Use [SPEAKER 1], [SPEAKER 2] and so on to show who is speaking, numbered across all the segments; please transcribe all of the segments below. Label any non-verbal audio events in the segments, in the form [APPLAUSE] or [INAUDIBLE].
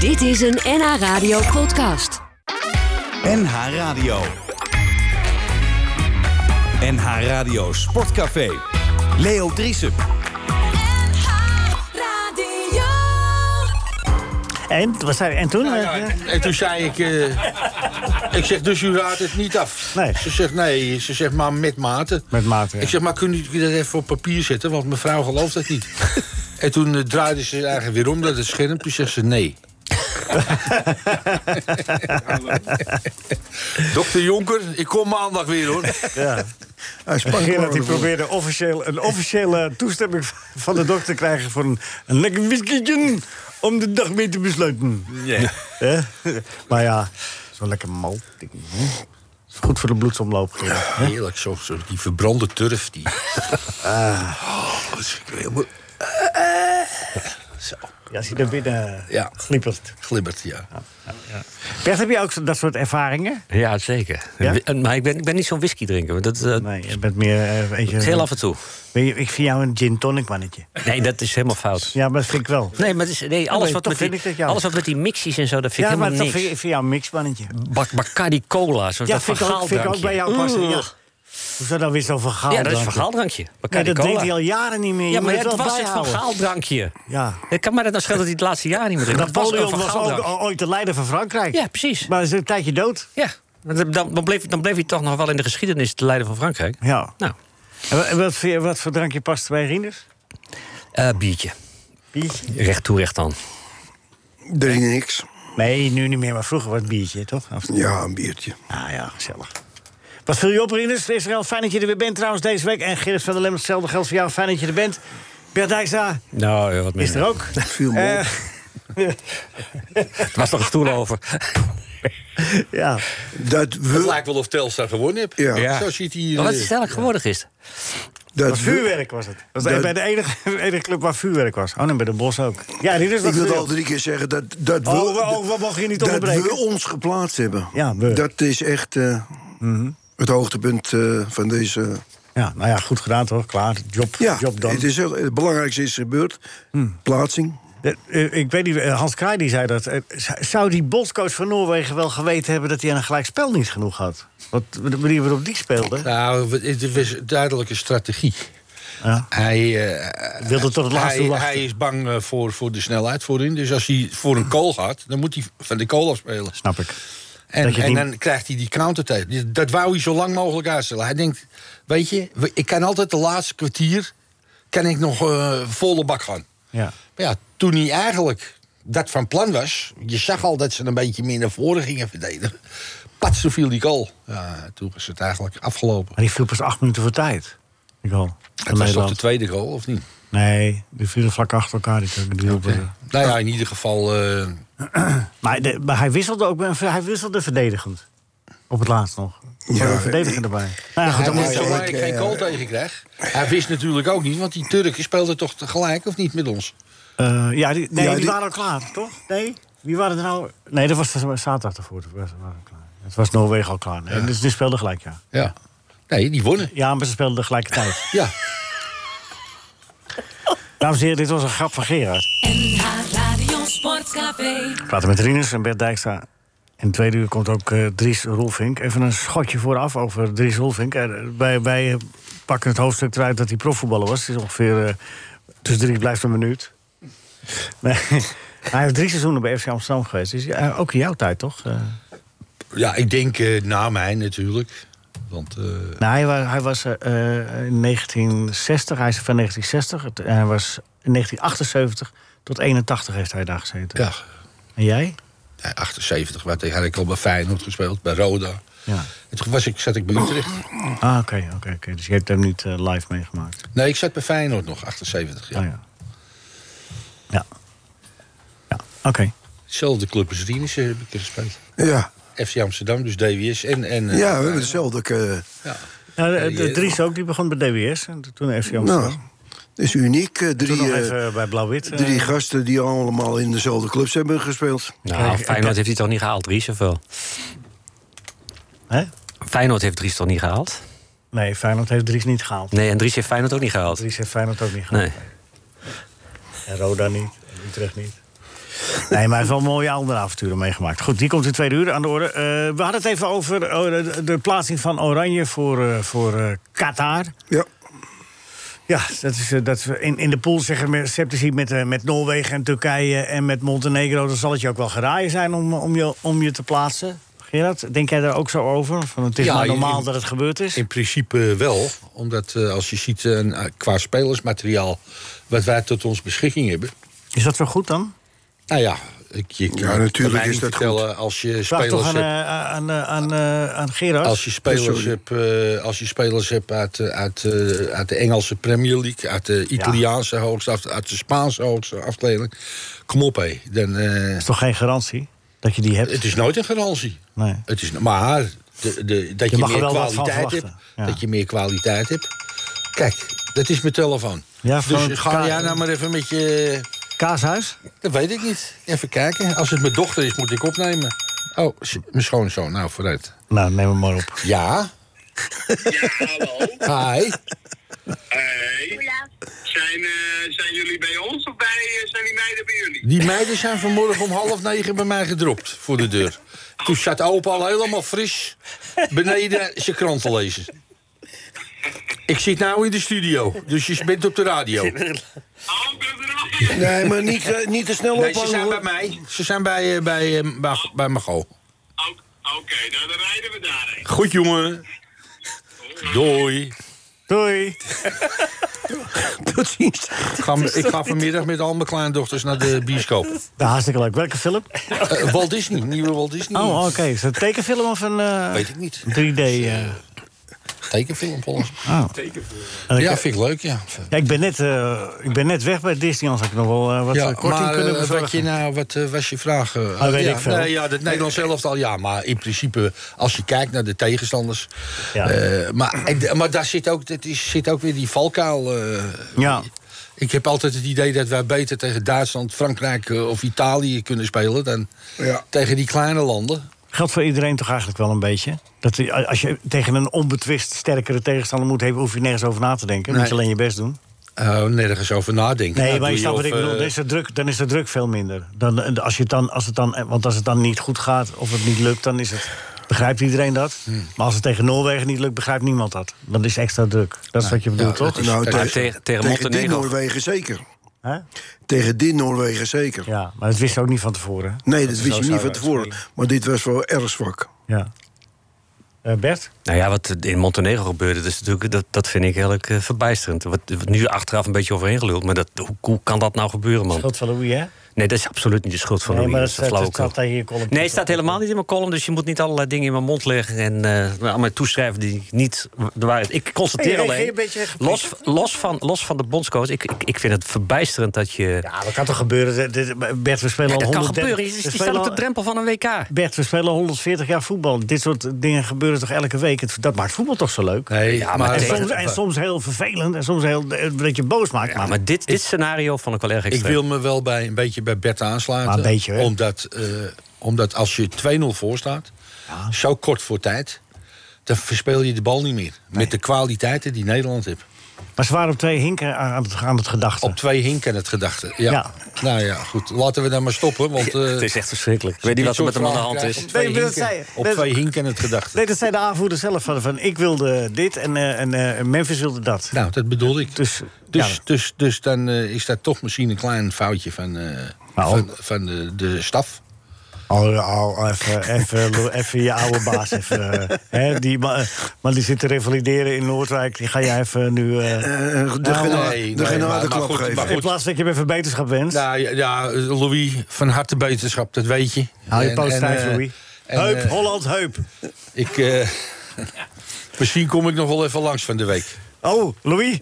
[SPEAKER 1] Dit is een NH Radio podcast.
[SPEAKER 2] NH Radio. NH Radio Sportcafé. Leo Driesen.
[SPEAKER 3] Radio.
[SPEAKER 4] En, wat zei, en toen?
[SPEAKER 5] Nou
[SPEAKER 4] eh,
[SPEAKER 5] ja, en toen zei ik... eh, ik zeg, dus u raadt het niet af?
[SPEAKER 4] Nee.
[SPEAKER 5] Ze zegt, nee. Ze zegt, maar met mate.
[SPEAKER 4] Met mate, ja.
[SPEAKER 5] Ik zeg, maar kunt u dat even op papier zetten? Want mevrouw gelooft dat niet. en toen eh, draaide ze eigenlijk weer om dat het scherm. Toen zegt ze, nee. [LAUGHS] Dokter Jonker, ik kom maandag weer, hoor.
[SPEAKER 4] ja.
[SPEAKER 6] Hij sprak
[SPEAKER 4] Gerard die
[SPEAKER 6] gewoon ervoor.
[SPEAKER 4] probeerde officieel, een officiële toestemming van de dokter te krijgen... voor een, een lekker whiskytje om de dag mee te besluiten. Hè? maar ja, zo'n lekker malt. Is Goed voor de bloedsomloop. Gerard.
[SPEAKER 5] Heerlijk, zo, zo, die verbrande turf. Die... Oh, dat is helemaal Eh,
[SPEAKER 4] Ja, als je daar binnen
[SPEAKER 5] Ja.
[SPEAKER 4] glippert.
[SPEAKER 5] glibberd, ja.
[SPEAKER 4] Bert, heb je ook zo- dat soort ervaringen?
[SPEAKER 7] Ja, zeker.
[SPEAKER 4] Ja?
[SPEAKER 7] En- Maar ik ben, ik ben niet zo'n whisky drinker. want Dat, eh,
[SPEAKER 4] Nee, je bent meer... eh, weet je,
[SPEAKER 7] is heel af en toe.
[SPEAKER 4] Ben je- ik vind jou een gin tonic mannetje.
[SPEAKER 7] Nee, dat is helemaal fout.
[SPEAKER 4] Ja, maar dat vind ik wel.
[SPEAKER 7] Nee, maar het is, nee, alles,
[SPEAKER 4] nee,
[SPEAKER 7] wat
[SPEAKER 4] toch
[SPEAKER 7] met die,
[SPEAKER 4] vind ik dat, ja.
[SPEAKER 7] alles wat met die mixies en zo, dat vind
[SPEAKER 4] ja,
[SPEAKER 7] ik
[SPEAKER 4] maar
[SPEAKER 7] helemaal
[SPEAKER 4] toch
[SPEAKER 7] niks.
[SPEAKER 4] vind ik- ik vind jou een mixmannetje.
[SPEAKER 7] Bac- Bacardi Cola, zo'n
[SPEAKER 4] Ja,
[SPEAKER 7] dat
[SPEAKER 4] vind ik, ook, vind ik ook bij jou
[SPEAKER 7] vergaaldrankje.
[SPEAKER 4] passen. Ja. Hoezo dan weer zo'n verhaal?
[SPEAKER 7] Ja, dat is een vergaaldrankje.
[SPEAKER 4] Nee,
[SPEAKER 7] Bacardi
[SPEAKER 4] dat
[SPEAKER 7] Cola.
[SPEAKER 4] drinkt hij al jaren niet meer. Je
[SPEAKER 7] Ja, maar
[SPEAKER 4] moet
[SPEAKER 7] dat
[SPEAKER 4] het wel
[SPEAKER 7] was het
[SPEAKER 4] bijhouden.
[SPEAKER 7] vergaaldrankje.
[SPEAKER 4] Ja.
[SPEAKER 7] Ik kan maar dat nou schelen dat hij het laatste jaar niet meer drinkt. Dat was
[SPEAKER 4] Napoleon
[SPEAKER 7] een
[SPEAKER 4] was, ook
[SPEAKER 7] vergaaldrankje.
[SPEAKER 4] o- ooit de leider van Frankrijk.
[SPEAKER 7] Ja, precies.
[SPEAKER 4] Maar hij is een tijdje dood.
[SPEAKER 7] Ja, dan, dan, bleef, dan bleef hij toch nog wel in de geschiedenis de leider van Frankrijk.
[SPEAKER 4] Ja.
[SPEAKER 7] Nou,
[SPEAKER 4] En wa- en wat, voor- wat voor drankje past bij Rienders?
[SPEAKER 7] eh, biertje.
[SPEAKER 4] Biertje?
[SPEAKER 7] Recht toe, recht aan.
[SPEAKER 6] Drink niks.
[SPEAKER 4] Nee, nu niet meer, maar vroeger was het biertje, toch? Of-
[SPEAKER 6] Ja, een biertje.
[SPEAKER 4] Ah ja, gezellig. Wat viel je op, Rieners? Israël, fijn dat je er weer bent trouwens deze week. En Gerrit van der Lem, hetzelfde geldt voor jou. Fijn dat je er bent. Bert Dijkstra
[SPEAKER 7] Nou, ja, wat
[SPEAKER 4] is
[SPEAKER 7] minder.
[SPEAKER 4] er ook.
[SPEAKER 6] Viel me op.
[SPEAKER 4] Eh,
[SPEAKER 7] Er was nog een stoel over.
[SPEAKER 4] ja.
[SPEAKER 6] Dat
[SPEAKER 5] Het
[SPEAKER 6] we,
[SPEAKER 5] lijkt wel of Telstar gewonnen heeft.
[SPEAKER 6] Ja.
[SPEAKER 7] Ja.
[SPEAKER 5] Zo ziet hij hier.
[SPEAKER 7] Maar wat is
[SPEAKER 5] eh,
[SPEAKER 7] het eigenlijk geworden gisteren?
[SPEAKER 6] dat
[SPEAKER 4] Dat
[SPEAKER 6] we,
[SPEAKER 4] vuurwerk was het. Dat was
[SPEAKER 6] Dat-
[SPEAKER 4] bij de enige, [LAUGHS] enige club waar vuurwerk was. Oh, nee, bij de Bos ook. Ja, dit is wat
[SPEAKER 6] ik wil
[SPEAKER 4] vuurwerk.
[SPEAKER 6] al drie keer zeggen dat, dat we,
[SPEAKER 4] Oh, we, oh, we mogen je niet
[SPEAKER 6] dat we
[SPEAKER 4] onderbreken.
[SPEAKER 6] ons geplaatst hebben.
[SPEAKER 4] Ja, we. Mhm.
[SPEAKER 6] Dat is echt eh, het hoogtepunt eh, van deze...
[SPEAKER 4] Ja, nou ja, goed gedaan toch? Klaar, job,
[SPEAKER 6] Ja,
[SPEAKER 4] job dan. Hmm.
[SPEAKER 6] het, is, heel- het belangrijkste is gebeurd. Plaatsing.
[SPEAKER 4] ik weet niet, eh, Hans Kraai die zei dat. eh, z- Zou die bondscoach van Noorwegen wel geweten hebben... dat hij aan een gelijkspel niet genoeg had? Want de manier waarop die speelde...
[SPEAKER 5] Nou, het is een duidelijke strategie.
[SPEAKER 4] Ja.
[SPEAKER 5] Hij, eh,
[SPEAKER 4] Wilde tot het laatste
[SPEAKER 5] hij,
[SPEAKER 4] wachten.
[SPEAKER 5] hij is bang eh, voor, voor de snelheid voorin. Dus als hij voor een kool gaat, dan moet hij van de kool afspelen.
[SPEAKER 4] Snap ik.
[SPEAKER 5] En,
[SPEAKER 4] Dat je
[SPEAKER 5] en
[SPEAKER 4] die-
[SPEAKER 5] dan krijgt hij die counter tegen. Dat wou hij zo lang mogelijk uitstellen. Hij denkt, weet je, we- ik kan altijd de laatste kwartier... kan ik nog eh, volle bak gaan.
[SPEAKER 4] Ja.
[SPEAKER 5] Maar ja, toen hij eigenlijk dat van plan was... je zag al dat ze een beetje meer naar voren gingen verdedigen. Pats, toen viel die goal. Ja, toen was het eigenlijk afgelopen.
[SPEAKER 4] Maar die viel pas acht minuten voor tijd. Ik al.
[SPEAKER 5] Het was toch de tweede goal, of niet?
[SPEAKER 4] Nee, die vielen vlak achter elkaar. Die, die hielpen ze.
[SPEAKER 5] Nou ja, in ieder geval. eh,
[SPEAKER 4] Maar, de- maar hij wisselde ook met- hij wisselde verdedigend. Op het laatst nog. Ja, een verdediger erbij. Nou ja, goed,
[SPEAKER 5] hij
[SPEAKER 4] dan moet
[SPEAKER 5] wist
[SPEAKER 4] je- eh,
[SPEAKER 5] zolang ik geen goal tegen krijg. Hij wist natuurlijk ook niet, want die Turken speelden toch tegelijk, of niet met ons?
[SPEAKER 4] Eh, ja, die, nee,
[SPEAKER 6] Ja,
[SPEAKER 4] die,
[SPEAKER 6] die-
[SPEAKER 4] waren al klaar, toch? Nee? Wie waren er nou? Nee, dat was zaterdag ervoor. Dat was, waren al klaar. Het was Noorwegen al klaar. Nee, Dus die speelden gelijk, ja.
[SPEAKER 5] Ja. Nee, die wonnen.
[SPEAKER 4] Ja, maar ze speelden [LAUGHS] tegelijkertijd.
[SPEAKER 5] Ja.
[SPEAKER 4] Dames en heren, dit was een grap van Gerard.
[SPEAKER 3] NH Radio Sportcafé.
[SPEAKER 4] We praten met Rinus en Bert Dijkstra. In het tweede uur komt ook eh, Dries Roelvink. Even een schotje vooraf over Dries Roelvink. Eh, wij, wij eh, pakken het hoofdstuk eruit dat hij profvoetballer was. Het is ongeveer... eh, dus Dries blijft een minuut. Nee, [LAUGHS] hij heeft drie seizoenen bij FC Amsterdam geweest. Dus, ja, ook in jouw tijd, toch? Eh,
[SPEAKER 5] Ja, ik denk eh, na mij natuurlijk. Want eh,
[SPEAKER 4] Nou, hij was, hij was eh, eh, in 1960, hij is van 1960. Het- Hij was in 1978 tot 81 heeft hij daar gezeten.
[SPEAKER 5] ja,
[SPEAKER 4] En jij?
[SPEAKER 5] ja, 78 werd ik, had ik al bij Feyenoord gespeeld, bij Roda.
[SPEAKER 4] Ja.
[SPEAKER 5] En toen was ik, zat ik bij Utrecht.
[SPEAKER 4] Ah, oké, oké, oké. Dus je hebt hem niet eh, live meegemaakt.
[SPEAKER 5] Nee, ik zat bij Feyenoord nog, 78
[SPEAKER 4] Ja.
[SPEAKER 5] jaar.
[SPEAKER 4] Oh ja. Ja. Ja, oké.
[SPEAKER 5] Hetzelfde club als Rinus eh, heb ik gespeeld.
[SPEAKER 6] Ja,
[SPEAKER 5] FC Amsterdam, dus DWS. En, en,
[SPEAKER 6] ja
[SPEAKER 5] eh,
[SPEAKER 6] we hebben hetzelfde. eh,
[SPEAKER 5] ja.
[SPEAKER 4] Nou, de-
[SPEAKER 5] Ja,
[SPEAKER 4] de
[SPEAKER 5] je-
[SPEAKER 4] Dries ook, die begon bij DWS en toen FC Amsterdam.
[SPEAKER 6] nou, dat is uniek. eh,
[SPEAKER 4] toen
[SPEAKER 6] drie,
[SPEAKER 4] nog
[SPEAKER 6] eh,
[SPEAKER 4] even bij Blauw-Wit. eh,
[SPEAKER 6] drie gasten die allemaal in dezelfde clubs hebben gespeeld.
[SPEAKER 7] Nou, Feyenoord heeft hij toch niet gehaald, Dries, of wel?
[SPEAKER 4] hè?
[SPEAKER 7] Feyenoord heeft Dries toch niet gehaald?
[SPEAKER 4] Nee, Feyenoord heeft Dries niet gehaald.
[SPEAKER 7] Nee, en Dries heeft Feyenoord ook niet gehaald.
[SPEAKER 4] Dries heeft Feyenoord ook niet gehaald.
[SPEAKER 7] Nee.
[SPEAKER 4] En Roda niet, en Utrecht niet. Nee, maar hij heeft wel mooie andere avonturen meegemaakt. Goed, die komt in tweede uur aan de orde. Eh, we hadden het even over eh, de, de plaatsing van Oranje voor, eh, voor eh, Qatar.
[SPEAKER 6] Ja.
[SPEAKER 4] Ja, dat is, eh, dat is in, in de pool zeggen we sceptici met, eh, met Noorwegen en Turkije en met Montenegro. Dan zal het je ook wel geraaien zijn om, om, je, om je te plaatsen. Gerard, denk jij daar ook zo over? Van het is
[SPEAKER 5] Ja,
[SPEAKER 4] maar normaal
[SPEAKER 5] in-
[SPEAKER 4] dat het gebeurd is?
[SPEAKER 5] In principe wel, omdat eh, als je ziet eh, en, eh, qua spelersmateriaal wat wij tot ons beschikking hebben.
[SPEAKER 4] Is dat zo goed dan?
[SPEAKER 5] Nou ja, ik, je kan
[SPEAKER 6] Ja, natuurlijk
[SPEAKER 5] kan mij
[SPEAKER 6] is
[SPEAKER 5] niet
[SPEAKER 6] dat
[SPEAKER 5] vertellen Als je
[SPEAKER 4] Vraag
[SPEAKER 5] spelers
[SPEAKER 4] toch aan,
[SPEAKER 5] hebt,
[SPEAKER 4] eh, aan, eh, aan, eh, aan Gerard.
[SPEAKER 5] als je spelers
[SPEAKER 6] Sorry.
[SPEAKER 5] hebt, eh, als je spelers hebt uit, eh, uit, eh, uit de Engelse Premier League, uit de Italiaanse hoogste, af- uit de Spaanse hoogste afdeling, kom op hé, dan eh,
[SPEAKER 4] is toch geen garantie dat je die hebt?
[SPEAKER 5] het is nooit een garantie.
[SPEAKER 4] Nee.
[SPEAKER 5] Het is, maar de, de, dat je,
[SPEAKER 4] mag er
[SPEAKER 5] meer
[SPEAKER 4] wel wat van
[SPEAKER 5] kwaliteit hebt.
[SPEAKER 4] verwachten, ja.
[SPEAKER 5] Dat je meer kwaliteit hebt. Kijk, dat is mijn telefoon.
[SPEAKER 4] Ja,
[SPEAKER 5] dus
[SPEAKER 4] van
[SPEAKER 5] ga
[SPEAKER 4] Ka-
[SPEAKER 5] jij nou maar even met je...
[SPEAKER 4] Kaashuis?
[SPEAKER 5] Dat weet ik niet. Even kijken. Als het mijn dochter is, moet ik opnemen. Oh, s- mijn schoonzoon. Nou, vooruit.
[SPEAKER 4] Nou, neem hem maar op.
[SPEAKER 5] Ja? Ja, hallo. Hi.
[SPEAKER 8] Hey. Zijn, eh, zijn jullie bij ons of bij, eh, zijn die meiden bij jullie?
[SPEAKER 5] Die meiden zijn vanmorgen om half negen bij mij gedropt voor de deur. Toen zat opa al helemaal fris beneden zijn krant te lezen. Ik zit nou in de studio, dus je bent op de radio.
[SPEAKER 8] Oh, dat is er nog.
[SPEAKER 6] Nee, maar niet, eh, niet te snel
[SPEAKER 5] Nee, ze
[SPEAKER 6] ophangen,
[SPEAKER 5] zijn
[SPEAKER 6] hoor.
[SPEAKER 5] bij mij. Ze zijn bij, eh, bij, eh, bij, bij Mago.
[SPEAKER 8] O- Oké, nou dan rijden we daarheen.
[SPEAKER 5] Goed, jongen. Doei.
[SPEAKER 4] Doei.
[SPEAKER 6] Tot ziens.
[SPEAKER 5] Ik ga, ik ga vanmiddag met al mijn kleindochters naar de [LAUGHS] bioscoop.
[SPEAKER 4] Nou, hartstikke leuk. Welke film?
[SPEAKER 5] Eh, Walt Disney, nieuwe Walt Disney.
[SPEAKER 4] Oh, oké. Is dat een tekenfilm of een eh,
[SPEAKER 5] Weet ik niet. eh,
[SPEAKER 4] 3D? eh? Oh.
[SPEAKER 5] Tekenfilm volgens mij.
[SPEAKER 4] En ik-
[SPEAKER 5] Ja, vind ik leuk, ja.
[SPEAKER 4] Ja, ik ben net, eh, ik ben net weg bij Disney, anders had ik nog wel eh, wat
[SPEAKER 5] Ja,
[SPEAKER 4] eh, korting
[SPEAKER 5] maar
[SPEAKER 4] kunnen
[SPEAKER 5] eh,
[SPEAKER 4] bezorgen.
[SPEAKER 5] wat, je nou, wat eh, was je vraag? eh,
[SPEAKER 4] Ah, weet
[SPEAKER 5] ja,
[SPEAKER 4] ik veel.
[SPEAKER 5] nee, ja, het Nederlands elftal, ja. Maar in principe, als je kijkt naar de tegenstanders...
[SPEAKER 4] Ja.
[SPEAKER 5] eh, maar, en- maar daar zit ook, dat is, zit ook weer die valkuil... eh,
[SPEAKER 4] Ja.
[SPEAKER 5] Ik heb altijd het idee dat wij beter tegen Duitsland, Frankrijk eh, of Italië kunnen spelen... dan
[SPEAKER 6] Ja.
[SPEAKER 5] tegen die kleine landen.
[SPEAKER 4] Geldt voor iedereen toch eigenlijk wel een beetje? Dat je- als je tegen een onbetwist sterkere tegenstander moet hebben, hoef je nergens over na te denken. Moet je
[SPEAKER 5] Nee.
[SPEAKER 4] alleen je best doen.
[SPEAKER 5] Eh, nergens over nadenken.
[SPEAKER 4] Nee,
[SPEAKER 5] Nou,
[SPEAKER 4] maar je
[SPEAKER 5] doe
[SPEAKER 4] snapt wat
[SPEAKER 5] of,
[SPEAKER 4] ik bedoel.
[SPEAKER 5] eh,
[SPEAKER 4] Dan is, de druk, dan is de druk veel minder. Dan, eh, als je het dan, als het dan, eh, want als het dan niet goed gaat of het niet lukt, dan is het. Begrijpt iedereen dat?
[SPEAKER 5] Hmm.
[SPEAKER 4] Maar als het tegen Noorwegen niet lukt, begrijpt niemand dat. Dan is extra druk. Dat is wat je bedoelt,
[SPEAKER 5] ja,
[SPEAKER 4] toch?
[SPEAKER 5] dat is-
[SPEAKER 6] Nou,
[SPEAKER 5] Maar
[SPEAKER 6] tegen-
[SPEAKER 7] tegen- tegen
[SPEAKER 6] tegen dit
[SPEAKER 7] Montenegro.
[SPEAKER 6] Noorwegen zeker.
[SPEAKER 4] Hè?
[SPEAKER 6] Tegen dit Noorwegen zeker.
[SPEAKER 4] Ja, maar dat wist je ook niet van tevoren. hè?
[SPEAKER 6] Nee, dat wist je
[SPEAKER 4] zou
[SPEAKER 6] niet
[SPEAKER 4] je
[SPEAKER 6] van tevoren. Maar dit was wel erg zwak.
[SPEAKER 4] Ja. Eh, Bert?
[SPEAKER 7] Nou ja, wat in Montenegro gebeurde, dat, is natuurlijk, dat, dat vind ik eigenlijk eh, verbijsterend. Wat, wat nu achteraf een beetje overheen geluld, maar dat, hoe, hoe kan dat nou gebeuren, man?
[SPEAKER 4] Schuld van Louis, hè?
[SPEAKER 7] Nee, dat is absoluut niet de schuld van
[SPEAKER 4] Nee,
[SPEAKER 7] Louis.
[SPEAKER 4] maar
[SPEAKER 7] dat
[SPEAKER 4] dat
[SPEAKER 7] is een
[SPEAKER 4] staat-
[SPEAKER 7] flauwekul.
[SPEAKER 4] staat daar hier in je column.
[SPEAKER 7] Nee, het staat helemaal niet in mijn column, dus je moet niet allerlei dingen in mijn mond leggen en eh aan mij toeschrijven die ik niet de waarheid. Ik
[SPEAKER 4] Hey,
[SPEAKER 7] constateer
[SPEAKER 4] hey, hey,
[SPEAKER 7] alleen.
[SPEAKER 4] een beetje geprikt.
[SPEAKER 7] los, los, van, los van de bondscoach, ik, ik, ik vind het verbijsterend dat je.
[SPEAKER 4] Ja, dat kan toch gebeuren? Dit- dit- Bert, we spelen
[SPEAKER 7] Ja,
[SPEAKER 4] al
[SPEAKER 7] dat kan
[SPEAKER 4] 130
[SPEAKER 7] gebeuren. Je,
[SPEAKER 4] we
[SPEAKER 7] je staat
[SPEAKER 4] spelen
[SPEAKER 7] op
[SPEAKER 4] al-
[SPEAKER 7] de drempel van een WK.
[SPEAKER 4] Bert, we spelen al 140 jaar voetbal. Dit soort dingen gebeuren toch elke week? Het- Dat maakt voetbal toch zo leuk?
[SPEAKER 5] Nee,
[SPEAKER 7] Ja, maar
[SPEAKER 5] maar
[SPEAKER 4] En
[SPEAKER 7] tegen-
[SPEAKER 4] soms, en soms heel vervelend en soms heel, eh, dat je boos maakt.
[SPEAKER 7] Ja, maar dit, dit scenario vond ik wel erg
[SPEAKER 5] Ik
[SPEAKER 7] extreem.
[SPEAKER 5] wil me wel bij, een beetje bij Bert aansluiten.
[SPEAKER 4] Maar een beetje, hè?
[SPEAKER 5] omdat, eh, omdat als je 2-0 voor staat, zo kort voor tijd... dan verspeel je de bal niet meer. Met de kwaliteiten die Nederland heeft.
[SPEAKER 4] Maar ze waren op twee hinken aan het, aan het gedachte.
[SPEAKER 5] Op twee hinken het gedachte. Ja.
[SPEAKER 4] Ja.
[SPEAKER 5] Nou ja, goed. Laten we dan maar stoppen. Want, eh,
[SPEAKER 7] [LAUGHS] Het is echt verschrikkelijk. Ik weet niet
[SPEAKER 5] dit
[SPEAKER 7] wat er
[SPEAKER 5] soort
[SPEAKER 7] met hem aan de
[SPEAKER 5] vragen
[SPEAKER 7] hand
[SPEAKER 5] krijg
[SPEAKER 7] is.
[SPEAKER 5] je Op twee,
[SPEAKER 4] Nee, dat
[SPEAKER 5] hinken,
[SPEAKER 4] zei-
[SPEAKER 5] op
[SPEAKER 4] dat-
[SPEAKER 5] twee hinken het gedachte.
[SPEAKER 4] Nee, dat zei de aanvoerder zelf. Van, van, ik wilde dit en, eh, en eh, Memphis wilde dat.
[SPEAKER 5] Nou, dat bedoel ik. Dus,
[SPEAKER 4] Dus,
[SPEAKER 5] dus,
[SPEAKER 4] ja,
[SPEAKER 5] dus, dan eh, is dat toch misschien een klein foutje van, eh,
[SPEAKER 4] Nou.
[SPEAKER 5] van, van de, de staf.
[SPEAKER 4] al, al, even, even, even je oude baas. Even, eh, hè, die, ma- eh, maar die zit te revalideren in Noordwijk. Die ga jij even nu... eh,
[SPEAKER 6] Eh, de gena-
[SPEAKER 5] nee, nee,
[SPEAKER 6] de
[SPEAKER 5] maar- maar
[SPEAKER 6] genadeklap
[SPEAKER 5] goed, maar
[SPEAKER 6] geven.
[SPEAKER 5] goed.
[SPEAKER 4] in plaats dat je hem even beterschap wenst.
[SPEAKER 5] Nou ja, ja, Louis, van harte beterschap, dat weet je.
[SPEAKER 4] Hou je
[SPEAKER 5] En-
[SPEAKER 4] poot
[SPEAKER 5] en,
[SPEAKER 4] stijf,
[SPEAKER 5] eh,
[SPEAKER 4] Louis.
[SPEAKER 5] en,
[SPEAKER 4] heup,
[SPEAKER 5] eh,
[SPEAKER 4] Holland, heup.
[SPEAKER 5] Ik, eh, [LAUGHS] misschien kom ik nog wel even langs van de week.
[SPEAKER 4] Oh, Louis.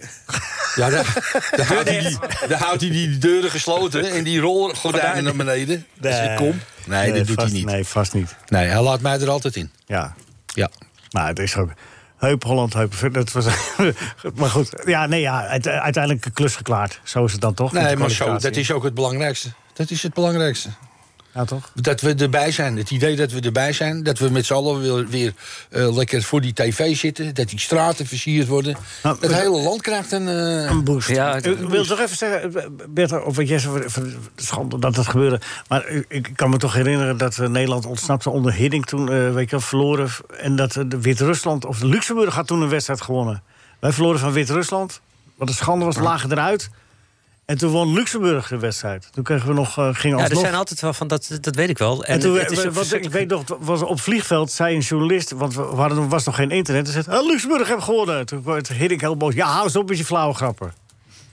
[SPEAKER 5] Ja, daar, daar houdt, hij die, daar houdt hij die deuren gesloten en die rolgordijnen naar beneden. Dus ik kom. Nee, dat doet
[SPEAKER 4] vast,
[SPEAKER 5] hij niet. Nee.
[SPEAKER 4] Nee, vast niet.
[SPEAKER 5] hij laat mij er altijd in.
[SPEAKER 4] Ja.
[SPEAKER 5] Ja.
[SPEAKER 4] Nou, het is ook... Heup, Holland, heup. Dat was, [LAUGHS] maar goed, ja, nee, ja, uite- uiteindelijk een klus geklaard. Zo is het dan toch? met
[SPEAKER 5] Nee,
[SPEAKER 4] de
[SPEAKER 5] maar zo, dat
[SPEAKER 4] kwalificatie.
[SPEAKER 5] is ook het belangrijkste. Dat is het belangrijkste.
[SPEAKER 4] Ja, toch?
[SPEAKER 5] Dat we erbij zijn. Het idee dat we erbij zijn. Dat we met z'n allen weer, weer, eh, lekker voor die tv zitten. Dat die straten versierd worden.
[SPEAKER 4] Nou,
[SPEAKER 5] het
[SPEAKER 4] we-
[SPEAKER 5] hele land krijgt een... eh,
[SPEAKER 4] Een boost.
[SPEAKER 7] Ja, het-
[SPEAKER 4] ik wil toch even zeggen, Bert, of wat jij zei, van- van- schande dat dat gebeurde. Maar ik- ik kan me toch herinneren dat eh, Nederland ontsnapte onder Hiddink toen, eh, weet je wel, verloren. En dat eh, de Wit-Rusland, of Luxemburg had toen een wedstrijd gewonnen. Wij verloren van Wit-Rusland. Wat een schande was, lagen eruit. En toen won Luxemburg de wedstrijd. Toen kregen we nog, eh gingen
[SPEAKER 7] Ja, er
[SPEAKER 4] alsnog...
[SPEAKER 7] zijn altijd wel van, dat, dat weet ik wel. En,
[SPEAKER 4] En toen,
[SPEAKER 7] het is
[SPEAKER 4] we-
[SPEAKER 7] ook
[SPEAKER 4] wat- ik
[SPEAKER 7] verschrikkelijk.
[SPEAKER 4] weet nog, het was op vliegveld zei een journalist, want we waren, er was nog geen internet, en zei: "Ah, Luxemburg heeft gewonnen. Toen werd Hiddink heel boos. Ja, hou eens op met je flauwe grappen.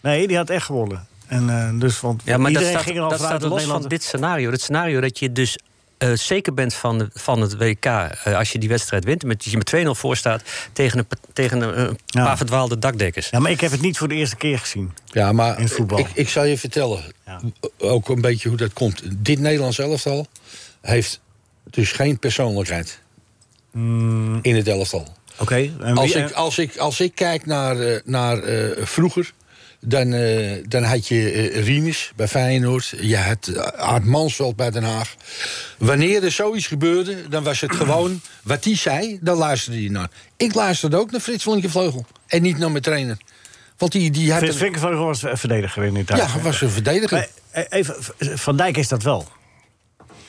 [SPEAKER 4] Nee, die had echt gewonnen. En eh, dus, want
[SPEAKER 7] Ja, maar dat
[SPEAKER 4] iedereen
[SPEAKER 7] staat,
[SPEAKER 4] ging er al
[SPEAKER 7] dat
[SPEAKER 4] vanuit dat
[SPEAKER 7] staat los
[SPEAKER 4] Nederland...
[SPEAKER 7] van dit scenario. Het scenario dat je dus eh, zeker bent van, de- van het WK... eh, als je die wedstrijd wint, met, dat je met 2-0 voor staat... tegen een, pa- tegen een eh, een
[SPEAKER 4] Ja.
[SPEAKER 7] paar verdwaalde dakdekkers.
[SPEAKER 4] Ja, maar ik heb het niet voor de eerste keer gezien.
[SPEAKER 5] Ja, maar
[SPEAKER 4] In voetbal.
[SPEAKER 5] Ik, ik zal je vertellen,
[SPEAKER 4] Ja.
[SPEAKER 5] ook een beetje hoe dat komt. Dit Nederlands elftal heeft dus geen persoonlijkheid
[SPEAKER 4] Mm.
[SPEAKER 5] in het elftal.
[SPEAKER 4] Oké. en
[SPEAKER 5] Als
[SPEAKER 4] wie- eh,
[SPEAKER 5] ik, als, ik, als ik kijk naar, eh, naar eh, vroeger, dan, eh, dan had je eh, Rinus bij Feyenoord. Je had eh, Aart Mansveld bij Den Haag. Wanneer er zoiets gebeurde, dan was het gewoon [CLEARS THROAT] wat die zei, dan luisterde je naar. Ik luisterde ook naar Frits Linkervleugel en niet naar mijn trainer. Want die, die had...
[SPEAKER 4] Frits
[SPEAKER 5] een-
[SPEAKER 4] Vinkenveen was eh, verdediger in Italië.
[SPEAKER 5] ja, was een verdediger.
[SPEAKER 4] Maar, eh, Even, Van Dijk is dat wel.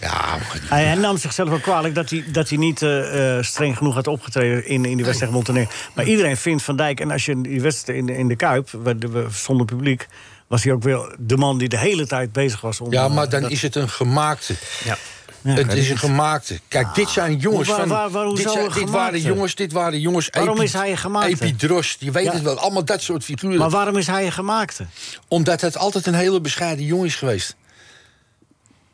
[SPEAKER 5] Ja, maar-
[SPEAKER 4] Hij, hij nam zichzelf wel kwalijk dat hij, dat hij niet eh, eh, streng genoeg had opgetreden in, in die wedstrijd Montenegro. Maar iedereen vindt Van Dijk, en als je die wedstrijd in, in de Kuip, waar de- we- zonder publiek, was hij ook wel de man die de hele tijd bezig was. Om,
[SPEAKER 5] ja, maar
[SPEAKER 4] eh,
[SPEAKER 5] dan
[SPEAKER 4] dat-
[SPEAKER 5] is het een gemaakte.
[SPEAKER 4] Ja, ik
[SPEAKER 5] het
[SPEAKER 4] weet
[SPEAKER 5] is
[SPEAKER 4] niet.
[SPEAKER 5] een gemaakte. Kijk, dit zijn jongens
[SPEAKER 4] Ah. Hoe- waar-
[SPEAKER 5] van...
[SPEAKER 4] waar- waar- hoezo
[SPEAKER 5] dit, zijn-
[SPEAKER 4] een
[SPEAKER 5] dit waren
[SPEAKER 4] gemaakte?
[SPEAKER 5] jongens, dit waren jongens...
[SPEAKER 4] Waarom is hij een gemaakte?
[SPEAKER 5] Epidros, die weet
[SPEAKER 4] Ja.
[SPEAKER 5] het wel. Allemaal dat soort figuren.
[SPEAKER 4] Maar waarom is hij een gemaakte?
[SPEAKER 5] Omdat het altijd een hele bescheiden jongen is geweest.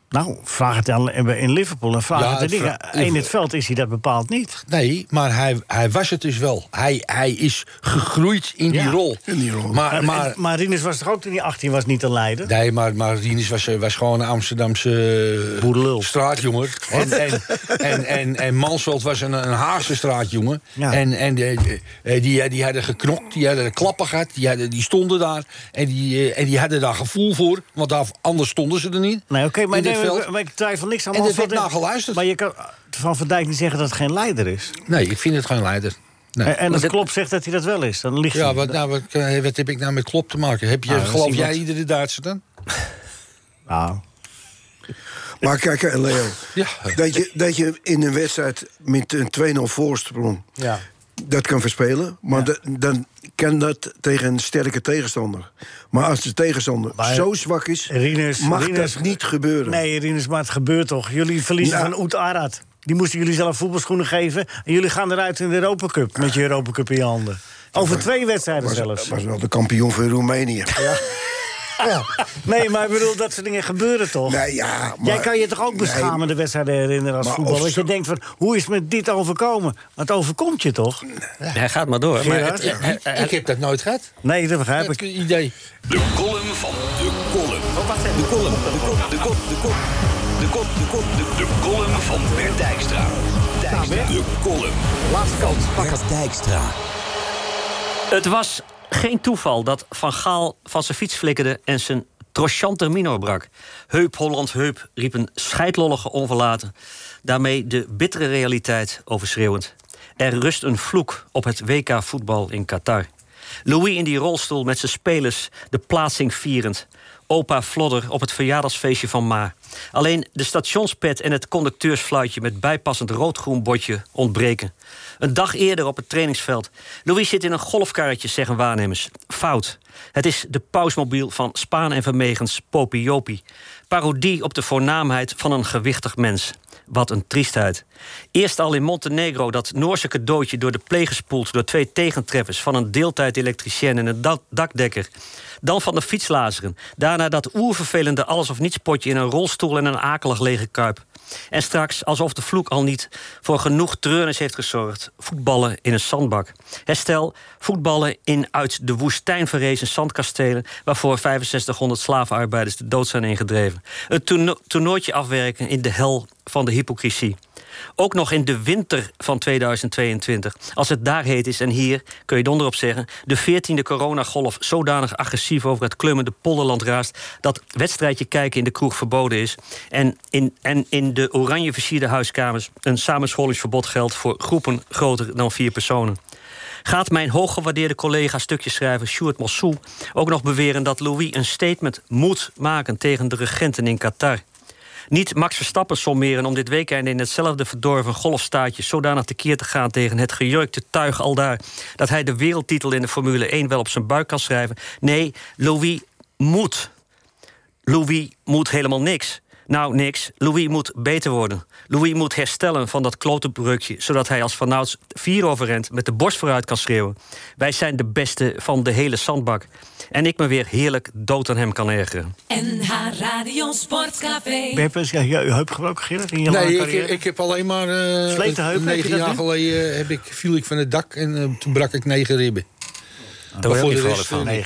[SPEAKER 4] Nou, vraag het aan, in Liverpool en vraag
[SPEAKER 5] Ja,
[SPEAKER 4] het de
[SPEAKER 5] het
[SPEAKER 4] dingen.
[SPEAKER 5] vra-
[SPEAKER 4] In het veld is hij dat bepaald niet.
[SPEAKER 5] Nee, maar hij, hij was het dus wel. Hij, hij is gegroeid in
[SPEAKER 4] Ja,
[SPEAKER 5] die rol.
[SPEAKER 6] in die rol.
[SPEAKER 5] Maar,
[SPEAKER 4] Eh, En-
[SPEAKER 5] maar,
[SPEAKER 4] en- maar Rinus was toch ook toen hij 18 was niet een leider?
[SPEAKER 5] Nee, maar, maar Rinus was, eh, was gewoon een Amsterdamse eh,
[SPEAKER 4] Boerenlul.
[SPEAKER 5] straatjongen. En, en, en, en, en Mansveld was een, een Haagse straatjongen.
[SPEAKER 4] Ja.
[SPEAKER 5] En, en eh, eh, die, eh, die hadden geknokt, die hadden klappen gehad, die, hadden, die stonden daar. En die, eh, en die hadden daar gevoel voor, want daar, anders stonden ze er niet.
[SPEAKER 4] Nee, oké, maar,
[SPEAKER 5] in dit
[SPEAKER 4] nee, maar-
[SPEAKER 5] veld.
[SPEAKER 4] maar ik twijfel niks aan.
[SPEAKER 5] En er
[SPEAKER 4] Hans,
[SPEAKER 5] werd
[SPEAKER 4] want-
[SPEAKER 5] naar geluisterd.
[SPEAKER 4] Maar je kan van Van Dijk niet zeggen dat het geen leider is.
[SPEAKER 5] Nee, ik vind het geen leider. Nee.
[SPEAKER 4] En, en als
[SPEAKER 7] dit-
[SPEAKER 4] Klopp zegt dat hij dat wel is, dan ligt
[SPEAKER 5] ja,
[SPEAKER 4] hij.
[SPEAKER 5] wat, nou, wat, eh, wat heb ik nou met klop te maken? Heb je,
[SPEAKER 4] Nou, dat is
[SPEAKER 5] geloof
[SPEAKER 4] iemand-
[SPEAKER 5] jij iedere Duitser dan?
[SPEAKER 4] Nou,
[SPEAKER 6] Maar kijk, eh,
[SPEAKER 4] [LAUGHS]
[SPEAKER 6] Leo.
[SPEAKER 5] Ja.
[SPEAKER 6] Dat, je, dat je in een wedstrijd met een 2-0 voorsprong...
[SPEAKER 4] Ja.
[SPEAKER 6] dat kan verspelen. Maar da- dan kan dat tegen een sterke tegenstander. Maar als de tegenstander
[SPEAKER 4] Maar
[SPEAKER 6] zo zwak is...
[SPEAKER 4] Rinus-
[SPEAKER 6] mag
[SPEAKER 4] Rinus-
[SPEAKER 6] dat niet gebeuren.
[SPEAKER 4] Nee, Rinus, maar het gebeurt toch. Jullie verliezen
[SPEAKER 6] Nou.
[SPEAKER 4] van Oet Arad. Die moesten jullie zelf voetbalschoenen geven. En jullie gaan eruit in de Europa Cup. Met je Europa Cup in je handen. Over twee wedstrijden
[SPEAKER 6] was,
[SPEAKER 4] zelfs.
[SPEAKER 6] was wel de kampioen van Roemenië. Ja.
[SPEAKER 4] Nee, maar ik bedoel, dat soort dingen gebeuren toch?
[SPEAKER 6] Nee, ja, maar,
[SPEAKER 4] Jij kan je toch ook beschamen de wedstrijden herinneren als
[SPEAKER 6] Maar
[SPEAKER 4] voetballer?
[SPEAKER 6] of
[SPEAKER 4] Als je
[SPEAKER 6] zo-
[SPEAKER 4] denkt van, hoe is me dit overkomen? Want overkomt je toch?
[SPEAKER 7] Hij gaat maar door. Maar
[SPEAKER 4] Gerard?
[SPEAKER 7] het- hij- hij-
[SPEAKER 5] Ik heb dat nooit gehad.
[SPEAKER 4] Nee, dat begrijp
[SPEAKER 5] Dat
[SPEAKER 4] Eh, ik.
[SPEAKER 5] idee.
[SPEAKER 2] De column van de column. De column, de kop, de kop, de kop. De kop, de kop, de De column van Bert Dijkstra. Dijkstra. De column.
[SPEAKER 9] Laatste kans. Bert Dijkstra.
[SPEAKER 7] Het was geen toeval dat Van Gaal van zijn fiets flikkerde en zijn trochante minor brak. Heup Holland heup, riep een scheidlollige onverlaten. Daarmee de bittere realiteit overschreeuwend. Er rust een vloek op het WK voetbal in Qatar. Louis in die rolstoel met zijn spelers de plaatsing vierend. Opa Flodder op het verjaardagsfeestje van Ma. Alleen de stationspet en het conducteursfluitje met bijpassend roodgroen bordje ontbreken. Een dag eerder op het trainingsveld. Louis zit in een golfkarretje, zeggen waarnemers. Fout. Het is de pausmobiel van Spaan en Vermegens Popiopi. Parodie op de voornaamheid van een gewichtig mens. Wat een triestheid. Eerst al in Montenegro dat Noorse cadeautje door de pleeg gespoeld door twee tegentreffers van een deeltijd-elektricien en een dak- dakdekker. Dan van de fietslazeren. Daarna dat oervervelende alles of niets potje in een rolstoel en een akelig lege kuip. En straks, alsof de vloek al niet voor genoeg treurnis heeft gezorgd, voetballen in een zandbak. Herstel, voetballen in uit de woestijn verrezen zandkastelen, waarvoor 6500 slavenarbeiders de dood zijn ingedreven. Een toerno- toernooitje afwerken in de hel van de hypocrisie. Ook nog in de winter van 2022. Als het daar heet is en hier, kun je donderop zeggen... de 14e coronagolf zodanig agressief over het klummende polderland raast... dat wedstrijdje kijken in de kroeg verboden is. En in, en in de oranje versierde huiskamers... een samenscholingsverbod geldt voor groepen groter dan vier personen. Gaat mijn hooggewaardeerde collega stukjeschrijver Sjoerd Mossou ook nog beweren dat Louis een statement moet maken tegen de regenten in Qatar? Niet Max Verstappen sommeren om dit weekend in hetzelfde verdorven golfstaatje zodanig tekeer te gaan tegen het gejurkte tuig al daar dat hij de wereldtitel in de Formule 1 wel op zijn buik kan schrijven. Nee, Louis moet. Louis moet helemaal niks. Nou, niks. Louis moet beter worden. Louis moet herstellen van dat klotenbreukje... zodat hij als vanouds vier overrent met de borst vooruit kan schreeuwen. Wij zijn de beste van de hele zandbak. En ik me weer heerlijk dood aan hem kan ergeren.
[SPEAKER 3] NH Radio Sportcafé.
[SPEAKER 4] Ben je pas- ja, ja, je heup gebroken, Gerrit? In je lange
[SPEAKER 5] Nee,
[SPEAKER 4] carrière?
[SPEAKER 5] ik, ik heb alleen maar... eh,
[SPEAKER 4] Sleten heup, heb je
[SPEAKER 5] negen
[SPEAKER 4] dat
[SPEAKER 5] jaar
[SPEAKER 4] nu?
[SPEAKER 5] geleden eh, heb ik, viel ik van het dak en eh, toen brak ik negen ribben.
[SPEAKER 7] Ah, Daar word je ook
[SPEAKER 5] voor
[SPEAKER 7] niet
[SPEAKER 5] de
[SPEAKER 7] vrolijk
[SPEAKER 5] rest,
[SPEAKER 7] van.
[SPEAKER 5] eh,
[SPEAKER 4] Nee.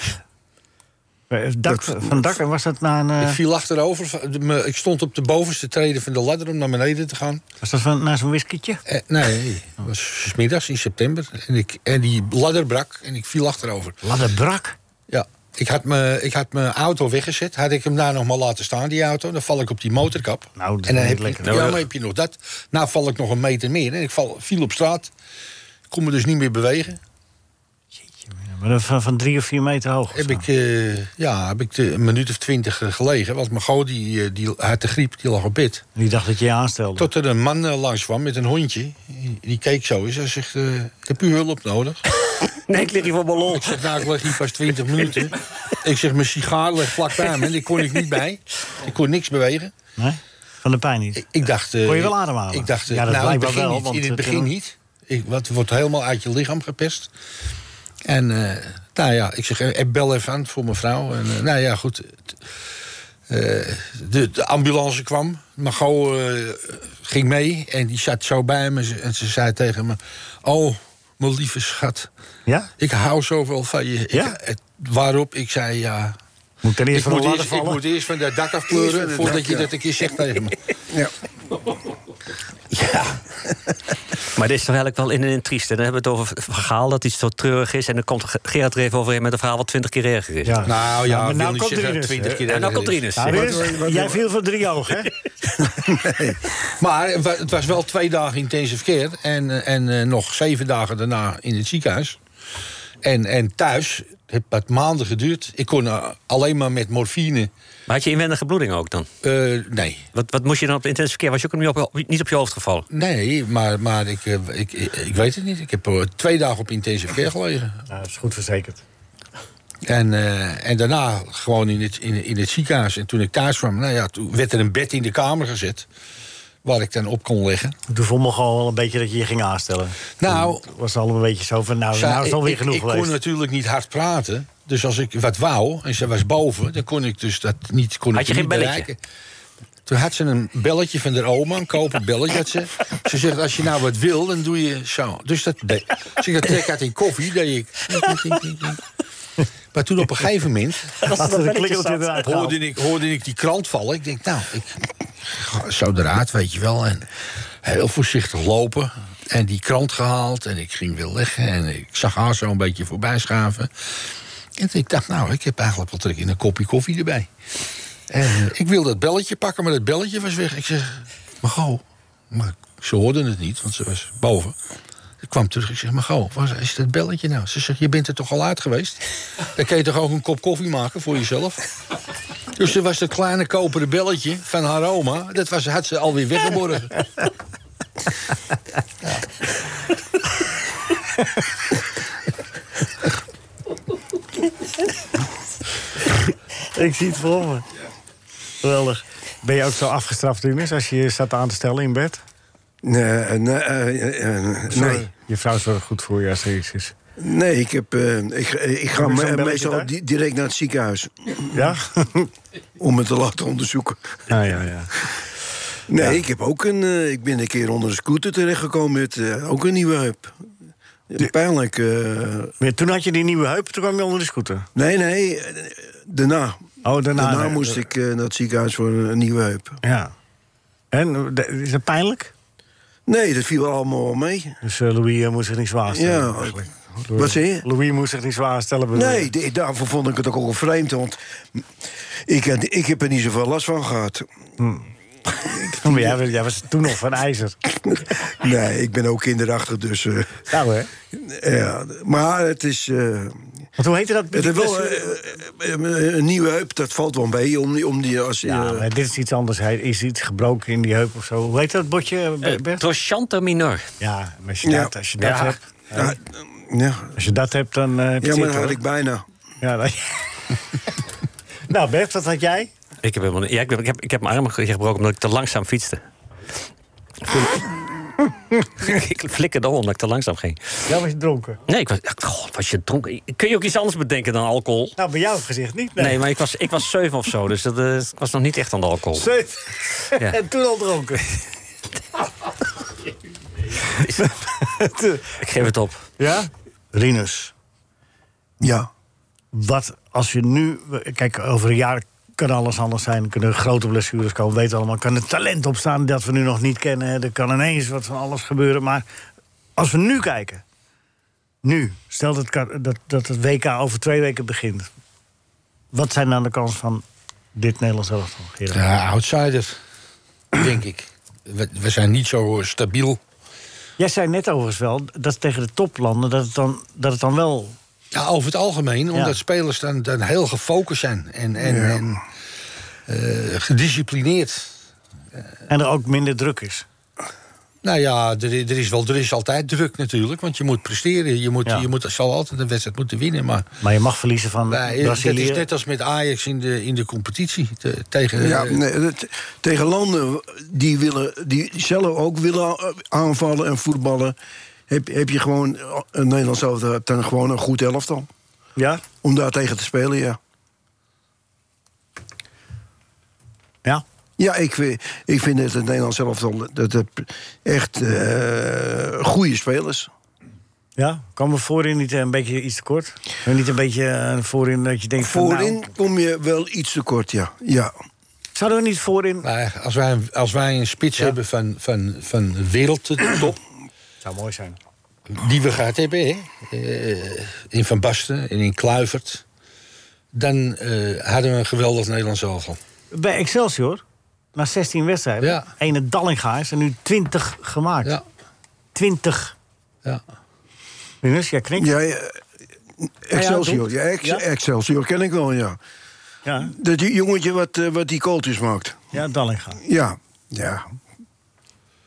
[SPEAKER 4] Eh, Dak, van dak, en was dat na een...
[SPEAKER 5] Ik
[SPEAKER 4] eh,
[SPEAKER 5] viel achterover. de- me- Ik stond op de bovenste treden van de ladder om naar beneden te gaan.
[SPEAKER 4] was dat van, na zo'n whiskietje?
[SPEAKER 5] Eh, nee, het was 's middags in september. En, ik, en die ladder brak en ik viel achterover.
[SPEAKER 4] Ladder brak.
[SPEAKER 5] Ja. Ik had, me, ik had mijn auto weggezet. Had ik hem daar nog maar laten staan, die auto. Dan val ik op die motorkap.
[SPEAKER 4] Nou, dat is
[SPEAKER 5] en dan
[SPEAKER 4] niet
[SPEAKER 5] heb
[SPEAKER 4] lekker.
[SPEAKER 5] Ik, ja, maar heb je nog dat. Nou val ik nog een meter meer. En ik val, viel op straat. Ik kon me dus niet meer bewegen.
[SPEAKER 4] Ja, Maar dat van, van drie of vier meter hoog. of
[SPEAKER 5] Heb
[SPEAKER 4] zo.
[SPEAKER 5] ik, eh, ja, heb ik de, een minuut of twintig eh, gelegen. Want mijn goh, die, eh, die had de griep, die lag op bed.
[SPEAKER 4] En Die dacht dat je je aanstelde.
[SPEAKER 5] Tot er een man eh, langs kwam met een hondje. Die keek zo eens. Hij zegt, eh, heb u hulp nodig?
[SPEAKER 7] Nee, ik lig hier voor mijn lol.
[SPEAKER 5] Ik zeg, nou, ik lig hier pas 20 minuten. Ik zeg, mijn sigaar ligt vlak bij me. En die kon ik niet bij. Ik kon niks bewegen.
[SPEAKER 4] Nee? Van de pijn niet.
[SPEAKER 5] Ik, ik dacht... eh,
[SPEAKER 4] Kon je wel ademhalen?
[SPEAKER 5] Ik dacht, eh,
[SPEAKER 4] Ja, dat
[SPEAKER 5] nou, in het
[SPEAKER 4] blijkbaar
[SPEAKER 5] begin
[SPEAKER 4] wel,
[SPEAKER 5] niet.
[SPEAKER 4] want
[SPEAKER 5] In het
[SPEAKER 4] het,
[SPEAKER 5] begin
[SPEAKER 4] eh,
[SPEAKER 5] niet. Ik, wat wordt helemaal uit je lichaam gepest. En eh, nou ja, ik zeg, eh, bel even aan voor mijn vrouw. En, eh, nou ja, goed. Het- eh, de, de ambulance kwam. Mago eh ging mee en die zat zo bij me. En ze zei tegen me, oh, mijn lieve schat.
[SPEAKER 4] Ja?
[SPEAKER 5] Ik hou zoveel van je. Ik-
[SPEAKER 4] Ja?
[SPEAKER 5] het- waarop ik zei, ja,
[SPEAKER 4] Moet ik er eerst van
[SPEAKER 5] ik
[SPEAKER 4] de
[SPEAKER 5] moet,
[SPEAKER 4] ladder
[SPEAKER 5] eerst, ik
[SPEAKER 4] vallen?
[SPEAKER 5] moet eerst van dat dak
[SPEAKER 6] Eerst van
[SPEAKER 5] afkleuren
[SPEAKER 6] het
[SPEAKER 5] voordat
[SPEAKER 6] dak,
[SPEAKER 5] je
[SPEAKER 6] ja.
[SPEAKER 5] dat een keer zegt tegen me.
[SPEAKER 6] Ja.
[SPEAKER 5] Ja,
[SPEAKER 7] Maar dit is toch eigenlijk wel in en in triest. hè? Dan hebben we het over een verhaal dat iets zo treurig is... en dan komt Ge- Gerard er even overheen met een verhaal wat twintig keer erger is.
[SPEAKER 4] Ja.
[SPEAKER 5] nou ja,
[SPEAKER 4] maar
[SPEAKER 5] wil
[SPEAKER 4] nou
[SPEAKER 5] niet
[SPEAKER 4] komt
[SPEAKER 5] zeggen
[SPEAKER 4] Rinus,
[SPEAKER 5] 20
[SPEAKER 4] hè?
[SPEAKER 5] keer.
[SPEAKER 7] En dan komt
[SPEAKER 5] erin.
[SPEAKER 7] Rinus.
[SPEAKER 4] Nou, Rinus,
[SPEAKER 6] Wat- wat- wat-
[SPEAKER 4] jij viel van drie oog,
[SPEAKER 5] [LAUGHS]
[SPEAKER 4] hè?
[SPEAKER 5] Maar het wa- het was wel twee dagen intensive care en, eh, en eh, nog zeven dagen daarna in het ziekenhuis. En, en thuis het heeft wat maanden geduurd. Ik kon eh, alleen maar met morfine.
[SPEAKER 7] Maar had je inwendige bloeding ook dan?
[SPEAKER 5] eh, nee,
[SPEAKER 7] Wat, wat moest je dan op de intensive care? Was je ook niet op, niet op je hoofd gevallen?
[SPEAKER 5] nee, maar, maar ik, eh, ik, ik, ik weet het niet. Ik heb eh, twee dagen op intensive care gelegen.
[SPEAKER 4] Nou, dat is goed verzekerd.
[SPEAKER 5] En, eh, en daarna gewoon in het, in, in het ziekenhuis. En toen ik thuis kwam, nou ja, toen werd er een bed in de kamer gezet. Waar ik dan op kon liggen.
[SPEAKER 4] Toen vond me gewoon wel een beetje dat je je ging aanstellen.
[SPEAKER 5] Nou,
[SPEAKER 4] Het was allemaal een beetje zo van, nou,
[SPEAKER 5] zij-
[SPEAKER 4] nou is het alweer
[SPEAKER 5] ik,
[SPEAKER 4] genoeg
[SPEAKER 5] ik
[SPEAKER 4] geweest.
[SPEAKER 5] kon natuurlijk niet hard praten. Dus als ik wat wou, en ze was boven, dan kon ik dus dat niet kon
[SPEAKER 7] Had
[SPEAKER 5] ik
[SPEAKER 7] je
[SPEAKER 5] niet
[SPEAKER 7] geen belletje?
[SPEAKER 5] bereiken. Toen had ze een belletje van haar oma, een
[SPEAKER 7] [LAUGHS]
[SPEAKER 5] koper belletje. Had ze. ze zegt, als je nou wat wil, dan doe je zo. Dus dat deed. Als ik dat trek uit in koffie, deed
[SPEAKER 7] [LAUGHS]
[SPEAKER 5] ik... Maar toen op een gegeven moment
[SPEAKER 4] [LAUGHS] Als er een klikkeltje eruit
[SPEAKER 5] hoorde
[SPEAKER 4] gehaald.
[SPEAKER 5] ik, hoorde ik die krant vallen. Ik denk, nou, ik ga zo de raad, weet je wel. En heel voorzichtig lopen. En die krant gehaald. En ik ging weer liggen. En ik zag haar zo een beetje voorbij schaven. En ik dacht, nou, ik heb eigenlijk wel trek in een kopje koffie erbij. En ik wil dat belletje pakken, maar dat belletje was weg. Ik zeg, maar go. Maar ze hoorden het niet, want ze was boven. Ik kwam terug, ik zeg, maar go, waar is dat belletje nou? Ze zegt, je bent er toch al uit geweest? Dan kan je toch ook een kop koffie maken voor jezelf? Dus er was dat kleine koperen belletje van haar oma. Dat was, had ze alweer weggeborgen. Ja.
[SPEAKER 4] Ik zie het voor me. Geweldig. Ben je ook zo afgestraft, Rinus, als je je staat aan te stellen in bed?
[SPEAKER 6] Nee, eh, nee, eh, eh, eh, nee.
[SPEAKER 4] Sorry. Je vrouw zorgt goed voor je als er iets is.
[SPEAKER 6] Nee, ik, heb, eh, ik, eh, ik ga
[SPEAKER 4] Heb je zo'n
[SPEAKER 6] me-
[SPEAKER 4] belletje
[SPEAKER 6] meestal
[SPEAKER 4] daar?
[SPEAKER 6] di- direct naar het ziekenhuis
[SPEAKER 4] Ja?
[SPEAKER 6] om me te laten onderzoeken.
[SPEAKER 4] [LAUGHS] ja, ja, ja.
[SPEAKER 6] Nee, ik heb ook een. eh, ik ben een keer onder een scooter terechtgekomen met eh, ook een nieuwe heup. Pijnlijk. eh,
[SPEAKER 4] Maar toen had je die nieuwe heup, toen kwam je onder de scooter.
[SPEAKER 6] nee, nee, eh, daarna.
[SPEAKER 4] Oh, daarna.
[SPEAKER 6] Daarna
[SPEAKER 4] nee.
[SPEAKER 6] moest ik eh, naar het ziekenhuis voor een nieuwe heup.
[SPEAKER 4] Ja. En eh, is dat pijnlijk?
[SPEAKER 6] Nee, dat viel allemaal wel mee.
[SPEAKER 4] Dus eh, Louis eh, moet zich niet zwaar stellen.
[SPEAKER 6] Ja,
[SPEAKER 4] eigenlijk.
[SPEAKER 6] Wat zeg je?
[SPEAKER 4] Louis moet zich niet zwaar stellen. bedoel
[SPEAKER 6] Nee,
[SPEAKER 4] je?
[SPEAKER 6] de- daarvoor vond ik het ook al vreemd. Want ik, had- ik heb er niet zoveel last van gehad.
[SPEAKER 4] [LAUGHS]
[SPEAKER 6] [LAUGHS]
[SPEAKER 4] Maar jij, was- jij was toen nog van ijzer.
[SPEAKER 6] Nee, ik ben ook kinderachtig, dus... eh,
[SPEAKER 4] Nou, hè?
[SPEAKER 6] ja, maar het is... eh,
[SPEAKER 4] Want hoe heette dat?
[SPEAKER 6] het
[SPEAKER 4] die
[SPEAKER 6] is wel
[SPEAKER 4] blessure?
[SPEAKER 6] eh, eh, een nieuwe heup, dat valt wel mee. Om die, om die, als,
[SPEAKER 4] ja,
[SPEAKER 6] eh,
[SPEAKER 4] maar dit is iets anders. Hij is iets gebroken in die heup of zo. Hoe heet dat botje, eh,
[SPEAKER 7] Eh,
[SPEAKER 4] Bert?
[SPEAKER 7] Trochanter minor.
[SPEAKER 4] ja, maar als je
[SPEAKER 6] Ja.
[SPEAKER 4] dat, als je dat
[SPEAKER 7] Ja.
[SPEAKER 4] hebt...
[SPEAKER 6] ja, ja,
[SPEAKER 4] Als je dat hebt, dan eh heb je
[SPEAKER 6] ja, maar
[SPEAKER 4] het,
[SPEAKER 6] dat had
[SPEAKER 4] hoor.
[SPEAKER 6] ik bijna.
[SPEAKER 4] Ja, dan- [LAUGHS] nou, Bert, wat had jij?
[SPEAKER 7] Ik heb, helemaal, niet- ja, ik, heb, ik, heb, ik heb mijn arm ge- gebroken omdat ik te langzaam fietste.
[SPEAKER 4] [LAUGHS]
[SPEAKER 7] ik flikkerde om omdat ik te langzaam ging.
[SPEAKER 4] Jij was dronken.
[SPEAKER 7] Nee, ik was, ik- god, was je dronken. Kun je ook iets anders bedenken dan alcohol?
[SPEAKER 4] Nou, bij jouw gezicht niet. Nee,
[SPEAKER 7] Nee, maar ik was, ik was zeven of zo, dus dat, eh, ik was nog niet echt aan de alcohol.
[SPEAKER 4] Zeven.
[SPEAKER 7] Ja.
[SPEAKER 4] [LAUGHS] en toen al dronken.
[SPEAKER 7] Ik geef het op.
[SPEAKER 4] Ja? Rinus,
[SPEAKER 6] Ja.
[SPEAKER 4] wat als je nu... Kijk, over een jaar kan alles anders zijn. Kunnen grote blessures komen, weet allemaal. Kan het talent opstaan dat we nu nog niet kennen. Er kan ineens wat van alles gebeuren. Maar als we nu kijken... Nu, stel dat, ka- dat, dat het WK over twee weken begint. Wat zijn dan de kansen van dit Nederlands elftal, Gerard?
[SPEAKER 5] [LAUGHS] Ja, outsider, denk ik. We, we zijn niet zo eh, stabiel.
[SPEAKER 4] Jij zei net overigens wel dat tegen de toplanden dat het dan, dat het dan wel.
[SPEAKER 5] Ja, over het algemeen, omdat spelers dan, dan heel gefocust zijn en, en, en eh, gedisciplineerd.
[SPEAKER 4] En er ook minder druk is.
[SPEAKER 5] Nou ja, er, i- er, is wel, er is altijd druk natuurlijk, want je moet presteren. Je, moet,
[SPEAKER 4] Ja.
[SPEAKER 5] je moet, zal altijd een wedstrijd moeten winnen. Maar
[SPEAKER 4] Maar je mag verliezen van
[SPEAKER 5] wij, eh, dat
[SPEAKER 4] Brazilië.
[SPEAKER 5] is net als met Ajax in de, in de competitie. te- tegen,
[SPEAKER 6] Ja,
[SPEAKER 5] eh,
[SPEAKER 6] nee, dat- tegen landen die, willen, die zelf ook willen eh, aanvallen en voetballen... heb, heb je gewoon eh, een Nederlands elftal dan gewoon een goed elftal.
[SPEAKER 4] Ja?
[SPEAKER 6] Om daar tegen te spelen, ja.
[SPEAKER 4] Ja?
[SPEAKER 6] Ja, ik, vi- ik vind dat het Nederlands elftal dat het echt eh, goede spelers.
[SPEAKER 4] Ja? Komen we voorin niet eh, een beetje iets te kort? Kunnen we Niet een beetje eh, voorin dat je denkt van,
[SPEAKER 6] Voorin
[SPEAKER 4] nou,
[SPEAKER 6] kom je wel iets tekort, ja. ja.
[SPEAKER 4] zouden we niet voorin.
[SPEAKER 5] maar als, wij, een- als wij een spits hebben van, van, van wereldtop,
[SPEAKER 4] Zou mooi zijn.
[SPEAKER 5] die we gehad hebben, hè? eh, in Van Basten en in Kluivert... dan eh, hadden we een geweldig Nederlands elftal.
[SPEAKER 4] Bij Excelsior, na 16 wedstrijden,
[SPEAKER 5] Ja.
[SPEAKER 4] ene Dallinga is er nu 20 gemaakt.
[SPEAKER 5] Ja,
[SPEAKER 4] 20.
[SPEAKER 5] ja.
[SPEAKER 4] Rinus, jij knikt.
[SPEAKER 6] ja, ja, eh, Excelsior,
[SPEAKER 4] doet.
[SPEAKER 6] ja, Ex-
[SPEAKER 4] Ah Ja.
[SPEAKER 6] Excelsior ken ik wel, ja.
[SPEAKER 4] Ja,
[SPEAKER 6] Dat die jongetje wat, eh, wat die kooltjes maakt.
[SPEAKER 4] ja Dallinga.
[SPEAKER 6] Ja, ja.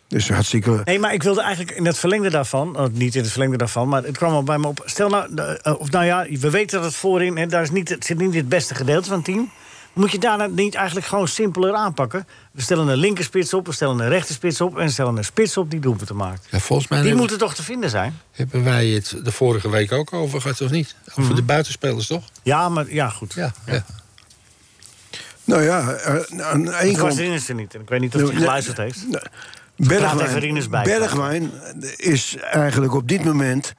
[SPEAKER 6] Dus hartstikke...
[SPEAKER 4] Nee, maar ik wilde eigenlijk in het verlengde daarvan, oh, niet in het verlengde daarvan, maar het kwam al bij me op. Stel nou, de- eh, of nou ja, we weten dat het voorin, hè, daar is niet, het zit niet het beste gedeelte van het team. Moet je daarna niet eigenlijk gewoon simpeler aanpakken? We stellen een linkerspits op, we stellen een rechterspits op en we stellen een spits op die doelpunten maakt.
[SPEAKER 5] ja volgens mij
[SPEAKER 4] Die
[SPEAKER 5] hebben,
[SPEAKER 4] moeten toch te vinden zijn?
[SPEAKER 5] hebben wij het de vorige week ook over gehad, of niet? Over
[SPEAKER 4] Mhm.
[SPEAKER 5] de buitenspelers, toch?
[SPEAKER 4] Ja, maar ja, goed.
[SPEAKER 5] Ja, ja.
[SPEAKER 6] Nou ja, eh, aan de ene
[SPEAKER 4] Ik was
[SPEAKER 6] kant... Nou,
[SPEAKER 4] Rinus er niet en ik weet niet of hij
[SPEAKER 6] Nee,
[SPEAKER 4] geluisterd heeft.
[SPEAKER 6] nee,
[SPEAKER 4] Praat even Rinus bij.
[SPEAKER 6] Bergwijn is eigenlijk op dit moment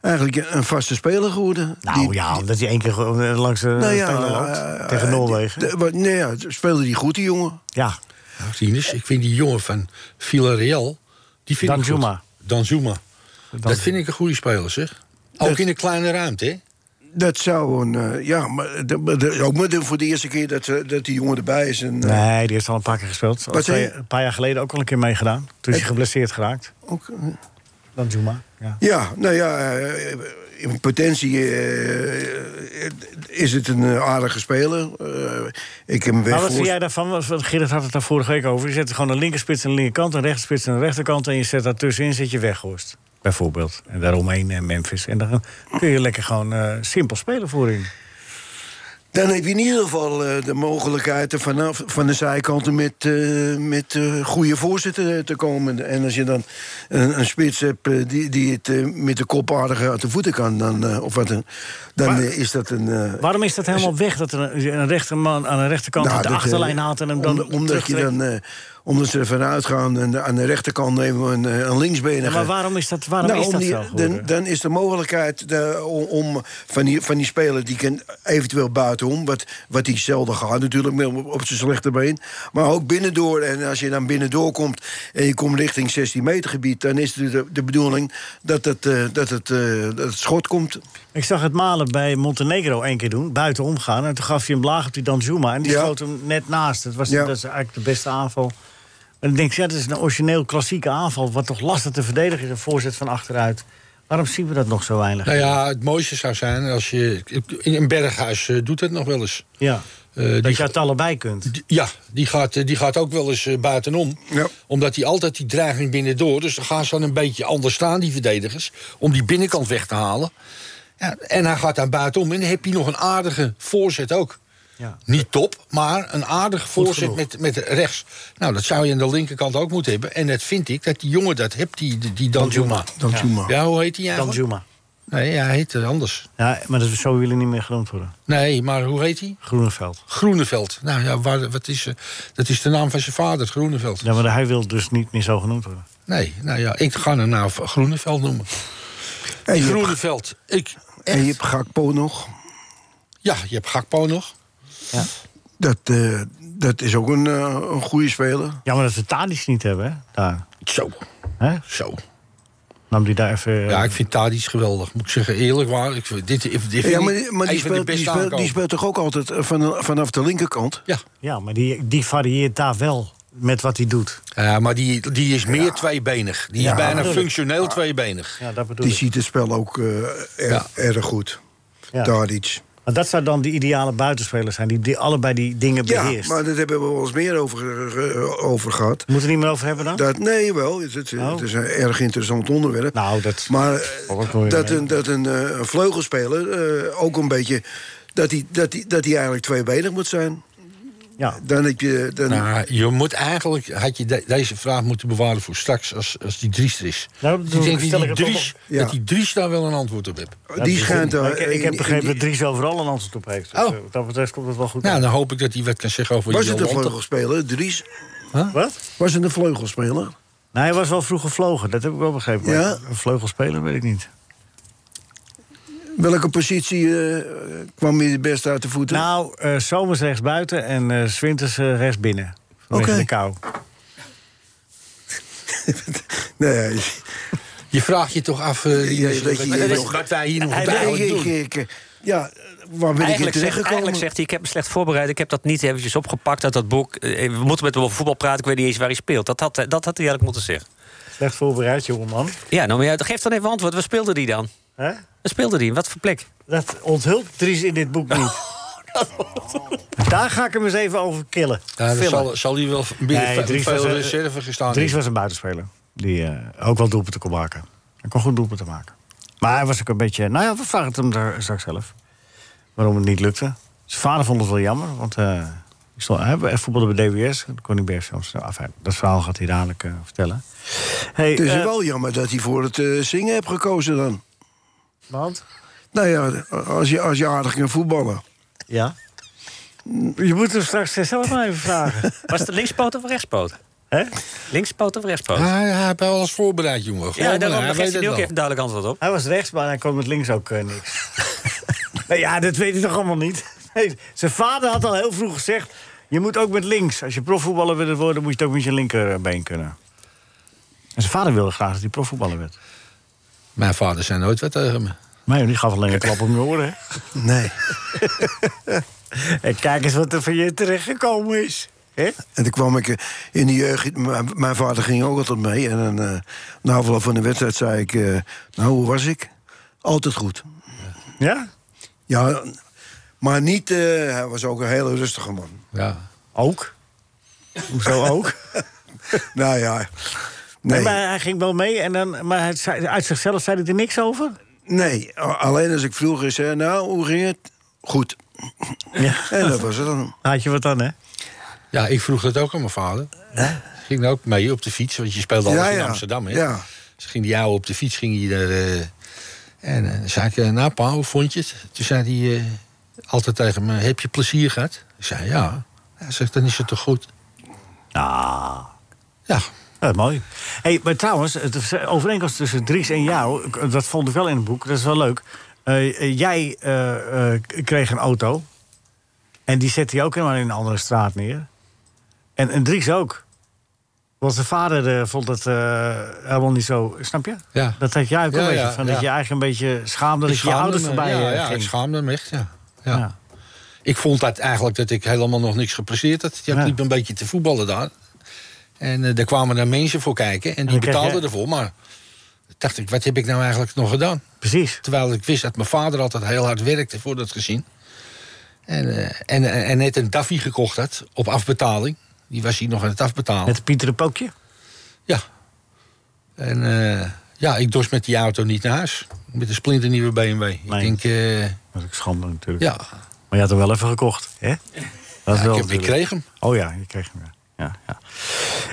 [SPEAKER 6] eigenlijk een vaste speler geworden.
[SPEAKER 4] Nou
[SPEAKER 6] Die-
[SPEAKER 4] ja, omdat hij één keer gewoon, eh, langs de
[SPEAKER 6] Nou ja,
[SPEAKER 4] stenen loopt.
[SPEAKER 6] eh,
[SPEAKER 4] tegen Noorwegen.
[SPEAKER 6] De- wat- nee, ja, speelde die goed, die jongen.
[SPEAKER 4] ja,
[SPEAKER 5] Nou, Rinus, ik vind die jongen van Villarreal... Die vind
[SPEAKER 4] Danjuma. Dus-
[SPEAKER 5] Ik goed. Danjuma. Dat vind ik een goede speler, zeg. Ook in een kleine ruimte, hè?
[SPEAKER 6] Dat zou een. eh, ja, maar, de- maar de- ook maar de- voor de eerste keer dat, eh, dat die jongen erbij is. En, eh,
[SPEAKER 4] Nee, die heeft al een paar keer gespeeld. Al
[SPEAKER 6] Wat
[SPEAKER 4] twee-
[SPEAKER 6] zei je?
[SPEAKER 4] een paar jaar geleden ook al een keer meegedaan. Toen is hij geblesseerd geraakt.
[SPEAKER 6] ook, eh,
[SPEAKER 4] Dan Juma. Ja.
[SPEAKER 6] ja, nou ja, eh, in potentie eh, eh, is het een eh, aardige speler. Eh, ik heb hem
[SPEAKER 4] Maar
[SPEAKER 6] weg
[SPEAKER 4] wat
[SPEAKER 6] voor-
[SPEAKER 4] vind jij daarvan? Want Gerrit had het daar vorige week over. Je zet gewoon een linkerspits aan de linkerkant, een rechterspits aan de rechterkant. En je zet daar tussenin, zet je weghorst. Bijvoorbeeld. En daaromheen en Memphis. En dan kun je lekker gewoon eh, simpel spelen voorin.
[SPEAKER 6] Dan heb je in ieder geval eh, de mogelijkheid er vanaf, van de zijkanten met, eh, met eh, goede voorzitter eh, te komen. En als je dan een, een spits hebt eh, die, die het eh, met de kop aardig uit de voeten kan, dan, eh, of wat, een- dan eh, is dat een. eh,
[SPEAKER 4] Waarom is dat helemaal weg dat er een, een rechterman aan de rechterkant
[SPEAKER 6] nou,
[SPEAKER 4] de
[SPEAKER 6] dat, eh,
[SPEAKER 4] achterlijn haalt en hem dan.
[SPEAKER 6] om- omdat je
[SPEAKER 4] terugtrekt?
[SPEAKER 6] dan, eh, Omdat ze ervan uitgaan en aan de rechterkant nemen we een, eh, een linksbenige.
[SPEAKER 4] Maar waarom is dat, waarom
[SPEAKER 6] Nou,
[SPEAKER 4] is dat
[SPEAKER 6] om die-
[SPEAKER 4] zo geworden?
[SPEAKER 6] dan, dan is de mogelijkheid eh, om, om van, die, van die speler... die kan eventueel buitenom, wat, wat hij zelden gaat natuurlijk... met- op, op zijn slechte been, maar ook binnendoor. En als je dan binnendoor komt en je komt richting 16 meter gebied... dan is het de, de bedoeling dat het, eh, dat, het, eh, dat het schot komt.
[SPEAKER 4] Ik zag het malen bij Montenegro één keer doen, buiten omgaan. En toen gaf hij hem laag op die Danjuma. En die
[SPEAKER 6] Ja.
[SPEAKER 4] schoot hem net naast. Dat, was,
[SPEAKER 6] Ja.
[SPEAKER 4] dat is eigenlijk de beste aanval. En ik denk, ja, dat is een origineel klassieke aanval. Wat toch lastig te verdedigen is, een voorzet van achteruit. Waarom zien we dat nog zo weinig?
[SPEAKER 5] Nou ja, het mooiste zou zijn als je. In een berghuis eh, doet het nog wel eens.
[SPEAKER 4] Ja.
[SPEAKER 5] Eh,
[SPEAKER 4] dat
[SPEAKER 5] die-
[SPEAKER 4] je het allebei kunt.
[SPEAKER 5] Die- Ja, die gaat, eh, die gaat ook wel eens eh, buitenom.
[SPEAKER 6] Ja.
[SPEAKER 5] Omdat die altijd die dreiging binnendoor. Dus dan gaan ze dan een beetje anders staan, die verdedigers. Om die binnenkant weg te halen. Ja, en hij gaat dan buitenom. En dan heb je nog een aardige voorzet ook.
[SPEAKER 4] Ja.
[SPEAKER 5] Niet top, maar een aardige voorzet
[SPEAKER 4] genoeg.
[SPEAKER 5] met, met rechts. Nou, dat zou je aan de linkerkant ook moeten hebben. En dat vind ik, dat die jongen dat hebt, die, die, die Danjuma.
[SPEAKER 6] Danjuma.
[SPEAKER 5] Ja, hoe heet hij eigenlijk?
[SPEAKER 4] Danjuma.
[SPEAKER 5] Nee, hij heet eh, anders.
[SPEAKER 4] Ja, maar dat zo willen niet meer genoemd worden.
[SPEAKER 5] Nee, maar hoe heet hij?
[SPEAKER 4] Groeneveld.
[SPEAKER 5] Groeneveld. Nou ja, waar, wat is, eh, dat is de naam van zijn vader, Groeneveld.
[SPEAKER 4] Ja, maar hij wil dus niet meer zo genoemd worden.
[SPEAKER 5] Nee, nou ja, ik ga hem nou Groeneveld noemen.
[SPEAKER 6] En [LAUGHS] je, hebt,
[SPEAKER 5] Groeneveld, ik...
[SPEAKER 6] en je hebt Gakpo nog.
[SPEAKER 5] Ja, je hebt Gakpo nog.
[SPEAKER 6] Dat, eh, dat is ook een, eh, een goede speler.
[SPEAKER 4] Jammer dat we Tadic niet hebben, hè? Daar.
[SPEAKER 5] Zo,
[SPEAKER 4] Hè?
[SPEAKER 5] zo.
[SPEAKER 4] Nam die daar even...
[SPEAKER 5] Ja, ik vind Tadic geweldig, moet ik zeggen. Eerlijk waar, ik vind, dit, dit vind
[SPEAKER 6] Ja, maar,
[SPEAKER 5] ik
[SPEAKER 6] maar die,
[SPEAKER 5] een van de
[SPEAKER 6] speelt, die,
[SPEAKER 5] beste
[SPEAKER 6] speelt, die
[SPEAKER 5] aankopen.
[SPEAKER 6] speelt toch ook altijd eh, van, vanaf de linkerkant?
[SPEAKER 5] Ja,
[SPEAKER 4] Ja, maar die, die varieert daar wel met wat hij doet.
[SPEAKER 5] Ja, Eh, maar die, die is meer tweebenig. Die
[SPEAKER 4] Ja,
[SPEAKER 5] is bijna
[SPEAKER 4] natuurlijk.
[SPEAKER 5] functioneel
[SPEAKER 6] Ah.
[SPEAKER 5] tweebenig.
[SPEAKER 4] Ja, dat bedoel
[SPEAKER 6] Die
[SPEAKER 4] ik.
[SPEAKER 6] ziet het spel ook eh, er-
[SPEAKER 5] Ja.
[SPEAKER 6] erg goed.
[SPEAKER 4] Ja.
[SPEAKER 6] Tadic.
[SPEAKER 4] Maar dat zou dan de ideale buitenspeler zijn, die, die allebei die dingen
[SPEAKER 6] Ja,
[SPEAKER 4] beheerst.
[SPEAKER 6] maar daar hebben we wel eens meer over, eh, over gehad.
[SPEAKER 4] Moeten we het niet meer over hebben dan?
[SPEAKER 6] Dat, nee, wel. Het, het-
[SPEAKER 4] Oh.
[SPEAKER 6] het is een erg interessant onderwerp.
[SPEAKER 4] Nou, dat-
[SPEAKER 6] maar eh,
[SPEAKER 4] Oh, dat hoor je
[SPEAKER 6] dat
[SPEAKER 4] mee.
[SPEAKER 6] een, dat een eh, vleugelspeler eh, ook een beetje... dat hij dat die, dat die eigenlijk tweebenig moet zijn.
[SPEAKER 4] Ja.
[SPEAKER 6] Dan heb je... Dan,
[SPEAKER 5] Nou, je moet eigenlijk, had je de- deze vraag moeten bewaren voor straks, als, als die Dries er is.
[SPEAKER 4] Nou,
[SPEAKER 5] ik
[SPEAKER 4] dan
[SPEAKER 5] denk dat
[SPEAKER 4] stel ik
[SPEAKER 5] die
[SPEAKER 4] het op-
[SPEAKER 5] Dries,
[SPEAKER 6] Ja.
[SPEAKER 5] dat die Dries daar wel een antwoord op heeft.
[SPEAKER 6] die schijnt...
[SPEAKER 4] Maar
[SPEAKER 6] daar
[SPEAKER 4] ik, ik
[SPEAKER 6] in-
[SPEAKER 4] heb
[SPEAKER 6] in
[SPEAKER 4] begrepen
[SPEAKER 6] die-
[SPEAKER 4] dat Dries overal een antwoord op heeft. Dus,
[SPEAKER 5] Oh.
[SPEAKER 4] eh, wat dat betreft komt het wel goed.
[SPEAKER 5] Nou,
[SPEAKER 4] uit.
[SPEAKER 5] dan hoop ik dat hij wat kan zeggen over
[SPEAKER 6] was het een
[SPEAKER 5] Jolanta.
[SPEAKER 6] vleugelspeler, Dries?
[SPEAKER 4] Wat?
[SPEAKER 6] Was het een vleugelspeler?
[SPEAKER 4] Nou, hij was wel vroeg gevlogen, dat heb ik wel begrepen. Maar
[SPEAKER 6] Ja.
[SPEAKER 4] Een vleugelspeler weet ik niet.
[SPEAKER 6] Welke positie eh, kwam je het best uit de voeten?
[SPEAKER 4] Nou, eh zomers rechts buiten en eh zwinters eh, rechts binnen. Vanwege
[SPEAKER 6] Oké.
[SPEAKER 4] de kou.
[SPEAKER 6] nee,
[SPEAKER 5] Je vraagt je toch af eh,
[SPEAKER 6] Ja,
[SPEAKER 5] Jezus,
[SPEAKER 6] dat
[SPEAKER 5] wat-
[SPEAKER 6] je-
[SPEAKER 5] wat-
[SPEAKER 6] dat-
[SPEAKER 5] wat wij hier nog
[SPEAKER 7] Hij-
[SPEAKER 5] op de
[SPEAKER 7] hij-
[SPEAKER 5] aarde
[SPEAKER 6] ik,
[SPEAKER 5] doen.
[SPEAKER 6] ik- ik- ja, waar ben ik in
[SPEAKER 7] Eigenlijk
[SPEAKER 6] terecht
[SPEAKER 7] zegt,
[SPEAKER 6] gekomen?
[SPEAKER 7] eigenlijk zegt hij, ik heb me slecht voorbereid. Ik heb dat niet eventjes opgepakt uit dat boek. Eh, We moeten met hem over voetbal praten. Ik weet niet eens waar hij speelt. Dat had, eh, dat had hij eigenlijk moeten zeggen.
[SPEAKER 4] Slecht voorbereid, jongeman.
[SPEAKER 7] Ja, nou, maar ja, geef dan even antwoord. Waar speelde die dan?
[SPEAKER 4] Hè?
[SPEAKER 7] Waar speelde die? Wat voor plek?
[SPEAKER 4] Dat onthult Dries in dit
[SPEAKER 6] [LAUGHS]
[SPEAKER 4] boek niet.
[SPEAKER 6] Oh,
[SPEAKER 4] Daar ga ik hem eens even over killen.
[SPEAKER 5] Ja, Nou, dan
[SPEAKER 4] Fillen.
[SPEAKER 5] zal, zal hij wel binnen
[SPEAKER 4] Nee,
[SPEAKER 5] ve-
[SPEAKER 4] Dries was,
[SPEAKER 5] veel
[SPEAKER 4] eh,
[SPEAKER 5] reserve gestaan
[SPEAKER 4] Dries
[SPEAKER 5] hebben.
[SPEAKER 4] was een buitenspeler. Die eh, ook wel doelpunten kon maken. Hij kon goed doelpunten maken. Maar hij was ook een beetje... Nou ja, we vragen het hem daar straks zelf. Waarom het niet lukte. Zijn vader vond het wel jammer. Want eh ik stond, hij voetbalde bij DWS. en kon niet bij FC Amsterdam. Enfin, dat verhaal gaat hij dadelijk eh, vertellen. Hey,
[SPEAKER 6] Het is
[SPEAKER 4] eh,
[SPEAKER 6] wel jammer dat hij voor het eh, zingen heeft gekozen dan.
[SPEAKER 4] want?
[SPEAKER 6] Nou ja, als je, als je aardig kan voetballen.
[SPEAKER 4] Ja? Je moet hem straks zelf maar even vragen.
[SPEAKER 7] [LAUGHS] Was het linkspoot of rechtspoot?
[SPEAKER 4] Hè?
[SPEAKER 7] Linkspoot of rechtspoot?
[SPEAKER 5] Hij, hij heeft wel alles voorbereid, jongen.
[SPEAKER 7] Ah,
[SPEAKER 5] eh,
[SPEAKER 7] ja, daarom daar
[SPEAKER 5] weet
[SPEAKER 7] geeft hij
[SPEAKER 5] het
[SPEAKER 7] nu ook
[SPEAKER 5] wel.
[SPEAKER 7] even een duidelijk antwoord op.
[SPEAKER 4] Hij was rechts, maar hij kon met links ook eh, niks. [LAUGHS] nou ja, dat weet hij toch allemaal niet? [LAUGHS] Nee, zijn vader had al heel vroeg gezegd... je moet ook met links. Als je profvoetballer wil worden, moet je het ook met je linkerbeen kunnen. En zijn vader wilde graag dat hij profvoetballer werd.
[SPEAKER 5] Mijn vader zei nooit wat tegen me.
[SPEAKER 4] Maar joh, die gaf alleen een klap om je oren.
[SPEAKER 6] Nee.
[SPEAKER 4] hè. [LAUGHS] En kijk eens wat er van je terechtgekomen is. Hè?
[SPEAKER 6] En toen kwam ik eh, in de jeugd. Mijn, mijn vader ging ook altijd mee. En dan, eh, na afloop van de wedstrijd zei ik: eh, Nou, hoe was ik? Altijd goed.
[SPEAKER 4] Ja?
[SPEAKER 6] Ja, maar niet. eh, hij was ook een hele rustige man.
[SPEAKER 5] Ja.
[SPEAKER 4] Ook. Hoezo [LAUGHS] ook?
[SPEAKER 6] nou ja. Nee.
[SPEAKER 4] Nee. Maar hij ging wel mee, en dan, maar hij zei, uit zichzelf zei hij er niks over?
[SPEAKER 6] Nee, a- alleen als ik vroeg is, hè, nou, hoe ging het? Goed.
[SPEAKER 4] Ja.
[SPEAKER 6] En dat was het dan.
[SPEAKER 4] Had je wat dan, hè?
[SPEAKER 5] ja, ik vroeg dat ook aan mijn vader. Ging ook mee op de fiets, want je speelde alles
[SPEAKER 6] Ja,
[SPEAKER 5] in
[SPEAKER 6] ja.
[SPEAKER 5] Amsterdam. Hè?
[SPEAKER 6] Ja.
[SPEAKER 5] Dus ging die oude op de fiets, ging hij er... eh, en eh, zei ik, eh, nou pa, hoe vond je het? Toen zei hij eh, altijd tegen me, heb je plezier gehad? Ik zei, ja. Hij zegt, dan is het toch goed?
[SPEAKER 4] Ah,
[SPEAKER 5] Ja.
[SPEAKER 4] Ja, mooi. Hey, maar trouwens, het is eh, overeenkomst tussen Dries en jou, k- dat vond ik wel in het boek, dat is wel leuk. Eh, eh, jij eh, eh, k- kreeg een auto. En die zette hij ook helemaal in een andere straat neer. En, en Dries ook. Want zijn vader eh, vond het eh, helemaal niet zo, snap je?
[SPEAKER 5] Ja.
[SPEAKER 4] Dat had jij ook
[SPEAKER 5] Ja,
[SPEAKER 4] een beetje
[SPEAKER 5] ja,
[SPEAKER 4] van.
[SPEAKER 5] ja.
[SPEAKER 4] Dat je eigenlijk een beetje schaamde dat je je ouders
[SPEAKER 5] me,
[SPEAKER 4] voorbij
[SPEAKER 5] ja,
[SPEAKER 4] eh,
[SPEAKER 5] ja, ik
[SPEAKER 4] ging.
[SPEAKER 5] schaamde me echt, ja. ja.
[SPEAKER 4] Ja.
[SPEAKER 5] Ik vond dat eigenlijk dat ik helemaal nog niks gepresteerd had. Je
[SPEAKER 4] Ja.
[SPEAKER 5] liep een beetje te voetballen daar. En eh, daar kwamen dan mensen voor kijken en die
[SPEAKER 4] dan kreeg
[SPEAKER 5] betaalden
[SPEAKER 4] jij-
[SPEAKER 5] ervoor. Maar dacht ik, wat heb ik nou eigenlijk nog gedaan?
[SPEAKER 4] Precies.
[SPEAKER 5] Terwijl ik wist dat mijn vader altijd heel hard werkte voor dat gezin. En, eh, en, en, en net een Daffy gekocht had op afbetaling. Die was hij nog aan het afbetalen.
[SPEAKER 4] Met Pieter de Pookje.
[SPEAKER 5] Ja. En eh, ja, ik dorst met die auto niet naar huis. Met een splinternieuwe BMW.
[SPEAKER 4] Nee.
[SPEAKER 5] Ik denk, eh,
[SPEAKER 4] Dat is ook schande natuurlijk.
[SPEAKER 5] ja,
[SPEAKER 4] Maar je had hem wel even gekocht, hè? Dat is
[SPEAKER 5] Ja,
[SPEAKER 4] wel
[SPEAKER 5] ik, heb, ik
[SPEAKER 4] natuurlijk.
[SPEAKER 5] kreeg hem.
[SPEAKER 4] Oh ja, je kreeg hem. Ja. Ja, ja.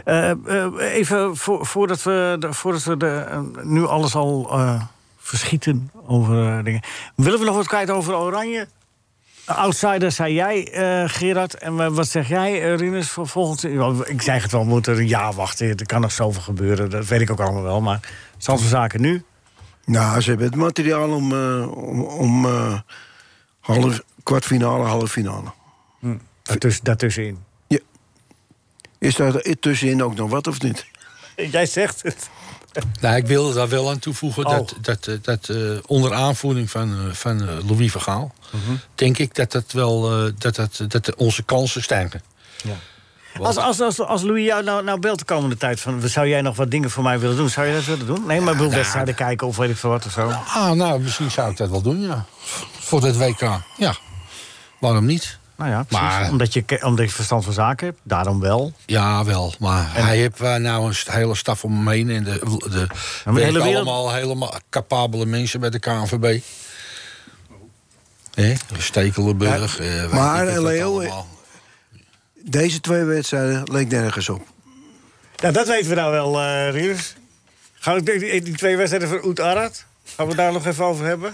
[SPEAKER 4] Eh, eh, even voor, voordat we, de- voordat we de, eh, nu alles al eh, verschieten over eh, dingen. Willen we nog wat kwijt over Oranje? Eh, Outsider, zei jij, eh, Gerard. En wa- wat zeg jij, eh, Rinus, voor volgend jaar? Ik zeg het wel, we moeten een jaar wachten. Er kan nog zoveel gebeuren, dat weet ik ook allemaal wel. Maar stand van zaken nu?
[SPEAKER 6] Nou, ze hebben het materiaal om, eh, om, om eh, half, kwartfinale, halve finale.
[SPEAKER 4] Daartussen, daartussenin.
[SPEAKER 6] Is daar tussenin ook nog wat of niet?
[SPEAKER 4] Jij zegt het.
[SPEAKER 5] Nou, ik wilde daar wel aan toevoegen
[SPEAKER 4] Oh.
[SPEAKER 5] dat, dat, eh, dat eh, onder aanvoering van, eh, van eh, Louis van Gaal... denk ik dat, dat, wel, eh, dat, dat, dat onze kansen stijgen.
[SPEAKER 4] Als, als, als, als Louis jou nou, nou belt de komende tijd van... zou jij nog wat dingen voor mij willen doen? Zou je dat willen doen? Nee, maar ik wil wedstrijden kijken of weet ik veel wat of zo.
[SPEAKER 5] Ah, nou, misschien zou ik dat wel doen, ja. Voor het WK, ja. Waarom niet?
[SPEAKER 4] Nou ja, precies.
[SPEAKER 5] Maar-
[SPEAKER 4] Omdat, je, ke- omdat je verstand van zaken hebt, daarom wel.
[SPEAKER 5] Ja, wel. Maar hij heeft eh, nou een st- hele staf om hem heen. En de, de,
[SPEAKER 4] de hele
[SPEAKER 5] werken
[SPEAKER 4] wereld-
[SPEAKER 5] allemaal helemaal capabele mensen bij de KNVB. Hè? Stekelenburg. eh, weet
[SPEAKER 6] maar,
[SPEAKER 5] ik het wat
[SPEAKER 6] Leo,
[SPEAKER 5] allemaal.
[SPEAKER 6] Deze twee wedstrijden leek nergens op.
[SPEAKER 4] Nou, dat weten we nou wel, eh Riers. Gaan we die, die twee wedstrijden van Oet Arad... gaan we daar nog even over hebben?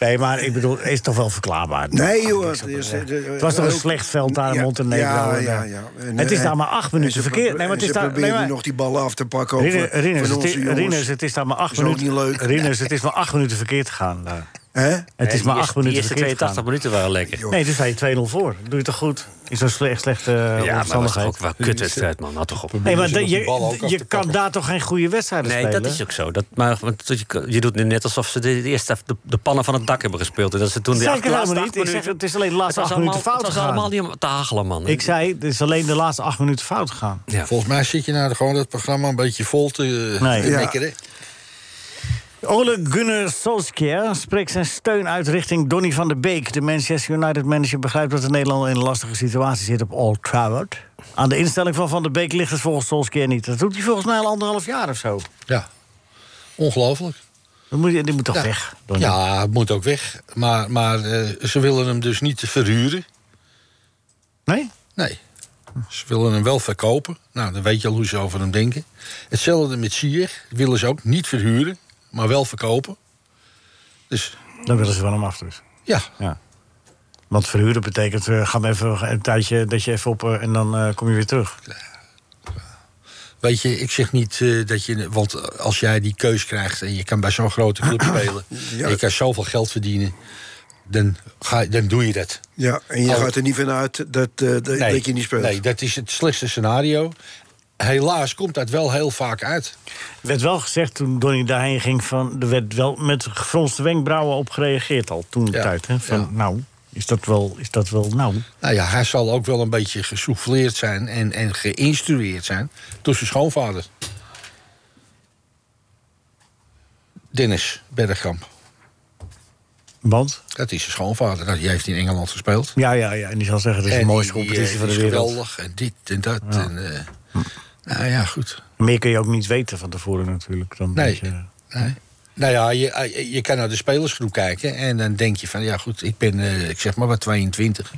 [SPEAKER 4] Nee, maar ik bedoel, het is toch wel verklaarbaar.
[SPEAKER 6] Nee, joh.
[SPEAKER 4] niks op-
[SPEAKER 6] het is-
[SPEAKER 4] eh,
[SPEAKER 6] het is-
[SPEAKER 4] het was toch een
[SPEAKER 6] ook-
[SPEAKER 4] slecht veld daar in
[SPEAKER 6] Ja,
[SPEAKER 4] Montenegro.
[SPEAKER 6] ja,
[SPEAKER 4] en, eh,
[SPEAKER 6] ja, ja. En,
[SPEAKER 4] Het is
[SPEAKER 6] eh,
[SPEAKER 4] daar maar acht
[SPEAKER 6] en
[SPEAKER 4] minuten
[SPEAKER 6] ze
[SPEAKER 4] verkeerd.
[SPEAKER 6] pro-
[SPEAKER 4] Nee, maar het is
[SPEAKER 6] en ze
[SPEAKER 4] daar... nee,
[SPEAKER 6] probeerden
[SPEAKER 4] maar-
[SPEAKER 6] nog die ballen af te pakken. ook
[SPEAKER 4] Rinus,
[SPEAKER 6] van-
[SPEAKER 4] Rinus,
[SPEAKER 6] van
[SPEAKER 4] het, is,
[SPEAKER 6] onze jongens.
[SPEAKER 4] Rinus, het is daar maar acht
[SPEAKER 6] Is ook
[SPEAKER 4] minuten.
[SPEAKER 6] niet leuk.
[SPEAKER 4] Rinus, het is maar acht minuten verkeerd gegaan. daar.
[SPEAKER 6] Hè?
[SPEAKER 4] Het is maar
[SPEAKER 7] Die
[SPEAKER 4] acht
[SPEAKER 7] eerste- die
[SPEAKER 4] minuten
[SPEAKER 7] eerste
[SPEAKER 4] verkeerd
[SPEAKER 7] 82
[SPEAKER 4] gegaan.
[SPEAKER 7] minuten waren lekker.
[SPEAKER 4] Nee, dus sta je 2-0 voor. Doe je toch goed? In zo'n sle- slechte eh,
[SPEAKER 7] Ja, maar dat was toch
[SPEAKER 4] omstandigheid.
[SPEAKER 7] ook wel een kutwedstrijd, man. Had toch op.
[SPEAKER 4] Nee, maar
[SPEAKER 5] Ze
[SPEAKER 4] dat-
[SPEAKER 5] nog die bal ook
[SPEAKER 4] je,
[SPEAKER 5] af te
[SPEAKER 4] je kan
[SPEAKER 5] pakken.
[SPEAKER 4] daar toch geen goede wedstrijd
[SPEAKER 7] Nee,
[SPEAKER 4] spelen?
[SPEAKER 7] dat is ook zo. Dat, maar want je, je doet nu net alsof ze de, de eerste de, de pannen van het dak hebben gespeeld. En dat ze toen die
[SPEAKER 4] Zeg
[SPEAKER 7] acht-
[SPEAKER 4] ik helemaal
[SPEAKER 7] laatste
[SPEAKER 4] niet.
[SPEAKER 7] acht
[SPEAKER 4] Ik zeg,
[SPEAKER 7] minuten-
[SPEAKER 4] het is alleen de laatste
[SPEAKER 7] Het was
[SPEAKER 4] acht minuten
[SPEAKER 7] allemaal-
[SPEAKER 4] fout
[SPEAKER 7] Het was allemaal
[SPEAKER 4] gegaan.
[SPEAKER 7] niet om te hagelen, man.
[SPEAKER 4] Ik zei, het is alleen de laatste acht minuten fout gegaan.
[SPEAKER 7] Ja.
[SPEAKER 5] Volgens mij zit je nou gewoon dat programma een beetje vol te
[SPEAKER 4] Nee.
[SPEAKER 5] nee.
[SPEAKER 6] Ja.
[SPEAKER 4] Ole Gunnar Solskjaer spreekt zijn steun uit richting Donny van der Beek. De Manchester United manager begrijpt dat de Nederlander in een lastige situatie zit op Old Trafford. Aan de instelling van Van der Beek ligt het volgens Solskjaer niet. Dat doet hij volgens mij al anderhalf jaar of zo.
[SPEAKER 5] Ja. Ongelooflijk.
[SPEAKER 4] Dat moet, je- die moet toch
[SPEAKER 5] Ja.
[SPEAKER 4] weg, Donny?
[SPEAKER 5] Ja, het moet ook weg. Maar, maar eh, ze willen hem dus niet verhuren.
[SPEAKER 4] Nee?
[SPEAKER 5] Nee. Ze willen hem wel verkopen. Nou, dan weet je al hoe ze over hem denken. Hetzelfde met Sier. Willen ze ook niet verhuren, maar wel verkopen. Dus
[SPEAKER 4] Dan willen ze van hem af dus.
[SPEAKER 5] ja,
[SPEAKER 4] Ja. Want verhuren betekent, eh, ga maar even een tijdje dat je even op eh, en dan eh, kom je weer terug.
[SPEAKER 5] weet je, ik zeg niet eh, dat je... Want als jij die keus krijgt en je kan bij zo'n grote club spelen... en je kan zoveel geld verdienen, dan, ga, dan doe je dat.
[SPEAKER 6] Ja, en je
[SPEAKER 5] Oh.
[SPEAKER 6] gaat er niet vanuit dat, eh, dat, dat je niet speelt.
[SPEAKER 5] Nee, dat is het slechtste scenario. Helaas komt dat wel heel vaak uit.
[SPEAKER 4] Er werd wel gezegd toen Donny daarheen ging van... er werd wel met gefronste wenkbrauwen op gereageerd al toen de
[SPEAKER 5] Ja,
[SPEAKER 4] tijd. Hè? Van
[SPEAKER 5] ja.
[SPEAKER 4] nou, is dat wel, is dat wel nou?
[SPEAKER 5] Nou ja, hij zal ook wel een beetje gesouffleerd zijn en, en geïnstrueerd zijn door zijn schoonvader. Dennis Bergkamp,
[SPEAKER 4] Want?
[SPEAKER 5] dat is zijn schoonvader. Nou, die heeft in Engeland gespeeld.
[SPEAKER 4] Ja, ja, ja. En die zal zeggen, dat is de
[SPEAKER 5] En
[SPEAKER 4] mooiste
[SPEAKER 5] die, eh,
[SPEAKER 4] competitie van de
[SPEAKER 5] is
[SPEAKER 4] wereld.
[SPEAKER 5] geweldig en dit en dat. En, eh, nou ja, goed.
[SPEAKER 4] Meer kun je ook niet weten van tevoren natuurlijk. Dan
[SPEAKER 5] Nee.
[SPEAKER 4] dat je-
[SPEAKER 5] Nee. Nou ja, je, eh, je kan naar de spelersgroep kijken en dan denk je van... ja goed, ik ben, eh, ik zeg maar, wat 22.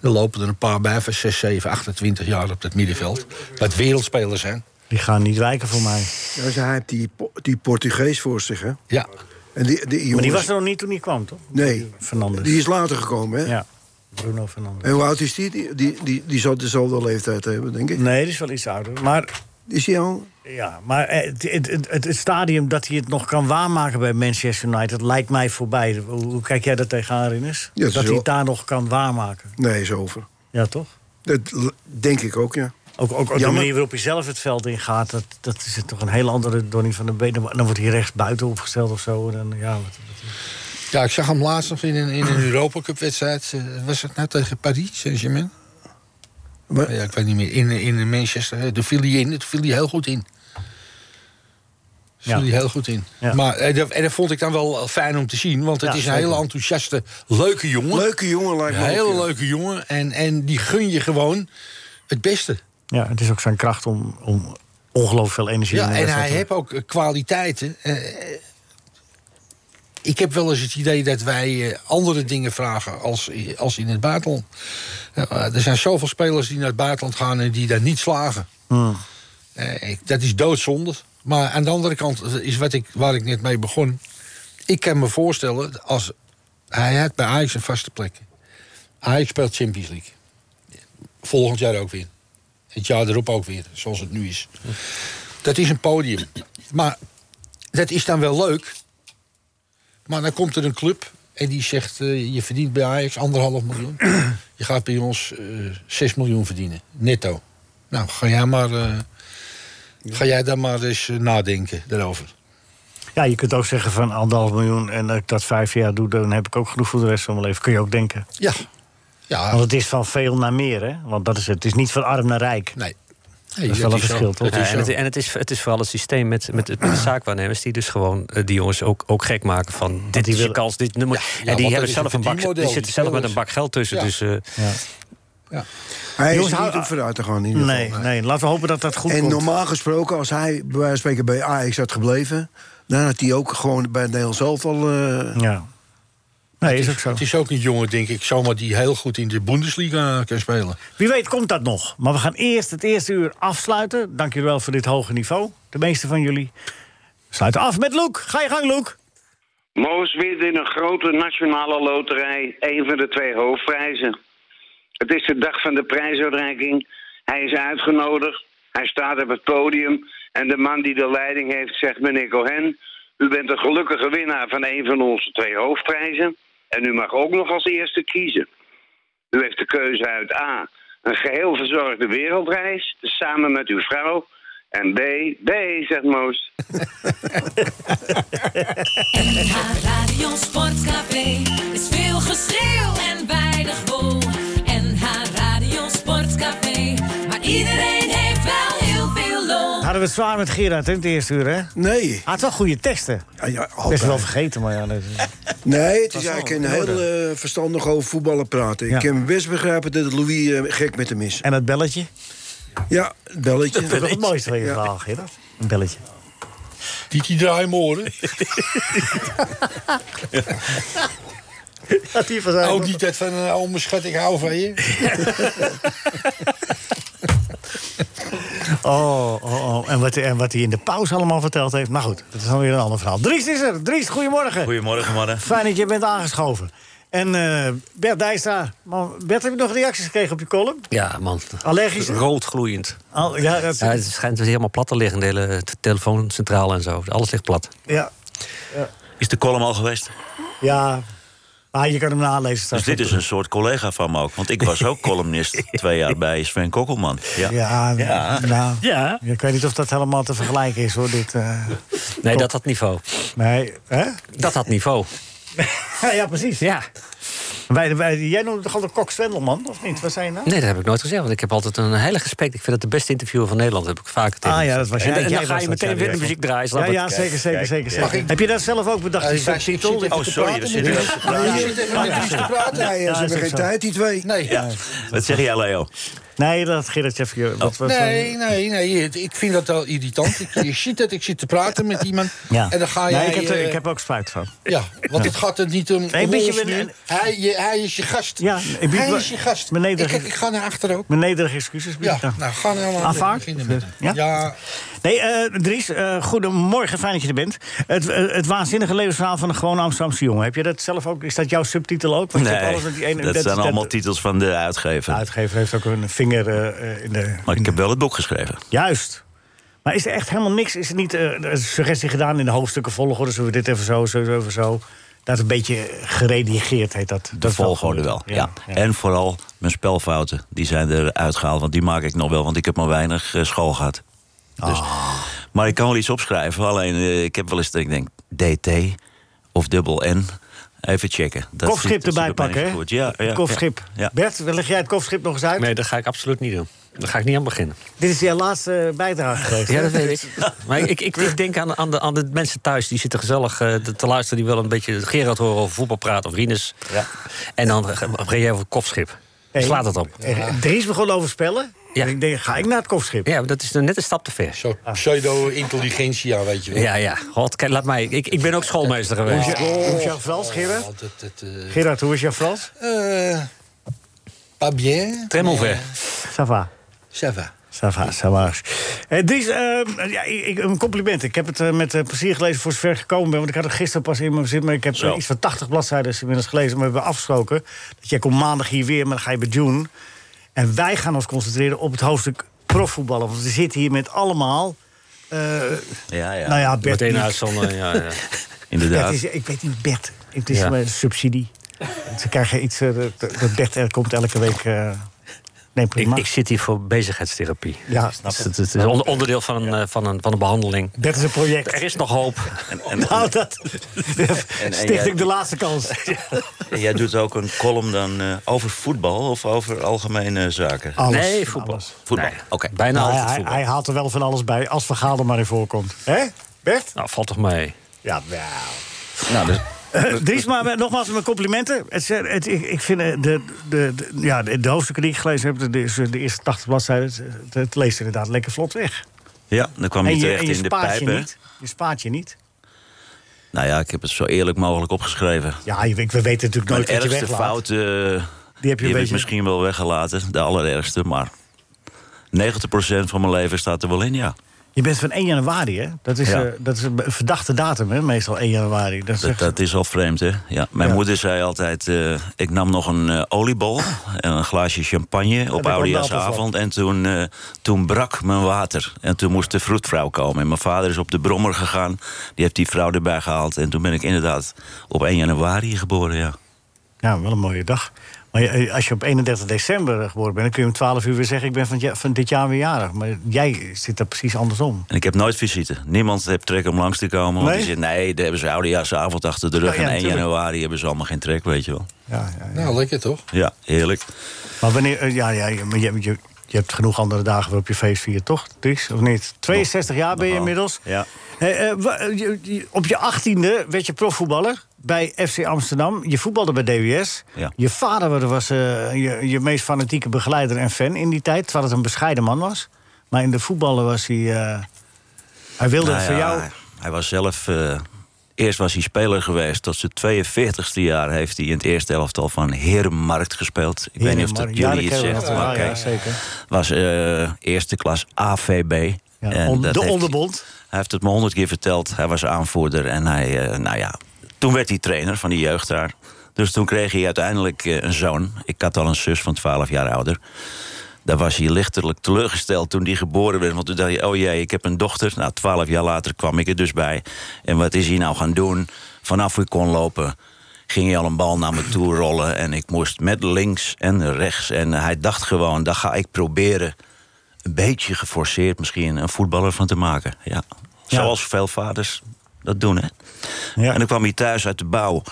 [SPEAKER 5] Er lopen er een paar bij van 6, 7, 28 jaar op dat middenveld. Wat wereldspelers zijn.
[SPEAKER 4] die gaan niet wijken voor mij.
[SPEAKER 6] Ja, ze- hij heeft die, Po- die Portugees voor zich, hè?
[SPEAKER 5] Ja,
[SPEAKER 6] En die, die
[SPEAKER 4] Maar
[SPEAKER 6] jongens-
[SPEAKER 4] die was er nog niet toen hij kwam, toch?
[SPEAKER 6] Nee,
[SPEAKER 4] Fernandes.
[SPEAKER 6] die is later gekomen, hè?
[SPEAKER 4] Ja. Bruno Fernandes.
[SPEAKER 6] En hoe oud is die? Die, die, die, die zal dezelfde leeftijd hebben, denk ik.
[SPEAKER 4] Eh, Nee, die is wel iets ouder. Maar,
[SPEAKER 6] Is die al?
[SPEAKER 4] ja, maar eh, het, het, het, het- het stadium dat hij het nog kan waarmaken bij Manchester United... lijkt mij voorbij. Hoe, hoe kijk jij daar tegenaan, Rinus?
[SPEAKER 6] Ja, het
[SPEAKER 4] dat
[SPEAKER 6] is
[SPEAKER 4] hij
[SPEAKER 6] wel-
[SPEAKER 4] het daar nog kan waarmaken.
[SPEAKER 6] Nee, is over.
[SPEAKER 4] Ja, toch?
[SPEAKER 6] Dat l- denk ik ook, ja.
[SPEAKER 4] Ook, ook, ook de
[SPEAKER 6] Jammer.
[SPEAKER 4] manier waarop hij zelf het veld ingaat, dat, dat is toch een hele andere Donny van de Benen. Dan wordt hij rechts buiten opgesteld of zo. En dan, ja, wat-
[SPEAKER 5] Ja, ik zag hem laatst nog in een, in [CLEARS THROAT] een Europa Cup wedstrijd. eh, Was het nou tegen Paris Saint-Germain?
[SPEAKER 6] Maar-
[SPEAKER 5] Ja, ik weet niet meer. In, in Manchester. eh, Toen viel hij in. Toen viel hij heel goed in. Viel
[SPEAKER 4] Ja.
[SPEAKER 5] hij heel goed in.
[SPEAKER 4] Ja.
[SPEAKER 5] Maar, eh, dat- en dat vond ik dan wel eh, fijn om te zien. Want het
[SPEAKER 4] Ja,
[SPEAKER 5] is een
[SPEAKER 4] zeker.
[SPEAKER 5] hele enthousiaste, leuke jongen.
[SPEAKER 6] Leuke jongen lijkt
[SPEAKER 5] Een
[SPEAKER 6] me. ook,
[SPEAKER 5] hele
[SPEAKER 6] ja.
[SPEAKER 5] leuke jongen. En, en die gun je gewoon het beste.
[SPEAKER 4] ja, het is ook zijn kracht om, om ongelooflijk veel energie in
[SPEAKER 5] Ja,
[SPEAKER 4] de
[SPEAKER 5] en
[SPEAKER 4] wedstrijd
[SPEAKER 5] hij
[SPEAKER 4] te-
[SPEAKER 5] heeft ook eh, kwaliteiten. Eh, eh, ik heb wel eens het idee dat wij eh, andere dingen vragen als, i- als in het buitenland. Eh, er zijn zoveel spelers die naar het buitenland gaan en die daar niet slagen. Eh, ik- dat is doodzonde. Maar aan de andere kant eh, is wat ik, waar ik net mee begon. Ik kan me voorstellen, als hij had bij Ajax een vaste plek. Ajax speelt Champions League. Volgend jaar ook weer. Het jaar erop ook weer, zoals het nu is. Dat is een podium. Maar dat is dan wel leuk. Maar dan komt er een club en die zegt... eh, je verdient bij Ajax anderhalf miljoen. Je gaat bij ons eh 6 miljoen verdienen, netto. Nou, ga jij, maar, eh, ga jij daar maar eens eh, nadenken daarover.
[SPEAKER 4] Ja, je kunt ook zeggen van anderhalf miljoen en dat ik dat vijf jaar doe, dan heb ik ook genoeg voor de rest van mijn leven. Kun je ook denken.
[SPEAKER 5] Ja. Ja,
[SPEAKER 4] Want het is van veel naar meer, hè? Want dat is het. Het is niet van arm naar rijk.
[SPEAKER 5] nee.
[SPEAKER 4] Dat is wel een verschil, toch?
[SPEAKER 5] Het is
[SPEAKER 7] Ja, en het,
[SPEAKER 5] zo.
[SPEAKER 7] en het, is, het is vooral het systeem met, met, het- met de zaakwaarnemers... die dus gewoon eh, die jongens ook, ook gek maken van... dit
[SPEAKER 4] die
[SPEAKER 7] is je
[SPEAKER 4] willen-
[SPEAKER 7] kans, dit nummer.
[SPEAKER 5] ja,
[SPEAKER 7] en die,
[SPEAKER 5] want dat
[SPEAKER 7] hebben
[SPEAKER 5] is
[SPEAKER 7] zelf
[SPEAKER 5] een
[SPEAKER 7] een bak,
[SPEAKER 5] verdienmodel,
[SPEAKER 7] die
[SPEAKER 5] die
[SPEAKER 7] zitten zelf met
[SPEAKER 5] spelers.
[SPEAKER 7] een bak geld tussen.
[SPEAKER 5] Ja.
[SPEAKER 7] Dus, eh,
[SPEAKER 6] Hij
[SPEAKER 4] Jongens,
[SPEAKER 6] is er
[SPEAKER 4] hou-
[SPEAKER 6] niet om vooruit te gaan in ieder
[SPEAKER 4] Nee,
[SPEAKER 6] geval.
[SPEAKER 4] nee, laten we hopen dat dat goed
[SPEAKER 6] En
[SPEAKER 4] komt.
[SPEAKER 6] normaal gesproken, als hij bij wijze van spreken bij Ajax had gebleven... dan had hij ook gewoon bij het Nederlands eh, zelf al...
[SPEAKER 4] Ja. Nee, is ook zo.
[SPEAKER 5] Het is ook een jongen, denk ik, zomaar die heel goed in de Bundesliga kan spelen.
[SPEAKER 4] Wie weet komt dat nog. Maar we gaan eerst het eerste uur afsluiten. Dank jullie wel voor dit hoge niveau. De meeste van jullie sluiten af met Loek. Ga je gang, Loek.
[SPEAKER 10] Moos wint in een grote nationale loterij een van de twee hoofdprijzen. Het is de dag van de prijsuitreiking. Hij is uitgenodigd. Hij staat op het podium. En de man die de leiding heeft zegt, meneer Cohen... u bent de gelukkige winnaar van een van onze twee hoofdprijzen. En u mag ook nog als eerste kiezen. U heeft de keuze uit A. Een geheel verzorgde wereldreis, samen met uw vrouw. En B, B, zegt Moos.
[SPEAKER 3] NH Radio Sportcafé is veel geschreeuw en weinig wol. NH Radio Sportcafé, maar iedereen heeft wel heel veel lol.
[SPEAKER 4] Hadden we het zwaar met Gerard in het eerste uur, hè? Hij
[SPEAKER 6] Nee.
[SPEAKER 4] had wel goede teksten.
[SPEAKER 6] Ja, ja,
[SPEAKER 4] Best wel
[SPEAKER 6] altijd.
[SPEAKER 4] vergeten, maar ja. dat is-
[SPEAKER 6] Nee, het is
[SPEAKER 4] wel
[SPEAKER 6] eigenlijk een
[SPEAKER 4] in
[SPEAKER 6] heel eh, verstandig over voetballen praten.
[SPEAKER 4] Ja.
[SPEAKER 6] Ik kan best begrijpen dat Louis eh, gek met hem is.
[SPEAKER 4] En dat belletje?
[SPEAKER 6] Ja, het belletje.
[SPEAKER 4] Dat is wel het mooiste van je
[SPEAKER 6] Ja.
[SPEAKER 4] verhaal, Gerard. Een belletje.
[SPEAKER 5] Die die draaimoren.
[SPEAKER 4] Dat die van zijn.
[SPEAKER 5] Ook niet dat van, eh, oh mijn schat, ik hou van je.
[SPEAKER 4] Oh, oh, oh. En wat, en wat hij in de pauze allemaal verteld heeft. Nou goed, dat is dan weer een ander verhaal. Dries is er. Dries, goedemorgen.
[SPEAKER 9] Goedemorgen, mannen.
[SPEAKER 4] Fijn dat je bent aangeschoven. En eh Bert Dijstra. Man, Bert, heb je nog reacties gekregen op je column?
[SPEAKER 7] ja, man.
[SPEAKER 4] Allergisch?
[SPEAKER 7] Rood gloeiend.
[SPEAKER 4] Al- Oh, ja, dat is-
[SPEAKER 7] Ah. Ja, het schijnt helemaal plat te liggen, de hele t- telefooncentrale en zo. Alles ligt plat.
[SPEAKER 4] ja.
[SPEAKER 9] Is de column al geweest?
[SPEAKER 4] Ja, maar je kan hem nalezen
[SPEAKER 9] Dus
[SPEAKER 4] straks.
[SPEAKER 9] dit is een soort collega van me ook. Want ik was ook columnist twee jaar bij Sven Kokkelman. Ja.
[SPEAKER 4] Ja,
[SPEAKER 9] Ja.
[SPEAKER 4] nou,
[SPEAKER 9] Ja.
[SPEAKER 4] ik weet niet of dat helemaal te vergelijken is, hoor. Dit, eh,
[SPEAKER 7] Nee, dat had niveau.
[SPEAKER 4] nee, hè?
[SPEAKER 7] Dat had niveau.
[SPEAKER 4] Ja, ja, precies.
[SPEAKER 7] Ja.
[SPEAKER 4] Wij, wij, jij noemde toch altijd Kok Swendelman, of niet? Wat zei je nou?
[SPEAKER 7] Nee, dat heb ik nooit gezegd. Want ik heb altijd een hele gesprek. Ik vind dat de beste interviewer van Nederland. heb ik vaker tegen.
[SPEAKER 4] Ah ja, dat was
[SPEAKER 7] En,
[SPEAKER 4] jij.
[SPEAKER 7] en
[SPEAKER 4] Jij
[SPEAKER 7] dan ga
[SPEAKER 4] was
[SPEAKER 7] je
[SPEAKER 4] dat, ja,
[SPEAKER 7] meteen weer de
[SPEAKER 4] die
[SPEAKER 7] muziek draaien. snap
[SPEAKER 4] Ja,
[SPEAKER 7] ik.
[SPEAKER 4] ja, zeker, zeker, zeker. zeker.
[SPEAKER 5] ik-
[SPEAKER 4] Heb je dat zelf ook bedacht? die
[SPEAKER 5] Hij zit-
[SPEAKER 4] subtitel?
[SPEAKER 5] zit even
[SPEAKER 9] Oh,
[SPEAKER 5] te
[SPEAKER 9] sorry,
[SPEAKER 5] praten
[SPEAKER 9] daar
[SPEAKER 5] met
[SPEAKER 9] zit
[SPEAKER 5] Dries.
[SPEAKER 6] Ja,
[SPEAKER 5] Ja,
[SPEAKER 6] je
[SPEAKER 5] je
[SPEAKER 6] zit
[SPEAKER 5] zit
[SPEAKER 6] even met Dries te praten. Nee,
[SPEAKER 4] Ja,
[SPEAKER 6] eh, ze
[SPEAKER 4] is
[SPEAKER 6] hebben
[SPEAKER 4] ook
[SPEAKER 6] geen
[SPEAKER 4] zo.
[SPEAKER 6] tijd, die twee.
[SPEAKER 5] Nee.
[SPEAKER 9] Wat zeg jij, Leo?
[SPEAKER 4] Nee, dat Gerrit
[SPEAKER 7] Oh.
[SPEAKER 4] Jeffrey. Wat, wat,
[SPEAKER 5] Nee, nee, nee. het- Ik vind dat wel irritant. Ik, je ziet dat ik zit te praten met iemand.
[SPEAKER 4] Ja.
[SPEAKER 5] En dan ga
[SPEAKER 4] nee,
[SPEAKER 5] jij...
[SPEAKER 4] ik, heb er,
[SPEAKER 5] eh,
[SPEAKER 4] ik heb er ook spijt van.
[SPEAKER 5] Ja, want het gaat er niet om...
[SPEAKER 4] Nee,
[SPEAKER 5] om
[SPEAKER 4] een beetje
[SPEAKER 5] ons
[SPEAKER 4] met-
[SPEAKER 5] nu.
[SPEAKER 4] en-
[SPEAKER 5] hij, je, hij is je gast.
[SPEAKER 4] Ja, ik bied
[SPEAKER 5] hij
[SPEAKER 4] me-
[SPEAKER 5] is je gast.
[SPEAKER 4] mijn
[SPEAKER 5] Ik,
[SPEAKER 4] nederig-
[SPEAKER 5] ik, ik ga naar achter ook.
[SPEAKER 4] Mijn nederige excuses. bied
[SPEAKER 5] Ja,
[SPEAKER 4] ik aan.
[SPEAKER 5] nou, ga nou maar
[SPEAKER 4] Aanvaard?
[SPEAKER 5] beginnen met hem.
[SPEAKER 4] Ja?
[SPEAKER 5] Ja,
[SPEAKER 4] Nee, eh, Dries, eh, goedemorgen. Fijn dat je er bent. Het, eh, het waanzinnige levensverhaal van een gewone Amsterdamse jongen. Heb je dat zelf ook? Is dat jouw subtitel ook? Want je hebt alles met die ene-
[SPEAKER 9] dat zijn allemaal titels van de uitgever.
[SPEAKER 4] De uitgever heeft ook een vinger eh, in de...
[SPEAKER 9] Maar ik heb wel het boek geschreven.
[SPEAKER 4] Juist. Maar is er echt helemaal niks? Is er niet eh, een suggestie gedaan in de hoofdstukken volgorde? Zullen we dit even zo, zo, zo, even zo? Dat is een beetje geredigeerd heet dat.
[SPEAKER 9] De
[SPEAKER 4] dat is wel
[SPEAKER 9] volgorde wel,
[SPEAKER 4] gebeurd.
[SPEAKER 9] ja.
[SPEAKER 4] ja.
[SPEAKER 9] En vooral mijn spelfouten, die zijn eruit gehaald. Want die maak ik nog wel, want ik heb maar weinig eh, school gehad. Dus,
[SPEAKER 4] Ah.
[SPEAKER 9] Maar ik kan wel iets opschrijven. Alleen eh, ik heb wel eens dat ik denk, DT of dubbel N. Even checken. Dat
[SPEAKER 4] Kofschip
[SPEAKER 9] zit- dat
[SPEAKER 4] erbij
[SPEAKER 9] zit bij mij
[SPEAKER 4] pakken, hè?
[SPEAKER 9] goed. Ja, ja,
[SPEAKER 4] Kofschip.
[SPEAKER 9] ja, ja.
[SPEAKER 4] Bert, leg jij het kofschip nog eens uit?
[SPEAKER 11] Nee, dat ga ik absoluut niet doen. Daar ga ik niet aan beginnen.
[SPEAKER 4] Dit is jouw laatste bijdrage geweest.
[SPEAKER 11] Ja,
[SPEAKER 4] hè?
[SPEAKER 11] dat weet
[SPEAKER 4] [LAUGHS]
[SPEAKER 11] ik. Maar ik, ik, ik denk aan, aan, de, aan de mensen thuis die zitten gezellig eh, te- te luisteren. Die willen een beetje Gerard horen over voetbal praten of Rinus. En dan eh, begin jij over het kopschip.
[SPEAKER 4] Hey,
[SPEAKER 11] Slaat het op.
[SPEAKER 4] eh, Dries begon over spellen. En ik denk, ga ik naar het kopschip?
[SPEAKER 11] Ja, maar dat is dan net een stap te ver.
[SPEAKER 5] Zo,
[SPEAKER 4] Ah.
[SPEAKER 5] pseudo-intelligentia, weet je wel.
[SPEAKER 11] Ja, ja. God, kijk, laat mij. Ik, ik ben ook schoolmeester
[SPEAKER 4] Hoe is
[SPEAKER 11] geweest.
[SPEAKER 4] je- hoe is jouw Frans, Gerard? Gerard, hoe is jouw Frans?
[SPEAKER 5] Eh, pas bien.
[SPEAKER 11] Tremmel ver.
[SPEAKER 4] Ça va.
[SPEAKER 5] Ça va.
[SPEAKER 4] Ça va, ça va. Eh, Dries, eh, ja, ik, ik- een compliment. Ik heb het eh, met eh, plezier gelezen voor zover ik gekomen ben. Want ik had het gisteren pas in mijn zin. Maar ik heb
[SPEAKER 9] Zo.
[SPEAKER 4] eh, iets van 80 bladzijden inmiddels gelezen. Maar we hebben afgesproken dat jij komt maandag hier weer. Maar dan ga je bij June. En wij gaan ons concentreren op het hoofdstuk profvoetballen. Want we zitten hier met allemaal... eh,
[SPEAKER 9] Ja, ja.
[SPEAKER 4] Nou ja, Bert
[SPEAKER 11] Meteen
[SPEAKER 4] Niek.
[SPEAKER 11] uitzonden. Ja,
[SPEAKER 4] [LAUGHS]
[SPEAKER 11] ja.
[SPEAKER 4] Bert
[SPEAKER 9] Inderdaad.
[SPEAKER 4] is, ik weet niet, Bert. Het is
[SPEAKER 11] Ja.
[SPEAKER 4] maar een subsidie. Ze krijgen iets... eh, dat- dat Bert er komt elke week... eh nee,
[SPEAKER 11] Ik,
[SPEAKER 4] prima.
[SPEAKER 11] ik zit hier voor bezigheidstherapie.
[SPEAKER 4] ja,
[SPEAKER 11] Dus Het het is on- onderdeel van een, eh, van, een, van een behandeling.
[SPEAKER 4] Bert is een project.
[SPEAKER 11] Er is nog hoop.
[SPEAKER 9] En, en,
[SPEAKER 4] [LAUGHS] Nou, dat
[SPEAKER 9] en
[SPEAKER 4] sticht
[SPEAKER 9] jij-
[SPEAKER 4] ik de laatste kans.
[SPEAKER 11] [LAUGHS]
[SPEAKER 9] en jij doet ook een column dan eh, over voetbal of over algemene zaken?
[SPEAKER 4] Alles.
[SPEAKER 11] Nee, voetbal.
[SPEAKER 4] Alles.
[SPEAKER 9] Voetbal, oké.
[SPEAKER 11] Bijna
[SPEAKER 4] Nou,
[SPEAKER 11] altijd
[SPEAKER 4] hij,
[SPEAKER 11] voetbal.
[SPEAKER 4] hij haalt er wel van alles bij, als Vergaal er maar in voorkomt. Hè, Bert?
[SPEAKER 11] Nou, valt toch mee.
[SPEAKER 4] Ja, nou.
[SPEAKER 9] Nou, dus,
[SPEAKER 4] Eh, Dries, maar eh, nogmaals mijn complimenten. Het, is, eh, het- ik, ik vind eh, de, de, de, ja, de, de hoofdstukken die ik gelezen heb, de, de, de eerste 80 bladzijden, het, het- het leest inderdaad lekker vlot weg.
[SPEAKER 9] ja, dan kwam je
[SPEAKER 4] en je,
[SPEAKER 9] terecht
[SPEAKER 4] en je
[SPEAKER 9] in de
[SPEAKER 4] spaart
[SPEAKER 9] pijp,
[SPEAKER 4] je
[SPEAKER 9] hè?
[SPEAKER 4] niet. Je spaart je niet.
[SPEAKER 9] Nou ja, ik heb het zo eerlijk mogelijk opgeschreven.
[SPEAKER 4] Ja, je, weet- we weten natuurlijk
[SPEAKER 9] Mijn
[SPEAKER 4] nooit wat je
[SPEAKER 9] ergste
[SPEAKER 4] weglaat.
[SPEAKER 9] fout, eh, die heb,
[SPEAKER 4] een beetje-
[SPEAKER 9] ik misschien wel weggelaten. De allerergste, maar 90% van mijn leven staat er wel in, ja.
[SPEAKER 4] Je bent van 1 januari, hè? Dat is,
[SPEAKER 9] Ja.
[SPEAKER 4] eh, dat is een verdachte datum, hè? Meestal 1 januari. Dat is
[SPEAKER 9] Dat,
[SPEAKER 4] echt-
[SPEAKER 9] dat is al vreemd, hè? Ja. Mijn
[SPEAKER 4] Ja.
[SPEAKER 9] moeder zei altijd, eh, ik nam nog een eh, oliebol en een glaasje champagne op
[SPEAKER 4] ik ook een
[SPEAKER 9] Oudejaarsavond. En toen, eh, toen brak mijn water. En toen moest de vroedvrouw komen. En mijn vader is op de brommer gegaan. Die heeft die vrouw erbij gehaald. En toen ben ik inderdaad op 1 januari geboren, ja.
[SPEAKER 4] Ja, wel een mooie dag. Maar je- eh, als je op 31 december eh, geboren bent, dan kun je om 12 uur weer zeggen: Ik ben van, het ja- van dit jaar weer jarig. Maar jij zit daar precies andersom.
[SPEAKER 9] En ik heb nooit visite. Niemand heeft trek om langs te komen. Want
[SPEAKER 4] Nee?
[SPEAKER 9] die zegt, nee, daar hebben ze oudejaarsavond achter de rug.
[SPEAKER 4] Oh ja,
[SPEAKER 9] en 1
[SPEAKER 4] natuurlijk.
[SPEAKER 9] januari hebben ze allemaal geen trek, weet je wel.
[SPEAKER 4] Ja, ja, ja.
[SPEAKER 5] Nou, lekker toch?
[SPEAKER 9] Ja, heerlijk.
[SPEAKER 4] Maar wanneer. eh, Ja, ja, ja, maar je, je, je hebt genoeg andere dagen waarop je feest viert, toch? Dries, of niet? 62 jaar ben je
[SPEAKER 9] Nogal.
[SPEAKER 4] inmiddels.
[SPEAKER 9] Ja.
[SPEAKER 4] Hey, eh, wa- eh, je- je- op je 18e werd je profvoetballer bij FC Amsterdam. Je voetbalde bij DWS.
[SPEAKER 9] Ja.
[SPEAKER 4] Je vader was eh, je, je meest fanatieke begeleider en fan in die tijd. Terwijl het een bescheiden man was. Maar in de voetballen was hij. eh, hij wilde
[SPEAKER 9] Nou
[SPEAKER 4] het voor
[SPEAKER 9] ja,
[SPEAKER 4] jou.
[SPEAKER 9] Hij was zelf... eh, eerst was hij speler geweest. Tot zijn 42e jaar heeft hij in het eerste elftal van Herenmarkt gespeeld. Ik weet niet of dat
[SPEAKER 4] Herenmarkt. Ja,
[SPEAKER 9] jullie
[SPEAKER 4] dat
[SPEAKER 9] iets
[SPEAKER 4] kennen we
[SPEAKER 9] zegt,
[SPEAKER 4] nog wel,
[SPEAKER 9] maar
[SPEAKER 4] ja,
[SPEAKER 9] kijk.
[SPEAKER 4] zeker.
[SPEAKER 9] Was eh, eerste klas AVB.
[SPEAKER 4] Ja,
[SPEAKER 9] En
[SPEAKER 4] on-
[SPEAKER 9] dat
[SPEAKER 4] de
[SPEAKER 9] heeft-
[SPEAKER 4] onderbond.
[SPEAKER 9] Hij heeft het me honderd keer verteld. Hij was aanvoerder en hij, eh, nou ja, toen werd hij trainer van die jeugd daar. Dus toen kreeg hij uiteindelijk eh, een zoon. Ik had al een zus van 12 jaar ouder. Daar was hij lichtelijk teleurgesteld toen die geboren werd. Want toen dacht hij, oh jee, ik heb een dochter. Nou, 12 jaar later kwam ik er dus bij. En wat is hij nou gaan doen? Vanaf hoe ik kon lopen ging hij al een bal naar me toe rollen. En ik moest met links en rechts. En hij dacht gewoon, daar ga ik proberen een beetje geforceerd misschien een voetballer van te maken. Ja.
[SPEAKER 4] Ja.
[SPEAKER 9] Zoals veel vaders dat doen, hè?
[SPEAKER 4] Ja.
[SPEAKER 9] En dan kwam hij thuis uit de bouw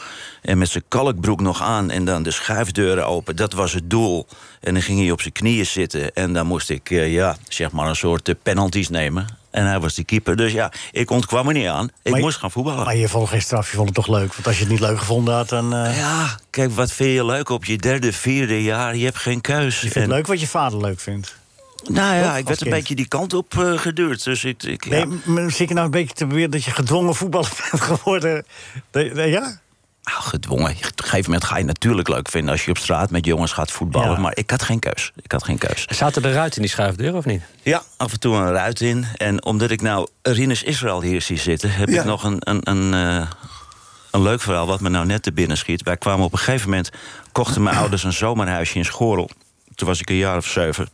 [SPEAKER 9] en met zijn kalkbroek nog aan... en dan de schuifdeuren open, dat was het doel. En dan ging hij op zijn knieën zitten en dan moest ik, eh, ja, zeg maar een soort eh, penalties nemen. En hij was de keeper, dus ja, ik ontkwam er niet aan. Ik
[SPEAKER 4] Maar je-
[SPEAKER 9] moest gaan voetballen.
[SPEAKER 4] Maar je vond geen straf, je vond het toch leuk? Want als je het niet leuk gevonden had, dan... eh,
[SPEAKER 9] ja, kijk, wat vind je leuk op je derde, vierde jaar? Je hebt geen keus.
[SPEAKER 4] Je vindt
[SPEAKER 9] En-
[SPEAKER 4] het leuk wat je vader leuk vindt.
[SPEAKER 9] Nou ja,
[SPEAKER 4] Toch,
[SPEAKER 9] ik
[SPEAKER 4] als
[SPEAKER 9] werd een
[SPEAKER 4] kind?
[SPEAKER 9] beetje die kant op eh, geduwd. Dus ik, ik, ja.
[SPEAKER 4] [LAUGHS] Nee, m- zit je nou een beetje te beweren dat je gedwongen voetballer bent geworden? Nee, nee, ja?
[SPEAKER 9] ah, gedwongen. Op een gegeven moment ga je natuurlijk leuk vinden als je op straat met jongens gaat voetballen. Maar ik had geen keus. Ik had geen keus.
[SPEAKER 11] Zaten er ruit in die schuifdeur of niet?
[SPEAKER 9] Ja, af en toe een ruit in. En omdat ik nou Rinus Israël hier zie zitten, heb
[SPEAKER 11] Ja.
[SPEAKER 9] ik nog een, een, een, eh, een leuk verhaal wat me nou net te binnen schiet. Wij kwamen op een gegeven moment, kochten mijn ouders een zomerhuisje in Schorel. Toen was ik een jaar of zeven.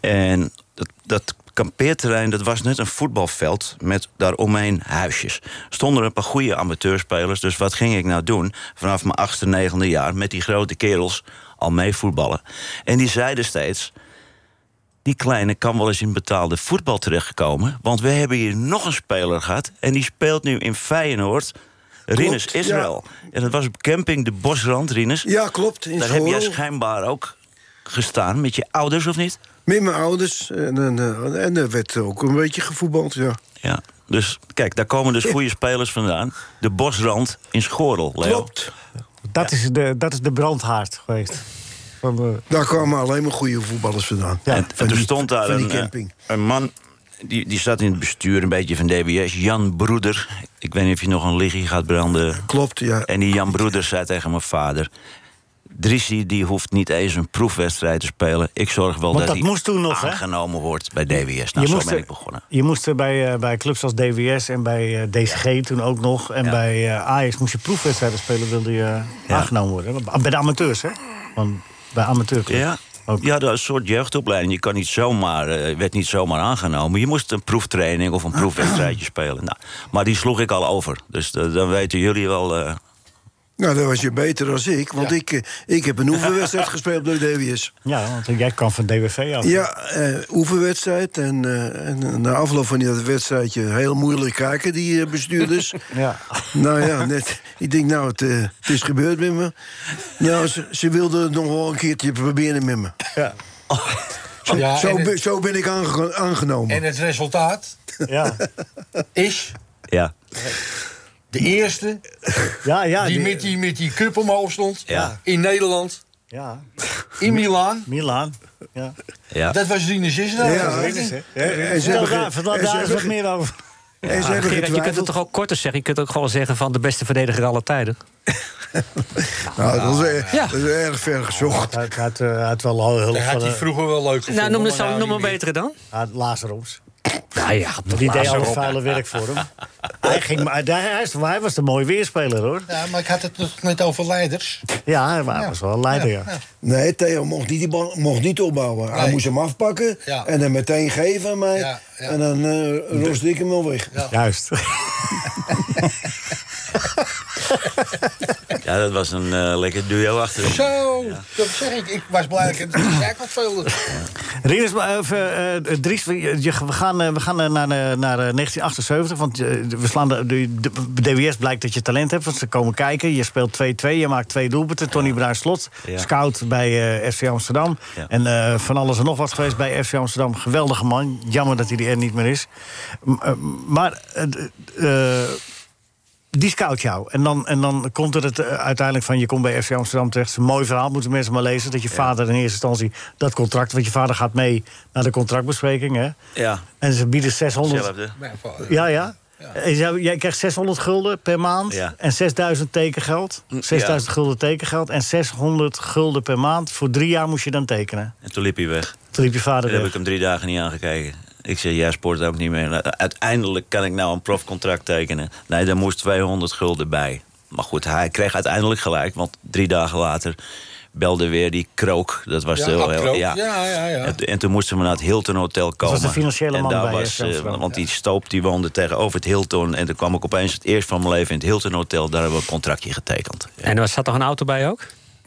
[SPEAKER 9] En dat, dat kampeerterrein, dat was net een voetbalveld met daaromheen huisjes. Stonden er een paar goede amateurspelers, dus wat ging ik nou doen? Vanaf mijn achtste, negende jaar met die grote kerels al mee voetballen. En die zeiden steeds, die kleine kan wel eens in betaalde voetbal terechtkomen. Want we hebben hier nog een speler gehad. En die speelt nu in Feyenoord. Rinus
[SPEAKER 6] Klopt,
[SPEAKER 9] Israël. En dat was op camping de Bosrand, Rinus.
[SPEAKER 6] Ja, klopt. in
[SPEAKER 9] Daar heb jij
[SPEAKER 6] Schorl.
[SPEAKER 9] schijnbaar ook gestaan met je ouders, of niet?
[SPEAKER 6] Met mijn ouders. En, en, eh, en er werd ook een beetje gevoetbald, ja.
[SPEAKER 9] Ja. Dus kijk, daar komen dus goede spelers vandaan. De Bosrand in Schorel, Leo.
[SPEAKER 6] Klopt.
[SPEAKER 4] Dat, is de, dat is de brandhaard geweest.
[SPEAKER 9] Nou,
[SPEAKER 4] Van de,
[SPEAKER 6] Daar kwamen alleen maar goede voetballers vandaan.
[SPEAKER 9] en
[SPEAKER 6] Van
[SPEAKER 9] en toen
[SPEAKER 6] die-
[SPEAKER 9] stond daar
[SPEAKER 6] van die
[SPEAKER 9] een, eh,
[SPEAKER 6] camping.
[SPEAKER 9] een man, die, die zat in het bestuur een beetje van DWS, Jan Broeder. Ik weet niet of je nog een liggie gaat branden.
[SPEAKER 6] Klopt, ja.
[SPEAKER 9] En die Jan Broeder zei tegen mijn vader... Drissi die hoeft niet eens een proefwedstrijd te spelen. Ik zorg wel
[SPEAKER 4] Want
[SPEAKER 9] dat,
[SPEAKER 4] dat
[SPEAKER 9] hij
[SPEAKER 4] moest toen nog, hè?
[SPEAKER 9] aangenomen wordt bij DWS. Nou,
[SPEAKER 4] je,
[SPEAKER 9] zo
[SPEAKER 4] moest
[SPEAKER 9] ben
[SPEAKER 4] er,
[SPEAKER 9] ik begonnen.
[SPEAKER 4] je moest er bij, eh, bij clubs als DWS en bij eh, DCG toen ook nog. En bij eh, Ajax moest je proefwedstrijden spelen, wilde je eh, aangenomen worden. Bij de amateurs, hè? Want bij amateurclubs.
[SPEAKER 9] Ja, ja dat is een soort jeugdopleiding. Je kan niet zomaar, eh, werd niet zomaar aangenomen. Je moest een proeftraining of een
[SPEAKER 5] [CLEARS THROAT]
[SPEAKER 9] proefwedstrijdje spelen. Nou, maar die sloeg ik al over. Dus eh, dan weten jullie wel... eh,
[SPEAKER 6] Nou, dan was je beter dan ik, want ik, eh, ik heb een oefenwedstrijd gespeeld bij de DWS.
[SPEAKER 4] Ja, want jij kan van DWV af.
[SPEAKER 6] Ja, eh, oefenwedstrijd. En, eh, en na afloop van dat wedstrijdje heel moeilijk kijken, die eh, bestuurders.
[SPEAKER 4] Ja.
[SPEAKER 6] Nou ja, net, ik denk, nou, het, eh, het is gebeurd met me. Nou, ze, ze wilden het nog wel een keertje proberen met me.
[SPEAKER 4] Ja.
[SPEAKER 6] Zo,
[SPEAKER 5] Ja,
[SPEAKER 6] zo,
[SPEAKER 5] Ah, en het-
[SPEAKER 6] ben- zo ben ik aange- aangenomen.
[SPEAKER 5] En het resultaat
[SPEAKER 4] Ja.
[SPEAKER 5] is
[SPEAKER 9] ja.
[SPEAKER 5] de eerste
[SPEAKER 4] Ja, ja.
[SPEAKER 5] die,
[SPEAKER 4] die-
[SPEAKER 5] met die met die cup omhoog stond
[SPEAKER 9] Ja.
[SPEAKER 5] in Nederland,
[SPEAKER 4] Ja.
[SPEAKER 5] in Milaan.
[SPEAKER 4] Milaan. Ja.
[SPEAKER 9] Ja.
[SPEAKER 5] Dat was Rinus Israël.
[SPEAKER 6] Ja,
[SPEAKER 5] was het
[SPEAKER 4] Rinus,
[SPEAKER 5] niet?
[SPEAKER 4] hè? Ja,
[SPEAKER 6] en ze
[SPEAKER 4] Vertel
[SPEAKER 6] hebben ge-
[SPEAKER 4] daar, vertel
[SPEAKER 6] en ze
[SPEAKER 4] daar eens
[SPEAKER 6] hebben
[SPEAKER 4] wat
[SPEAKER 6] ge-
[SPEAKER 4] meer over.
[SPEAKER 6] en ze
[SPEAKER 11] Ah,
[SPEAKER 6] hebben
[SPEAKER 11] Gerard, je kunt het
[SPEAKER 6] getwijfeld.
[SPEAKER 11] toch ook korter zeggen? Je kunt ook gewoon zeggen van de beste verdediger aller tijden.
[SPEAKER 6] Nou, dat was, eh,
[SPEAKER 11] Ja.
[SPEAKER 6] dat is erg ver gezocht.
[SPEAKER 4] Hij had, eh, hij had wel heel heel
[SPEAKER 5] Dat had hij
[SPEAKER 4] veel... eh,
[SPEAKER 5] vroeger wel leuk gevonden.
[SPEAKER 11] Nou, noem,
[SPEAKER 5] maar
[SPEAKER 11] het zo, noem
[SPEAKER 5] niet
[SPEAKER 11] een
[SPEAKER 5] meer.
[SPEAKER 11] betere dan.
[SPEAKER 4] Hij Lazaroms.
[SPEAKER 11] Nou ja, dat
[SPEAKER 4] Die deed al
[SPEAKER 11] Lazaroff.
[SPEAKER 4] het vuile werk voor hem. [LAUGHS] hij, ging, maar- hij, hij, is- hij was een mooie weerspeler, hoor.
[SPEAKER 5] Ja, maar ik had het nog net over leiders.
[SPEAKER 4] Ja, hij wa- was wel een leider, ja.
[SPEAKER 6] Nee, Theo mocht niet, die bal, mocht niet opbouwen. Hij
[SPEAKER 5] Nee.
[SPEAKER 6] moest hem afpakken
[SPEAKER 5] Ja.
[SPEAKER 6] en dan meteen geven aan mij.
[SPEAKER 5] Ja, ja.
[SPEAKER 6] En dan eh roosde ik hem wel weg. [LAUGHS]
[SPEAKER 4] Juist.
[SPEAKER 9] ja, dat was een eh, lekker duo achter. hem.
[SPEAKER 5] Zo, dat zeg ik. Ik was blij dat ik het kijk wat veel.
[SPEAKER 4] Rinus, maar, eh, eh, eh, Dries, we, je- we gaan, eh, we gaan eh, naar, eh, naar eh, 1978. Want eh, we slaan de, de, de- bij DWS blijkt dat je talent hebt. Want ze komen kijken. Je speelt 2-2. Je maakt twee doelpunten. Tony Bruin Slot,
[SPEAKER 9] Ja.
[SPEAKER 4] scout bij eh, FC Amsterdam.
[SPEAKER 9] Ja.
[SPEAKER 4] En eh, van alles en nog wat geweest bij FC Amsterdam. Geweldige man. Jammer dat hij er niet meer is. M- eh, maar... eh, d- eh, die scout jou. En dan, en dan komt er het eh, uiteindelijk van... je komt bij FC Amsterdam terecht. Het is een mooi verhaal, moeten mensen maar lezen. Dat je vader in eerste instantie dat contract... want je vader gaat mee naar de contractbespreking, hè?
[SPEAKER 9] Ja,
[SPEAKER 4] En ze bieden 600...
[SPEAKER 9] hetzelfde.
[SPEAKER 4] Ja, ja. En jij- Jij krijgt 600 gulden per maand
[SPEAKER 9] Ja. Hm,
[SPEAKER 4] en 6000 tekengeld. 6000 gulden tekengeld en 600 gulden per maand. Voor drie jaar moest je dan tekenen.
[SPEAKER 9] En toen liep hij weg.
[SPEAKER 4] Toen liep je vader
[SPEAKER 9] Toen heb
[SPEAKER 4] weg.
[SPEAKER 9] ik hem drie dagen niet aangekeken. Ik zei, jij sport ook niet meer. Nou, Uiteindelijk kan ik nou een profcontract tekenen. Nee, daar moest 200 gulden bij. Maar goed, hij kreeg uiteindelijk gelijk. Want drie dagen later belde weer die krook. Dat was
[SPEAKER 5] Ja,
[SPEAKER 9] de...
[SPEAKER 5] Ab Krook.
[SPEAKER 9] Ja.
[SPEAKER 5] Ja, ja, ja.
[SPEAKER 9] En, en toen moesten we naar het Hilton Hotel komen.
[SPEAKER 4] was de financiële
[SPEAKER 9] en
[SPEAKER 4] man
[SPEAKER 9] daar
[SPEAKER 4] bij
[SPEAKER 9] was,
[SPEAKER 4] FC Amsterdam.
[SPEAKER 9] eh, Want die stoop die woonde tegenover het Hilton. En toen kwam ik opeens het eerst van mijn leven in het Hilton Hotel. Daar hebben we een contractje getekend. Ja.
[SPEAKER 11] En er zat toch een auto bij ook?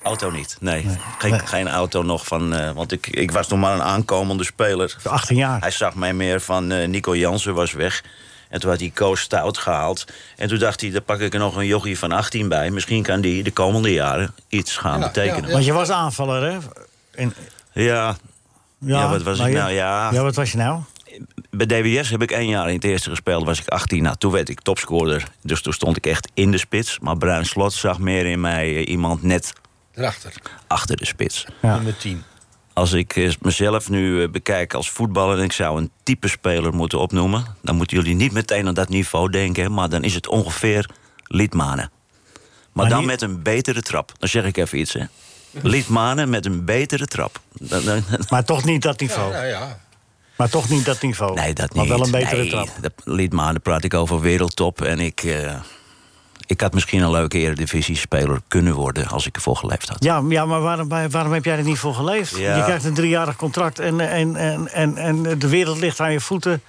[SPEAKER 9] Auto niet, nee. Geen, geen auto nog van... eh, want ik, ik was nog maar een aankomende speler.
[SPEAKER 4] 18 jaar.
[SPEAKER 9] Hij zag mij meer van eh, Nico Jansen was weg. En toen had hij Koos Stout gehaald. En toen dacht hij, daar pak ik er nog een jochie van 18 bij. Misschien kan die de komende jaren iets gaan
[SPEAKER 5] Ja,
[SPEAKER 9] betekenen. Ja,
[SPEAKER 5] ja.
[SPEAKER 4] Want je was aanvaller, hè? En,
[SPEAKER 9] ja. wat was
[SPEAKER 4] maar
[SPEAKER 9] ik
[SPEAKER 4] je-
[SPEAKER 9] nou? Ja.
[SPEAKER 4] Ja, wat was je nou?
[SPEAKER 9] Bij DWS heb ik één jaar in het eerste gespeeld. was ik 18. Nou, toen werd ik topscorer. Dus toen stond ik echt in de spits. Maar Bruin Slot zag meer in mij eh, iemand net
[SPEAKER 5] Erachter,
[SPEAKER 9] achter de spits.
[SPEAKER 4] Ja.
[SPEAKER 5] nummer 10.
[SPEAKER 9] Als ik eh, mezelf nu eh, bekijk als voetballer en ik zou een type speler moeten opnoemen, dan moeten jullie niet meteen aan dat niveau denken, maar dan is het ongeveer Liedmanen. Maar, dan met een betere trap. Dan zeg ik even iets, hè. Liedmanen met een betere trap. Dan- dan-
[SPEAKER 4] Maar toch niet dat niveau. Maar toch niet dat niveau.
[SPEAKER 9] Nee, dat
[SPEAKER 4] Maar
[SPEAKER 9] niet.
[SPEAKER 4] wel een betere
[SPEAKER 9] nee,
[SPEAKER 4] trap.
[SPEAKER 9] Dat liet maar, daar praat ik over wereldtop. En ik, eh, ik had misschien een leuke eredivisie-speler kunnen worden als ik ervoor geleefd had.
[SPEAKER 4] Ja, ja maar waarom, waarom heb jij er niet voor geleefd?
[SPEAKER 9] Ja.
[SPEAKER 4] Je krijgt een driejarig contract en, en, en, en, en de wereld ligt aan je voeten.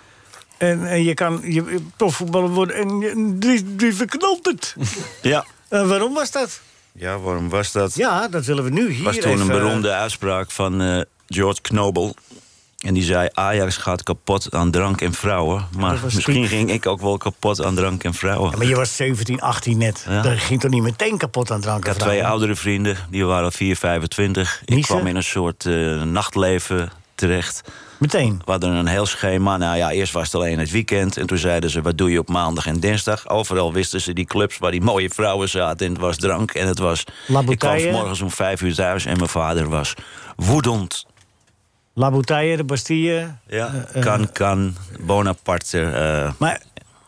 [SPEAKER 4] En, en je kan je profvoetballer worden en je- die, die verknoopt
[SPEAKER 9] [LAUGHS]
[SPEAKER 4] het.
[SPEAKER 9] Ja.
[SPEAKER 4] En waarom was dat?
[SPEAKER 9] Ja, waarom was dat?
[SPEAKER 4] Ja, dat willen we nu hier
[SPEAKER 9] was toen
[SPEAKER 4] even, eh,
[SPEAKER 9] een beroemde uitspraak van eh, George Knobel. En die zei, Ajax gaat kapot aan drank en vrouwen. Maar
[SPEAKER 4] dat was
[SPEAKER 9] misschien
[SPEAKER 4] Piet.
[SPEAKER 9] ging ik ook wel kapot aan drank en vrouwen.
[SPEAKER 4] Maar je was 17, 18 net.
[SPEAKER 9] Ja.
[SPEAKER 4] Daar ging toch niet meteen kapot aan drank
[SPEAKER 9] Ik had twee oudere vrienden, die waren al 4, 25. Ik
[SPEAKER 4] Niezen?
[SPEAKER 9] kwam in een soort eh, nachtleven terecht.
[SPEAKER 4] Meteen?
[SPEAKER 9] We hadden een heel schema. Nou ja, eerst was het alleen het weekend. En toen zeiden ze, wat doe je op maandag en dinsdag? Overal wisten ze die clubs waar die mooie vrouwen zaten. En het was drank en het was... Ik kwam
[SPEAKER 4] Laboutaille?
[SPEAKER 9] 's morgens om vijf uur thuis en mijn vader was woedend.
[SPEAKER 4] Laboutaille, de Bastille.
[SPEAKER 9] Ja,
[SPEAKER 4] Eh, eh,
[SPEAKER 9] kan, kan, Bonaparte. eh,
[SPEAKER 4] Maar,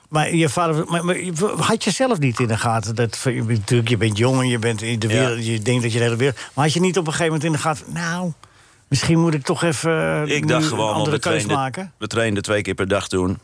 [SPEAKER 4] maar je vader, maar, maar je- had je zelf niet in de gaten dat je bent natuurlijk je bent jong en je bent in de
[SPEAKER 9] Ja.
[SPEAKER 4] wereld, je denkt dat je de hele wereld. Maar had je niet op een gegeven moment in de gaten, nou, misschien moet ik toch even eh,
[SPEAKER 9] ik
[SPEAKER 4] nu
[SPEAKER 9] dacht
[SPEAKER 4] een
[SPEAKER 9] gewoon, want
[SPEAKER 4] andere
[SPEAKER 9] we
[SPEAKER 4] keus
[SPEAKER 9] trainden,
[SPEAKER 4] maken.
[SPEAKER 9] we trainden twee keer per dag toen.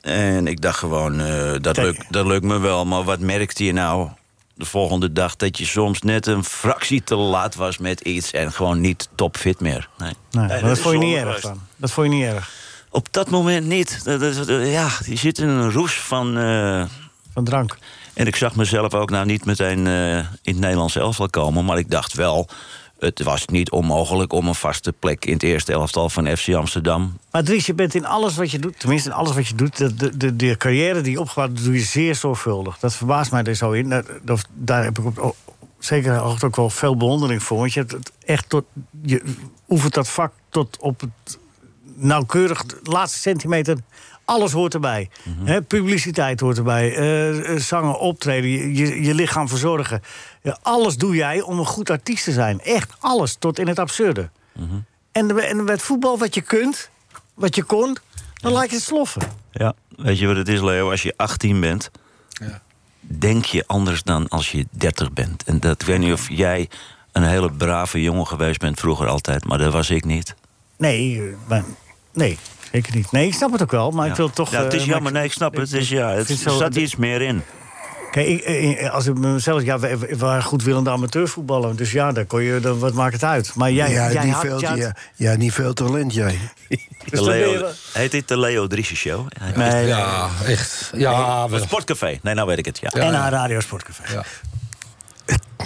[SPEAKER 9] En ik dacht gewoon, eh, dat,
[SPEAKER 4] Kijk.
[SPEAKER 9] lukt, dat lukt me wel. Maar wat merkte je nou de volgende dag? Dat je soms net een fractie te laat was met iets... en gewoon niet topfit meer. Nee.
[SPEAKER 4] Nee, maar dat,
[SPEAKER 9] is
[SPEAKER 4] vond je
[SPEAKER 9] zonde
[SPEAKER 4] niet erg
[SPEAKER 9] geweest.
[SPEAKER 4] dan. Dat vond je niet erg.
[SPEAKER 9] Op dat moment niet. Dat, dat- dat- ja, je zit in een roes van... eh,
[SPEAKER 4] Van drank.
[SPEAKER 9] en ik zag mezelf ook nou niet meteen eh, in het Nederlands elftal komen. Maar ik dacht wel, het was niet onmogelijk om een vaste plek in het eerste elftal van FC Amsterdam.
[SPEAKER 4] Maar Dries, je bent in alles wat je doet, tenminste in alles wat je doet, de, de, de, de carrière die je opgebouwd hebt, doe je zeer zorgvuldig. Dat verbaast mij er zo in. Dat, dat- daar heb ik op, oh, op zekere hoogte ook wel veel bewondering voor. Want je, hebt het echt tot, je oefent dat vak tot op het nauwkeurig laatste centimeter. Alles hoort erbij. Hè, publiciteit hoort erbij. eh, eh, zangen, optreden, je, je, je lichaam verzorgen. Ja, alles doe jij om een goed artiest te zijn. Echt alles, tot in het absurde. En, de- en met voetbal wat je kunt, wat je kon, dan laat je het sloffen.
[SPEAKER 9] Ja. Weet je wat het is, Leo? Als je 18 bent, denk je anders dan als je 30 bent. En dat, ik weet niet of jij een hele brave jongen geweest bent vroeger altijd, maar dat was ik niet.
[SPEAKER 4] Nee, eh, maar, nee, zeker niet. Nee, ik snap het ook wel, maar ik wil toch...
[SPEAKER 9] Ja, het is
[SPEAKER 4] eh,
[SPEAKER 9] jammer,
[SPEAKER 4] maar
[SPEAKER 9] nee, ik snap het. Het is, ja, het,
[SPEAKER 4] vind
[SPEAKER 9] er
[SPEAKER 4] zo-
[SPEAKER 9] zat iets meer in.
[SPEAKER 4] Kijk, ik, eh, eh, als ik mezelf... Ja, we, we waren goedwillende amateurvoetballer, dus ja, daar kon je, dan, wat maakt het uit? Maar jij,
[SPEAKER 6] ja,
[SPEAKER 4] jij
[SPEAKER 6] niet
[SPEAKER 4] had-
[SPEAKER 6] veel, eh,
[SPEAKER 4] jij had-
[SPEAKER 6] ja, ja, niet veel talent, jij.
[SPEAKER 9] De
[SPEAKER 6] dan ben je
[SPEAKER 9] Leo,
[SPEAKER 6] wel-
[SPEAKER 9] heet dit de Leo Driessen Show?
[SPEAKER 6] Nee,
[SPEAKER 5] ja, echt. Ja,
[SPEAKER 9] het Sportcafé. Nee, nou weet ik het. Ja.
[SPEAKER 4] En haar Radio Sportcafé.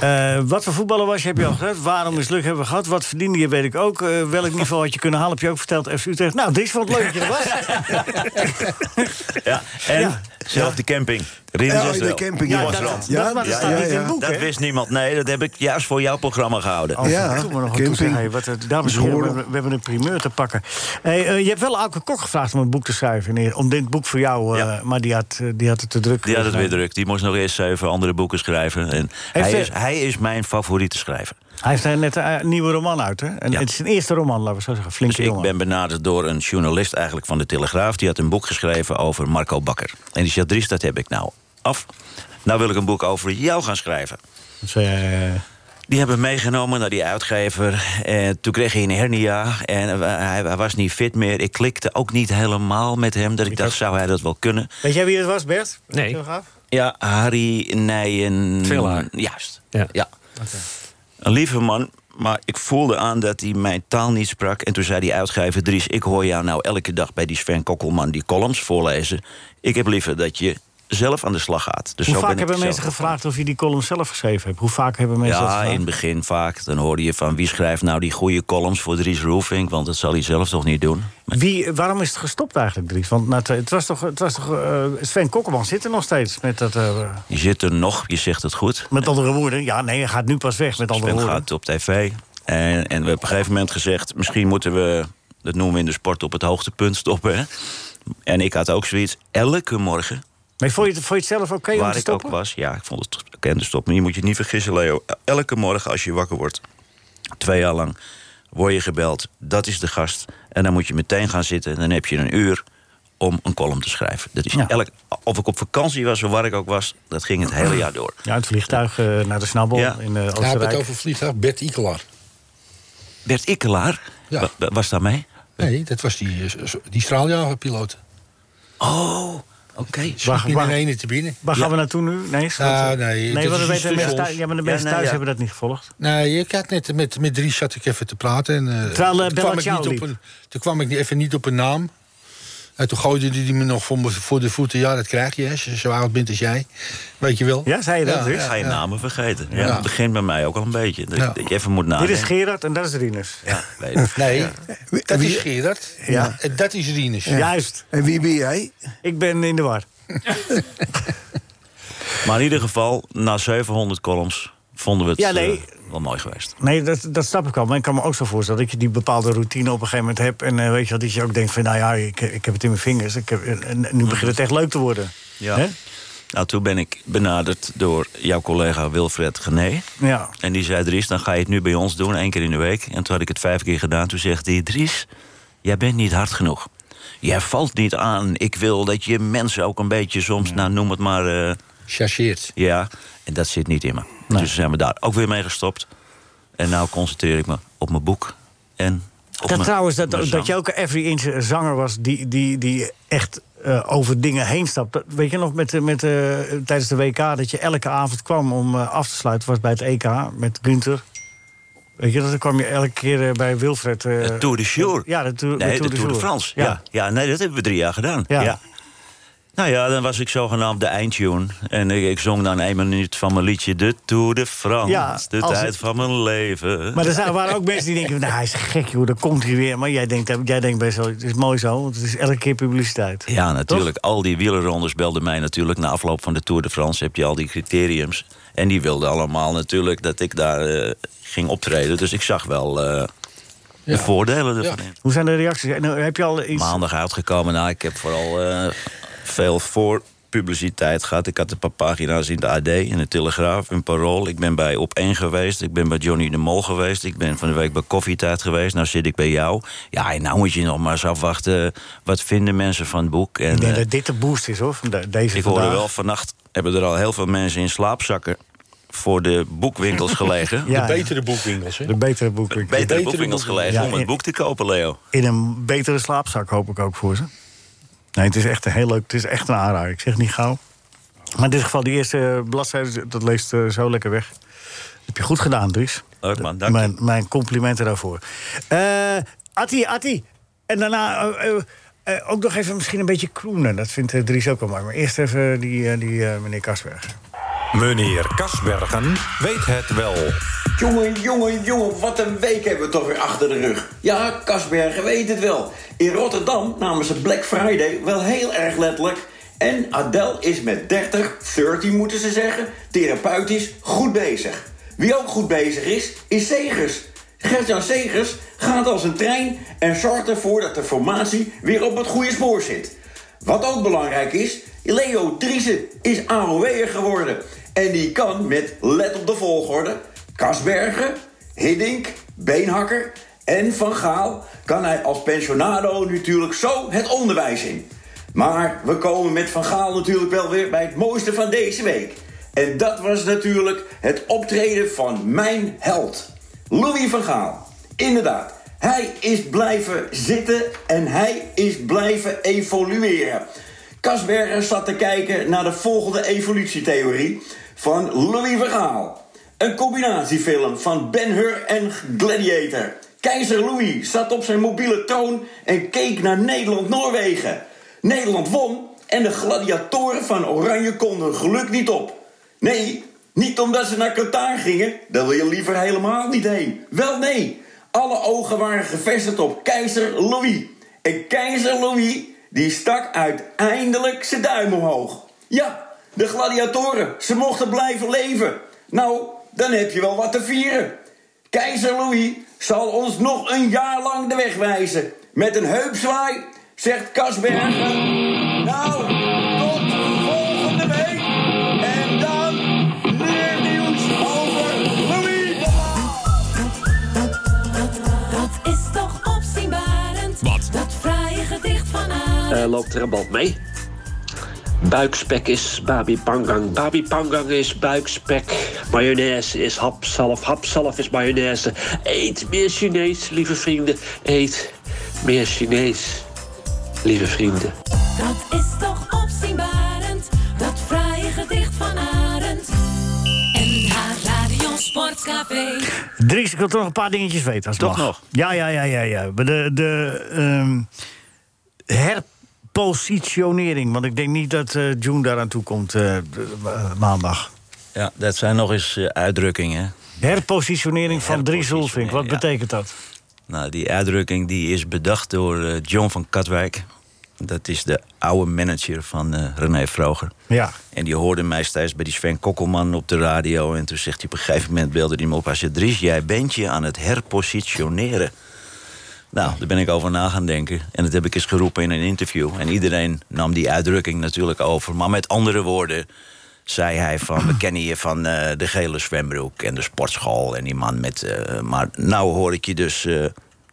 [SPEAKER 4] Eh, wat voor voetballer was je, heb je al gezegd. Waarom misluk hebben we gehad? Wat verdiende je, weet ik ook. Eh,
[SPEAKER 9] [LAUGHS]
[SPEAKER 4] welk niveau had je kunnen halen, heb je ook verteld. FC Utrecht. Nou, Dries vond het leuk dat je er was.
[SPEAKER 9] Ja, en zelf de camping. Rien
[SPEAKER 6] Ja, oh,
[SPEAKER 9] was
[SPEAKER 6] de
[SPEAKER 9] wel.
[SPEAKER 6] camping,
[SPEAKER 9] Die
[SPEAKER 6] ja.
[SPEAKER 9] was
[SPEAKER 6] Dat-
[SPEAKER 9] wel.
[SPEAKER 6] dat- Ja, maar dat staat ja, niet in het ja. boek,
[SPEAKER 9] Dat
[SPEAKER 6] hè?
[SPEAKER 9] wist niemand. Nee, dat heb ik juist voor jouw programma gehouden.
[SPEAKER 4] Oh, ja, maar nog wat toe zeggen.
[SPEAKER 6] camping,
[SPEAKER 4] Hey, wat, eh, dames en heren, we,
[SPEAKER 6] scholen.
[SPEAKER 4] hebben- we hebben een primeur te pakken. Hey, eh, je hebt wel Auke Kok gevraagd om een boek te schrijven. nee, Om dit boek voor jou, eh, maar die had, eh, die had het te druk.
[SPEAKER 9] Die had het
[SPEAKER 4] Dus,
[SPEAKER 9] weer
[SPEAKER 4] nou,
[SPEAKER 9] druk. Die moest nog eerst zeven andere boeken schrijven. En hij,
[SPEAKER 4] hij-
[SPEAKER 9] is, hij is mijn favoriete schrijver.
[SPEAKER 4] Hij heeft eh, net een eh, nieuwe roman uit, hè? En Het is zijn eerste roman, laten we zo zeggen. Flinke
[SPEAKER 9] Dus ik
[SPEAKER 4] jongen.
[SPEAKER 9] ben benaderd door een journalist eigenlijk van de Telegraaf. Die had een boek geschreven over Marco Bakker. En die zei, Dries, dat heb ik nou af. Nou wil ik een boek over jou gaan schrijven.
[SPEAKER 4] Dus, eh,
[SPEAKER 9] Die hebben meegenomen naar die uitgever. En toen kreeg hij een hernia en eh, hij, hij was niet fit meer. Ik klikte ook niet helemaal met hem. Dat ik dacht, zou hij dat wel kunnen?
[SPEAKER 4] Weet jij wie het was, Bert?
[SPEAKER 11] Nee.
[SPEAKER 4] Zo gaaf?
[SPEAKER 9] Ja, Harry Nijen...
[SPEAKER 11] Twillaar.
[SPEAKER 9] Juist,
[SPEAKER 11] Ja.
[SPEAKER 9] ja. Een lieve man, maar ik voelde aan dat hij mijn taal niet sprak. En toen zei die uitgever, Dries, ik hoor jou nou elke dag... bij die Sven Kokkelman die columns voorlezen. Ik heb liever dat je zelf aan de slag gaat. Dus
[SPEAKER 4] Hoe
[SPEAKER 9] zo ben
[SPEAKER 4] vaak
[SPEAKER 9] ik
[SPEAKER 4] hebben
[SPEAKER 9] zelf
[SPEAKER 4] mensen gevraagd of je die column zelf geschreven hebt? Hoe vaak hebben mensen dat
[SPEAKER 9] Ja,
[SPEAKER 4] gevraagd?
[SPEAKER 9] in het begin vaak. Dan hoorde je van wie schrijft nou die goede columns voor Dries Roefink... want dat zal hij zelf toch niet doen.
[SPEAKER 4] Wie, waarom is het gestopt eigenlijk, Dries? Want na twee- het was toch, het was toch eh, Sven Kokkelman zit er nog steeds met dat... eh,
[SPEAKER 9] Je zit er nog, je zegt het goed.
[SPEAKER 4] met andere woorden. Ja, nee, hij gaat nu pas weg met andere
[SPEAKER 9] Sven
[SPEAKER 4] woorden.
[SPEAKER 9] gaat op tv. En, en we hebben op een gegeven moment gezegd... misschien moeten we, dat noemen we in de sport, op het hoogtepunt stoppen. Hè? En ik had ook zoiets, elke morgen...
[SPEAKER 4] Maar vond je het, vond je het zelf oké om
[SPEAKER 9] waar
[SPEAKER 4] te
[SPEAKER 9] ik ook
[SPEAKER 4] stoppen?
[SPEAKER 9] was, ja, ik vond het oké om te stoppen. Je moet je niet vergissen, Leo. Elke morgen als je wakker wordt, twee jaar lang, word je gebeld. Dat is de gast. En dan moet je meteen gaan zitten. En dan heb je een uur om een column te schrijven. Dat is elk, of ik op vakantie was, of waar ik ook was, dat ging het hele jaar door.
[SPEAKER 4] Ja, het vliegtuig eh, naar de snabbel
[SPEAKER 9] Ja.
[SPEAKER 4] in
[SPEAKER 9] Ja,
[SPEAKER 4] eh,
[SPEAKER 5] Hij heeft
[SPEAKER 4] Oostenrijk.
[SPEAKER 5] het over vliegtuig Bert Ikelaar.
[SPEAKER 9] Bert Ikelaar?
[SPEAKER 5] Ja.
[SPEAKER 9] Wa- wa- Was daar mee?
[SPEAKER 5] Nee, dat was die, eh, s- die straaljagerpiloot.
[SPEAKER 9] Oh, oké.
[SPEAKER 5] Schiet niet in ene te binnen.
[SPEAKER 4] Waar gaan we naartoe nu? Nee, schat.
[SPEAKER 5] Nou, nee, dat
[SPEAKER 4] nee want
[SPEAKER 5] is
[SPEAKER 4] de
[SPEAKER 5] iets
[SPEAKER 4] mensen
[SPEAKER 5] tussen
[SPEAKER 4] thuis,
[SPEAKER 5] ons.
[SPEAKER 4] ja, maar de mensen
[SPEAKER 5] Ja, nee,
[SPEAKER 4] thuis
[SPEAKER 5] ja.
[SPEAKER 4] hebben dat niet gevolgd.
[SPEAKER 9] Ah,
[SPEAKER 5] Nee, ik had net met, met Dries zat ik even te praten. En, eh,
[SPEAKER 4] Terwijl, eh, Bella
[SPEAKER 5] ik
[SPEAKER 4] jou
[SPEAKER 5] niet
[SPEAKER 4] liep.
[SPEAKER 5] op een, toen kwam ik even niet op een naam. En toen gooide hij me nog voor, me- voor de voeten. Ja, dat krijg je hè, als je zo oud bent als jij. Weet je wel.
[SPEAKER 4] Ja, zei je dat, Dries?
[SPEAKER 9] Ik ga je namen vergeten. Ja,
[SPEAKER 5] Ja.
[SPEAKER 9] Het begint bij mij ook al een beetje. Dat,
[SPEAKER 5] Ja.
[SPEAKER 9] dat je even moet
[SPEAKER 4] Dit
[SPEAKER 9] nadenken.
[SPEAKER 4] is Gerard en dat is Rinus.
[SPEAKER 9] Ja, weet ik.
[SPEAKER 5] Nee,
[SPEAKER 9] Ja.
[SPEAKER 5] dat is Gerard.
[SPEAKER 4] Ja.
[SPEAKER 5] En dat is Rinus.
[SPEAKER 4] Juist.
[SPEAKER 12] En wie ben jij?
[SPEAKER 4] Ik ben in de war.
[SPEAKER 9] Maar in ieder geval, na 700 columns vonden we het
[SPEAKER 4] Ja, nee.
[SPEAKER 9] eh, wel mooi geweest.
[SPEAKER 4] Nee, dat, dat snap ik wel. Maar ik kan me ook zo voorstellen dat je die bepaalde routine op een gegeven moment hebt. En eh, weet je wel, dat je ook denkt van, nou ja, ik, ik heb het in mijn vingers. Ik heb, en- en nu begint het echt leuk te worden.
[SPEAKER 9] Ja.
[SPEAKER 4] Hè?
[SPEAKER 9] Nou, toen ben ik benaderd door jouw collega Wilfred Gené.
[SPEAKER 4] Ja.
[SPEAKER 9] En die zei, Dries, dan ga je het nu bij ons doen, één keer in de week. En toen had ik het vijf keer gedaan. Toen zegt hij, Dries, jij bent niet hard genoeg. Jij valt niet aan. Ik wil dat je mensen ook een beetje soms, nou noem het maar... eh,
[SPEAKER 5] Chargeert.
[SPEAKER 9] ja, en dat zit niet in me. Dus zijn we daar ook weer mee gestopt. En nou concentreer ik me op mijn boek. En op
[SPEAKER 4] Dat
[SPEAKER 9] mijn-
[SPEAKER 4] trouwens, dat,
[SPEAKER 9] mijn
[SPEAKER 4] dat
[SPEAKER 9] zang.
[SPEAKER 4] je ook een every inch zanger was die, die, die echt eh, over dingen heen stapt. Dat- Weet je nog, met, eh, met, eh, tijdens de WK, dat je elke avond kwam om eh, af te sluiten, was bij het EK met Günther. Weet je, dat dan kwam je elke keer eh, bij Wilfred. eh,
[SPEAKER 9] De Tour de Jour.
[SPEAKER 4] Ja, de Tour,
[SPEAKER 9] Nee, de Tour de,
[SPEAKER 4] Jour.
[SPEAKER 9] France. Ja. Ja. nee, dat hebben we drie jaar gedaan.
[SPEAKER 4] Ja.
[SPEAKER 9] Ja. Nou ja, dan was ik zogenaamd de eindtune. En ik, ik zong dan één minuut van mijn liedje... De Tour de France,
[SPEAKER 4] Ja,
[SPEAKER 9] de
[SPEAKER 4] als
[SPEAKER 9] tijd
[SPEAKER 4] het-
[SPEAKER 9] van mijn leven.
[SPEAKER 4] Maar er zijn- waren ook mensen die denken, nou, hij is gek, joh, daar komt hij weer. Maar jij denkt, eh, jij denkt best wel, het is mooi zo, want het is elke keer publiciteit.
[SPEAKER 9] Ja, natuurlijk. Al die wielerrondes belden mij natuurlijk. Na afloop van de Tour de France heb je al die criteriums. En die wilden allemaal natuurlijk dat ik daar eh, ging optreden. Dus ik zag wel eh, de
[SPEAKER 5] Ja.
[SPEAKER 9] voordelen ervan. in.
[SPEAKER 4] Hoe zijn de reacties? En, eh, heb je al iets...
[SPEAKER 9] Maandag uitgekomen. Nou, ik heb vooral eh, veel voor publiciteit gehad. Ik had een paar pagina's in de AD, in de Telegraaf, in Parool. Ik ben bij Op 1 geweest. Ik ben bij Johnny de Mol geweest. Ik ben van de week bij Koffietijd geweest. Nou zit ik bij jou. Ja, en nou moet je nog maar eens afwachten. Wat vinden mensen van het boek? En,
[SPEAKER 4] Ik denk
[SPEAKER 9] eh,
[SPEAKER 4] dat dit de boost is, hoor, van de- deze
[SPEAKER 9] ik hoorde
[SPEAKER 4] vandaag.
[SPEAKER 9] wel, vannacht hebben er al heel veel mensen in slaapzakken voor de boekwinkels
[SPEAKER 4] [LAUGHS]
[SPEAKER 9] gelegen.
[SPEAKER 4] Ja,
[SPEAKER 5] De betere boekwinkels, hè?
[SPEAKER 4] de betere boekwinkels.
[SPEAKER 9] Beter
[SPEAKER 5] betere
[SPEAKER 9] de boekwinkels
[SPEAKER 5] boekwinkels.
[SPEAKER 9] gelegen
[SPEAKER 4] Ja,
[SPEAKER 9] om het
[SPEAKER 4] in-
[SPEAKER 9] boek te kopen, Leo.
[SPEAKER 4] In een betere slaapzak hoop ik ook voor ze. Nee, het is echt een heel leuk. Het is echt een aanrader. Ik zeg niet gauw. Maar in dit geval, die eerste bladzijde, dat leest eh, zo lekker weg. heb je goed gedaan, Dries.
[SPEAKER 9] Leuk man, dank je.
[SPEAKER 4] Mijn, mijn complimenten daarvoor. Eh Atti, Atti. En daarna eh, eh, eh, ook nog even misschien een beetje kroenen. Dat vindt eh, Dries ook wel mooi. Maar eerst even die, eh, die eh, meneer Kasberg.
[SPEAKER 13] Meneer Kasbergen weet het wel.
[SPEAKER 6] Jongen, jongen, jongen, wat een week hebben we toch weer achter de rug. Ja, Kasbergen weet het wel. In Rotterdam namen ze Black Friday wel heel erg letterlijk. En Adele is met 30, 30 moeten ze zeggen, therapeutisch goed bezig. Wie ook goed bezig is, is Segers. Gertjan Segers gaat als een trein en zorgt ervoor dat de formatie weer op het goede spoor zit. Wat ook belangrijk is, Leo Driessen is AOW'er geworden. En die kan met, let op de volgorde, Kasbergen, Hiddink, Beenhakker en Van Gaal... kan hij als pensionado natuurlijk zo het onderwijs in. Maar we komen met Van Gaal natuurlijk wel weer bij het mooiste van deze week. En dat was natuurlijk het optreden van mijn held, Louis van Gaal. Inderdaad, hij is blijven zitten en hij is blijven evolueren. Kasberger zat te kijken naar de volgende evolutietheorie van Louis Verhaal. Een combinatiefilm van Ben-Hur en Gladiator. Keizer Louis zat op zijn mobiele troon en keek naar Nederland-Noorwegen. Nederland won en de gladiatoren van Oranje konden geluk niet op. Nee, niet omdat ze naar Qatar gingen. Daar wil je liever helemaal niet heen. Wel nee, alle ogen waren gevestigd op keizer Louis. En keizer Louis, die stak uiteindelijk zijn duim omhoog. Ja, de gladiatoren, ze mochten blijven leven. Nou, dan heb je wel wat te vieren. Keizer Louis zal ons nog een jaar lang de weg wijzen. Met een heupzwaai, zegt Kasbergen. Nou, tot volgende week. En dan meer nieuws over Louis.
[SPEAKER 3] Dat is toch opzienbarend? Wat? Dat fraaie gedicht van Arie.
[SPEAKER 14] eh, loopt er een band mee. Buikspek is babi pangang. Babi pangang is buikspek. Mayonaise is hapzalf. Hapzalf is mayonaise. Eet meer Chinees, lieve vrienden. Eet meer Chinees, lieve vrienden.
[SPEAKER 3] Dat is toch opzienbarend, dat fraaie gedicht van Arend. NH Radio Sportcafé.
[SPEAKER 4] Dries, ik wil toch nog een paar dingetjes weten. Als het
[SPEAKER 9] Toch
[SPEAKER 4] mag.
[SPEAKER 9] nog?
[SPEAKER 4] Ja, ja, ja, ja. ja. Maar De, de ehm, herpositionering. Want ik denk niet dat eh, June daaraan toe komt eh, de- eh, maandag.
[SPEAKER 9] Ja, dat zijn nog eens eh, uitdrukkingen.
[SPEAKER 4] Herpositionering van Dries Roelvink. Wat betekent dat?
[SPEAKER 9] Nou, die uitdrukking die is bedacht door eh, John van Katwijk. Dat is de oude manager van eh, René Vroger.
[SPEAKER 4] Ja.
[SPEAKER 9] En die hoorde mij steeds bij die Sven Kokkelman op de radio. En toen zegt hij op een gegeven moment, belde hij me op... als je Dries, jij bent je aan het herpositioneren. Nou, daar ben ik over na gaan denken. En dat heb ik eens geroepen in een interview. En iedereen nam die uitdrukking natuurlijk over. Maar met andere woorden zei hij van... we kennen je van eh, de gele zwembroek en de sportschool en die man met... eh, maar nou hoor ik je dus eh,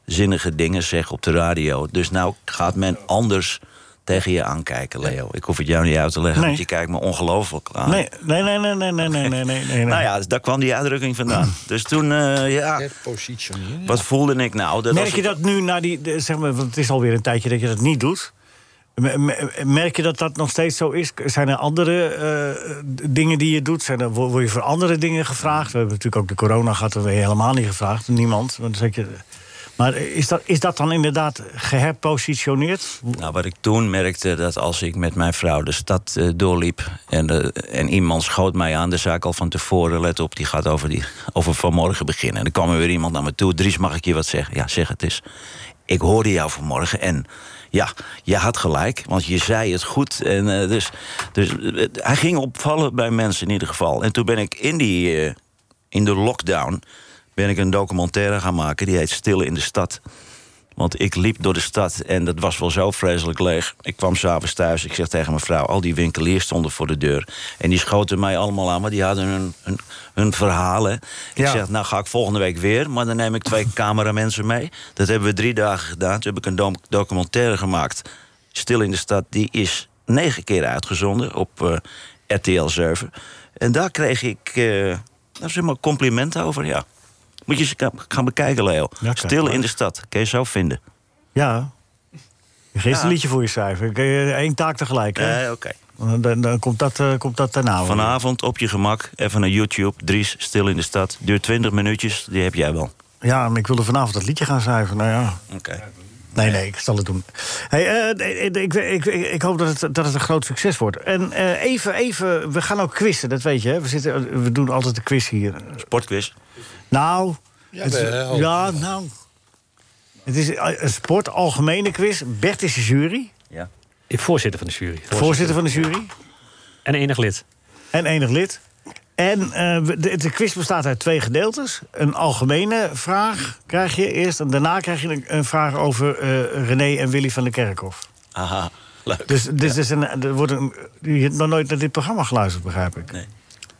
[SPEAKER 9] zinnige dingen zeggen op de radio. Dus nou gaat men anders tegen je aankijken, Leo. Ik hoef het jou niet uit te leggen,
[SPEAKER 4] Nee.
[SPEAKER 9] want je kijkt me ongelooflijk aan.
[SPEAKER 4] Nee, nee, nee, nee, nee, nee, nee, nee, nee, nee. Hm.
[SPEAKER 9] Nou ja, dus daar kwam die uitdrukking vandaan. Dus toen, eh, ja... Wat voelde ik nou? Dat
[SPEAKER 4] Merk
[SPEAKER 9] als
[SPEAKER 4] je
[SPEAKER 9] het-
[SPEAKER 4] dat nu na die... de- Zeg maar, want het is alweer een tijdje dat je dat niet doet. Me- me- Merk je dat dat nog steeds zo is? Zijn er andere eh, d- dingen die je doet? Zijn er, wo- word je voor andere dingen gevraagd? We hebben natuurlijk ook de corona gehad, dat werd je helemaal niet gevraagd. Niemand. Want dan zeg je, maar is dat, is dat dan inderdaad geherpositioneerd?
[SPEAKER 9] Nou, wat ik toen merkte, dat als ik met mijn vrouw de stad eh, doorliep... En, eh, en iemand schoot mij aan, de zaak al van tevoren... let op, die gaat over, die, [LAUGHS] over vanmorgen beginnen. En dan kwam er weer iemand naar me toe. Dries, mag ik je wat zeggen? Ja, zeg het eens. Ik hoorde jou vanmorgen en ja, je had gelijk, want je zei het goed. En, eh, dus dus eh, hij ging opvallen bij mensen in ieder geval. En toen ben ik in, die, eh, in de lockdown ben ik een documentaire gaan maken... die heet Stille in de Stad... Want ik liep door de stad en dat was wel zo vreselijk leeg. Ik kwam s'avonds thuis, ik zeg tegen mijn vrouw... al die winkeliers stonden voor de deur. En die schoten mij allemaal aan, maar die hadden hun, hun, hun verhalen. Ik
[SPEAKER 15] Ja.
[SPEAKER 9] zeg, nou ga ik volgende week weer... maar dan neem ik twee cameramensen mee. Dat hebben we drie dagen gedaan. Toen heb ik een dom- documentaire gemaakt. Stil in de stad, die is negen keer uitgezonden op eh, RTL 7. En daar kreeg ik eh nou, zeg maar complimenten over, ja. Moet je eens ka- gaan bekijken, Leo.
[SPEAKER 4] kijk
[SPEAKER 9] Stil
[SPEAKER 4] maar.
[SPEAKER 9] in de stad, kun je zo vinden.
[SPEAKER 4] Ja. Gisteren
[SPEAKER 9] Ja.
[SPEAKER 4] een liedje voor je schrijven. Ik, eh, Eén taak tegelijk. hè?
[SPEAKER 9] Nee, Eh, oké.
[SPEAKER 4] Dan, dan, dan komt, dat, eh, komt dat daarna. wel.
[SPEAKER 9] Vanavond op je gemak, even naar YouTube. Dries, stil in de stad. Duurt 20 minuutjes, die heb jij wel.
[SPEAKER 4] Ja, maar ik wilde vanavond dat liedje gaan schrijven. Nou ja.
[SPEAKER 9] Oké.
[SPEAKER 4] Nee, nee, ik zal het doen. Hey, eh, ik, ik, ik, ik hoop dat het, dat het een groot succes wordt. En eh, even, even, we gaan ook quizzen, dat weet je. Hè? We, zitten, eh, we doen altijd een quiz hier.
[SPEAKER 9] Sportquiz.
[SPEAKER 4] Nou,
[SPEAKER 5] Ja,
[SPEAKER 4] het is-
[SPEAKER 5] wel.
[SPEAKER 4] ja, nou. Het is eh, een sport, algemene quiz. Bert is de jury.
[SPEAKER 9] Ja.
[SPEAKER 11] Voorzitter van de jury.
[SPEAKER 4] Voorzitter van de jury.
[SPEAKER 11] En enig lid.
[SPEAKER 4] En enig lid. En eh, we- de, de quiz bestaat uit twee gedeeltes. Een algemene vraag krijg je eerst. En daarna krijg je een, een vraag over eh, René en Willy van de Kerkhof.
[SPEAKER 9] Aha, leuk.
[SPEAKER 4] Dus, dus er is een, er wordt een, je hebt nog nooit naar dit programma geluisterd, begrijp ik.
[SPEAKER 9] Nee.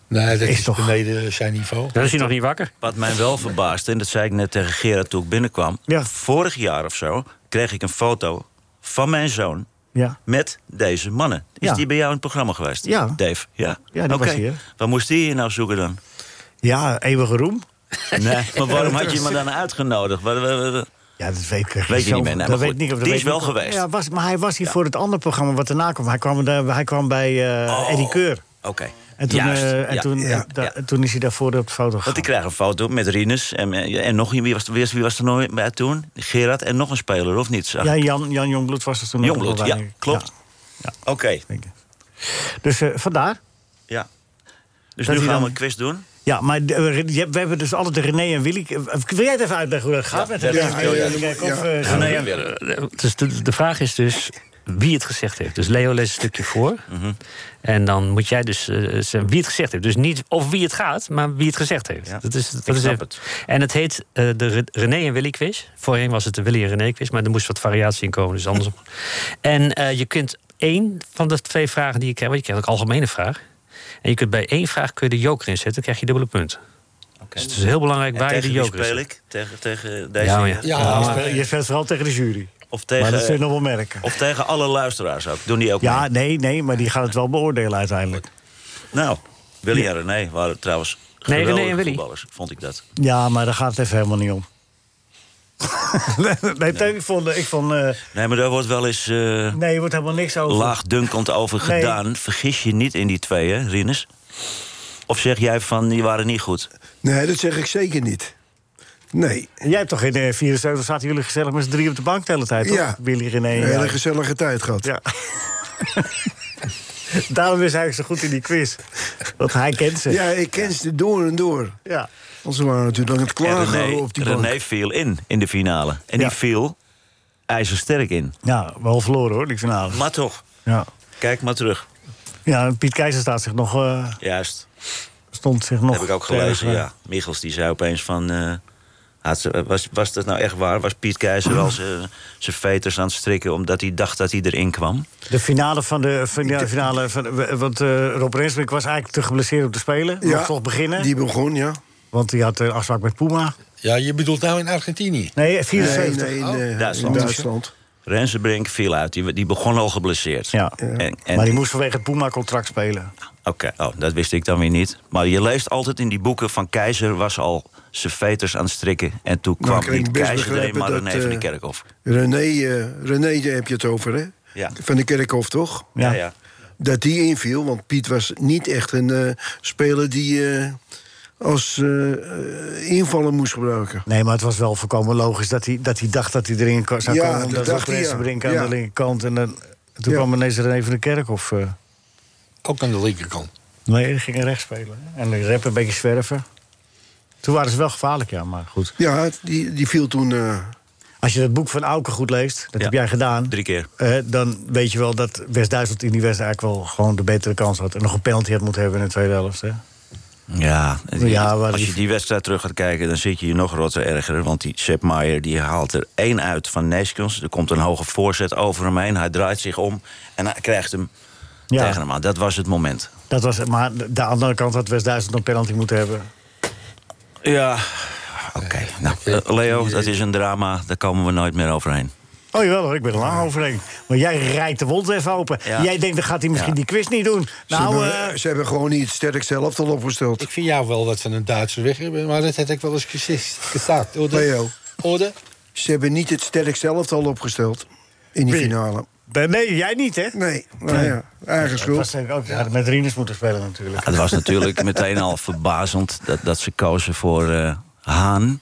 [SPEAKER 5] Nee, dat
[SPEAKER 4] Is
[SPEAKER 5] is,
[SPEAKER 4] toch-
[SPEAKER 5] beneden zijn niveau.
[SPEAKER 11] Dan is hij nog niet wakker.
[SPEAKER 9] Wat mij wel verbaasde, en dat zei ik net tegen Gerard toen ik binnenkwam... vorig jaar of zo kreeg ik een foto van mijn zoon
[SPEAKER 4] Ja.
[SPEAKER 9] met deze mannen. Is
[SPEAKER 4] Ja.
[SPEAKER 9] die bij jou in het programma geweest?
[SPEAKER 4] Ja.
[SPEAKER 9] Dave, ja.
[SPEAKER 4] Ja, die was
[SPEAKER 9] Oké.
[SPEAKER 4] hier.
[SPEAKER 9] Waar moest die je nou zoeken [LAUGHS] dan?
[SPEAKER 4] Ja, eeuwige roem.
[SPEAKER 9] Nee, maar waarom had
[SPEAKER 4] [LAUGHS]
[SPEAKER 9] je me dan uitgenodigd? Wa- wa- wa- wa-
[SPEAKER 4] Ja, dat weet ik
[SPEAKER 9] Weet je
[SPEAKER 4] Zo-
[SPEAKER 9] niet meer. Nee, maar
[SPEAKER 4] dat
[SPEAKER 9] goed,
[SPEAKER 4] weet ik niet, dat
[SPEAKER 9] die
[SPEAKER 4] weet
[SPEAKER 9] is
[SPEAKER 4] ik
[SPEAKER 9] wel
[SPEAKER 4] niet.
[SPEAKER 9] geweest.
[SPEAKER 4] Ja, was, maar hij was hier voor het andere programma wat erna kwam. Hij kwam, daar- hij kwam bij eh Eddie Keur.
[SPEAKER 9] Oké.
[SPEAKER 4] En toen,
[SPEAKER 9] Oh, Juist,
[SPEAKER 4] eh, en
[SPEAKER 9] ja.
[SPEAKER 4] toen,
[SPEAKER 9] Ja.
[SPEAKER 4] da- toen is hij daarvoor op de foto gegaan.
[SPEAKER 9] Want ik krijg een foto met Rinus en, en nog iemand. Wie was, wie, wie was er nooit bij toen? Gerard en nog een speler, of niet? Zag ik.
[SPEAKER 4] Ja, Jan, Jan Jongbloed was er toen ook
[SPEAKER 9] Jongbloed,
[SPEAKER 4] wel bij.
[SPEAKER 9] ja, klopt. Oké.
[SPEAKER 4] Dus eh, vandaar.
[SPEAKER 9] Ja. Dus nu
[SPEAKER 4] Dat hij
[SPEAKER 9] gaan
[SPEAKER 4] dan-
[SPEAKER 9] we een quiz doen.
[SPEAKER 4] Ja, maar de- we- je- we hebben dus altijd de René en Willy. eh, Wil jij het even uitleggen hoe dat gaat met
[SPEAKER 11] dat
[SPEAKER 4] René
[SPEAKER 11] is
[SPEAKER 4] en
[SPEAKER 11] heel
[SPEAKER 4] Willy?
[SPEAKER 11] juist.
[SPEAKER 4] Kijk, of, eh,
[SPEAKER 11] Ja, nee, ja, dus de, de vraag is dus wie het gezegd heeft. Dus Leo leest een stukje voor.
[SPEAKER 9] Mhm.
[SPEAKER 11] En dan moet jij dus eh, zeggen wie het gezegd heeft. Dus niet of wie het gaat, maar wie het gezegd heeft. Dat is, dat
[SPEAKER 9] ik
[SPEAKER 11] is
[SPEAKER 9] snap
[SPEAKER 11] even- En het heet eh, de Re- René en Willy quiz. Voorheen was het de Willy en René quiz, maar er moest wat variatie in komen. Dus
[SPEAKER 9] [LAUGHS]
[SPEAKER 11] andersom. en eh, je kunt één van de twee vragen die je krijgt, want je krijgt ook een algemene vraag. En je kunt bij één vraag kun je de joker inzetten, dan krijg je dubbele punten. Dus het is heel belangrijk
[SPEAKER 9] En
[SPEAKER 11] waar je de
[SPEAKER 9] tegen wie
[SPEAKER 11] joker
[SPEAKER 9] speel
[SPEAKER 11] inzet.
[SPEAKER 9] ik? Tegen, tegen deze?
[SPEAKER 11] Ja, ja. Ja,
[SPEAKER 4] je speelt vooral tegen de jury.
[SPEAKER 9] Of tegen,
[SPEAKER 4] maar dat zul je nog wel merken.
[SPEAKER 9] Of tegen alle luisteraars ook. Doen die ook
[SPEAKER 4] Ja,
[SPEAKER 9] mee?
[SPEAKER 4] nee, nee, maar die gaan het wel beoordelen uiteindelijk.
[SPEAKER 9] Nou, Willy en René waren trouwens
[SPEAKER 4] Nee,
[SPEAKER 9] geweldige
[SPEAKER 4] René en Willy.
[SPEAKER 9] voetballers, vond ik dat.
[SPEAKER 4] Ja, maar daar gaat het even helemaal
[SPEAKER 9] [LAUGHS]
[SPEAKER 4] niet om. nee, nee, ik vond... Ik vond eh,
[SPEAKER 9] Nee, maar daar wordt wel eens eh
[SPEAKER 4] nee, er wordt helemaal niks over.
[SPEAKER 9] laagdunkend over
[SPEAKER 4] Nee.
[SPEAKER 9] gedaan. Vergis je niet in die twee, hè, Rinus? Of zeg jij van, die waren niet goed?
[SPEAKER 6] Nee, dat zeg ik zeker niet. Nee.
[SPEAKER 4] Jij hebt toch in de 74 zaten jullie gezellig met z'n drieën op de bank de hele tijd, toch?
[SPEAKER 6] Ja.
[SPEAKER 4] Willy, René en
[SPEAKER 6] Een hele
[SPEAKER 4] jij.
[SPEAKER 6] gezellige tijd gehad.
[SPEAKER 4] Ja. [LAUGHS] Daarom is hij eigenlijk zo goed in die quiz. Want hij kent ze.
[SPEAKER 6] Ja, ik ken ze door en door.
[SPEAKER 4] Ja.
[SPEAKER 6] Want ze waren natuurlijk aan het
[SPEAKER 9] En
[SPEAKER 6] klagen
[SPEAKER 9] René,
[SPEAKER 6] op die bank.
[SPEAKER 9] René viel in, in de finale. En die viel ijzersterk in.
[SPEAKER 4] Ja, wel verloren hoor, die finale.
[SPEAKER 9] Maar toch,
[SPEAKER 4] Ja,
[SPEAKER 9] kijk maar terug.
[SPEAKER 4] ja Piet Keizer staat zich nog, eh,
[SPEAKER 9] Juist.
[SPEAKER 4] stond zich nog...
[SPEAKER 9] Dat heb ik ook gelezen,
[SPEAKER 4] ergens, eh,
[SPEAKER 9] ja. Michels die zei opeens van... eh, had ze- was, was dat nou echt waar? Was Piet Keizer al zijn zijn veters aan het strikken... omdat hij dacht dat hij erin kwam?
[SPEAKER 4] De finale van de finale, finale van, want eh, Rob Rensbrink was eigenlijk te geblesseerd om te spelen.
[SPEAKER 6] Ja,
[SPEAKER 4] mocht toch beginnen.
[SPEAKER 6] die begon, ja.
[SPEAKER 4] Want die had een afspraak met Puma.
[SPEAKER 5] Ja, je bedoelt nou in Argentinië?
[SPEAKER 4] Nee, 74.
[SPEAKER 6] Nee, nee, in, eh,
[SPEAKER 9] Duitsland.
[SPEAKER 6] in Duitsland.
[SPEAKER 9] Rensenbrink viel uit. Die, die begon al geblesseerd.
[SPEAKER 4] Ja.
[SPEAKER 9] En, en-
[SPEAKER 4] Maar die moest vanwege het Puma-contract spelen.
[SPEAKER 9] Oké, oh, dat wist ik dan weer niet. Maar je leest altijd in die boeken van Keizer was al zijn veters aan het strikken. En toen
[SPEAKER 6] Nou,
[SPEAKER 9] kwam
[SPEAKER 6] kan ik
[SPEAKER 9] niet
[SPEAKER 6] best
[SPEAKER 9] Keizer erin,
[SPEAKER 6] begrijpen
[SPEAKER 9] maar
[SPEAKER 6] dat,
[SPEAKER 9] René van de
[SPEAKER 6] eh,
[SPEAKER 9] Kerkhof.
[SPEAKER 6] René, eh, René, daar heb je het over, hè?
[SPEAKER 9] Ja.
[SPEAKER 6] Van de Kerkhof, toch?
[SPEAKER 9] Ja. Ja,
[SPEAKER 6] Dat die inviel, want Piet was niet echt een eh, speler die eh, als eh, eh, invaller moest gebruiken.
[SPEAKER 4] Nee, maar het was wel voorkomen logisch dat hij, dat hij dacht dat hij erin ko- zou
[SPEAKER 6] Ja,
[SPEAKER 4] komen.
[SPEAKER 6] dat
[SPEAKER 4] Omdat
[SPEAKER 6] dacht
[SPEAKER 4] Rob
[SPEAKER 6] hij, ja.
[SPEAKER 4] Rensbrink aan
[SPEAKER 6] Ja.
[SPEAKER 4] de linkerkant. En dan, toen
[SPEAKER 6] Ja.
[SPEAKER 4] kwam ineens René van de Kerkhof. eh
[SPEAKER 5] Ook aan de linkerkant.
[SPEAKER 4] nee, die ging rechts spelen. En de rep een beetje zwerven. Toen waren ze wel gevaarlijk, ja, maar goed.
[SPEAKER 6] Ja, die, die viel toen... eh,
[SPEAKER 4] Als je dat boek van Auken goed leest, dat heb jij gedaan.
[SPEAKER 9] Drie keer.
[SPEAKER 4] eh, dan weet je wel dat West-Duitsland in die wedstrijd eigenlijk wel gewoon de betere kans had. En nog een penalty had moeten hebben in de tweede helft. Hè?
[SPEAKER 9] Ja,
[SPEAKER 4] Ja, waar
[SPEAKER 9] als je
[SPEAKER 4] die-
[SPEAKER 9] die wedstrijd terug gaat kijken, dan zit je hier nog rotter erger. Want die Sepp Maier die haalt er één uit van Neskens. Er komt een hoge voorzet over hem heen. Hij draait zich om en hij krijgt hem
[SPEAKER 4] Ja.
[SPEAKER 9] tegen hem aan. Dat was het moment.
[SPEAKER 4] Dat was, het. maar de andere kant had West-Duitsland een penalty moeten hebben.
[SPEAKER 9] Ja. Oké, nou, eh, Leo, dat is een drama. Daar komen we nooit meer overheen.
[SPEAKER 4] Oh jawel hoor, ik ben er lang overheen. Maar jij rijdt de wond even open.
[SPEAKER 9] Ja.
[SPEAKER 4] Jij denkt, dan gaat hij misschien
[SPEAKER 9] Ja.
[SPEAKER 4] die quiz niet doen. Nou,
[SPEAKER 6] ze,
[SPEAKER 4] eh,
[SPEAKER 6] hebben, ze hebben gewoon niet het sterkste helft al opgesteld.
[SPEAKER 5] Ik vind jou wel wat van een Duitse weg hebben, maar dat heb ik wel eens gezegd. Gezegd, oder?
[SPEAKER 6] Leo.
[SPEAKER 5] Oder?
[SPEAKER 6] Ze hebben niet het sterkste helft al opgesteld in die
[SPEAKER 4] Wie?
[SPEAKER 6] finale.
[SPEAKER 4] ben- nee, jij niet hè?
[SPEAKER 6] Nee, nou ja, eigen
[SPEAKER 4] Dat
[SPEAKER 6] schuld.
[SPEAKER 4] was eh, denk ik ook, ja, had met Rinus moeten spelen natuurlijk.
[SPEAKER 9] Het was [LAUGHS] natuurlijk meteen al verbazend dat, dat ze kozen voor eh, Haan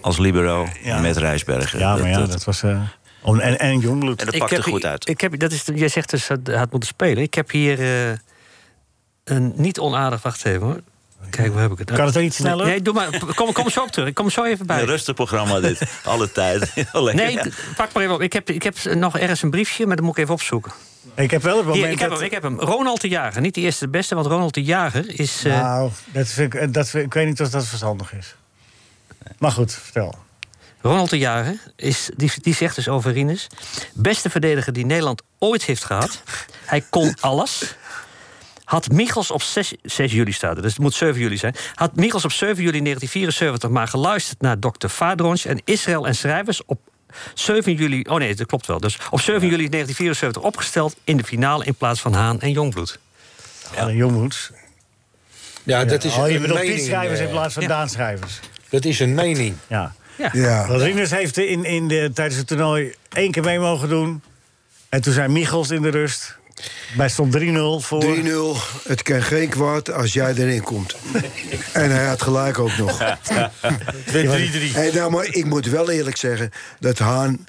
[SPEAKER 9] als libero
[SPEAKER 4] Ja.
[SPEAKER 9] met Rijsbergen.
[SPEAKER 4] Ja, maar ja, dat was... eh, on- en, en Jongbloed.
[SPEAKER 9] En dat pakte goed
[SPEAKER 11] hier-
[SPEAKER 9] uit.
[SPEAKER 11] Ik heb, dat is, jij zegt dus dat hij had moeten spelen. Ik heb hier eh, een niet onaardig... Wacht even hoor. Kijk, waar heb ik het?
[SPEAKER 4] Kan het ook iets sneller?
[SPEAKER 11] Nee, doe maar. Kom, kom zo op terug. Ik kom zo even bij.
[SPEAKER 9] Een rustig programma [LAUGHS] dit, alle tijd. [LAUGHS]
[SPEAKER 11] Nee, d- pak maar even op. Ik heb, ik heb nog ergens een briefje, maar dat moet ik even opzoeken.
[SPEAKER 4] Ik heb wel het moment
[SPEAKER 11] Hier, ik, heb
[SPEAKER 4] dat-
[SPEAKER 11] hem, ik heb hem. Ronald de Jager. Niet de eerste de beste, want Ronald de Jager is... eh,
[SPEAKER 4] Nou, dat vind ik, dat, vind- ik weet niet of dat verstandig is. Maar goed, vertel.
[SPEAKER 11] Ronald de Jager, is, die, die zegt dus over Rinus... beste verdediger die Nederland ooit heeft gehad. Hij kon alles. Had Michels op 6, 6 juli staat er, dus het moet 7 juli zijn. Had Michels op 7 juli 1974 maar geluisterd naar Dr. Fadrons en Israël en schrijvers op 7 juli. Oh nee, dat klopt wel. Dus op 7 juli 1974 opgesteld in de finale in plaats van Haan en Jongbloed.
[SPEAKER 4] Alleen Jongbloed.
[SPEAKER 5] Ja, dat is
[SPEAKER 4] oh, je
[SPEAKER 5] een
[SPEAKER 4] bedoelt
[SPEAKER 5] mening,
[SPEAKER 4] Piet-schrijvers
[SPEAKER 5] eh,
[SPEAKER 4] in plaats van Daan-schrijvers.
[SPEAKER 5] Dat is een mening.
[SPEAKER 4] Ja.
[SPEAKER 6] Ja.
[SPEAKER 4] Want Rinus heeft in, in de, tijdens het toernooi één keer mee mogen doen. En toen zijn Michels in de rust. Bij stond 3-0 voor.
[SPEAKER 6] 3-0, het kan geen kwaad als jij erin [LAUGHS] komt. en hij had gelijk ook nog. Hey, nou, maar ik moet wel eerlijk zeggen dat Haan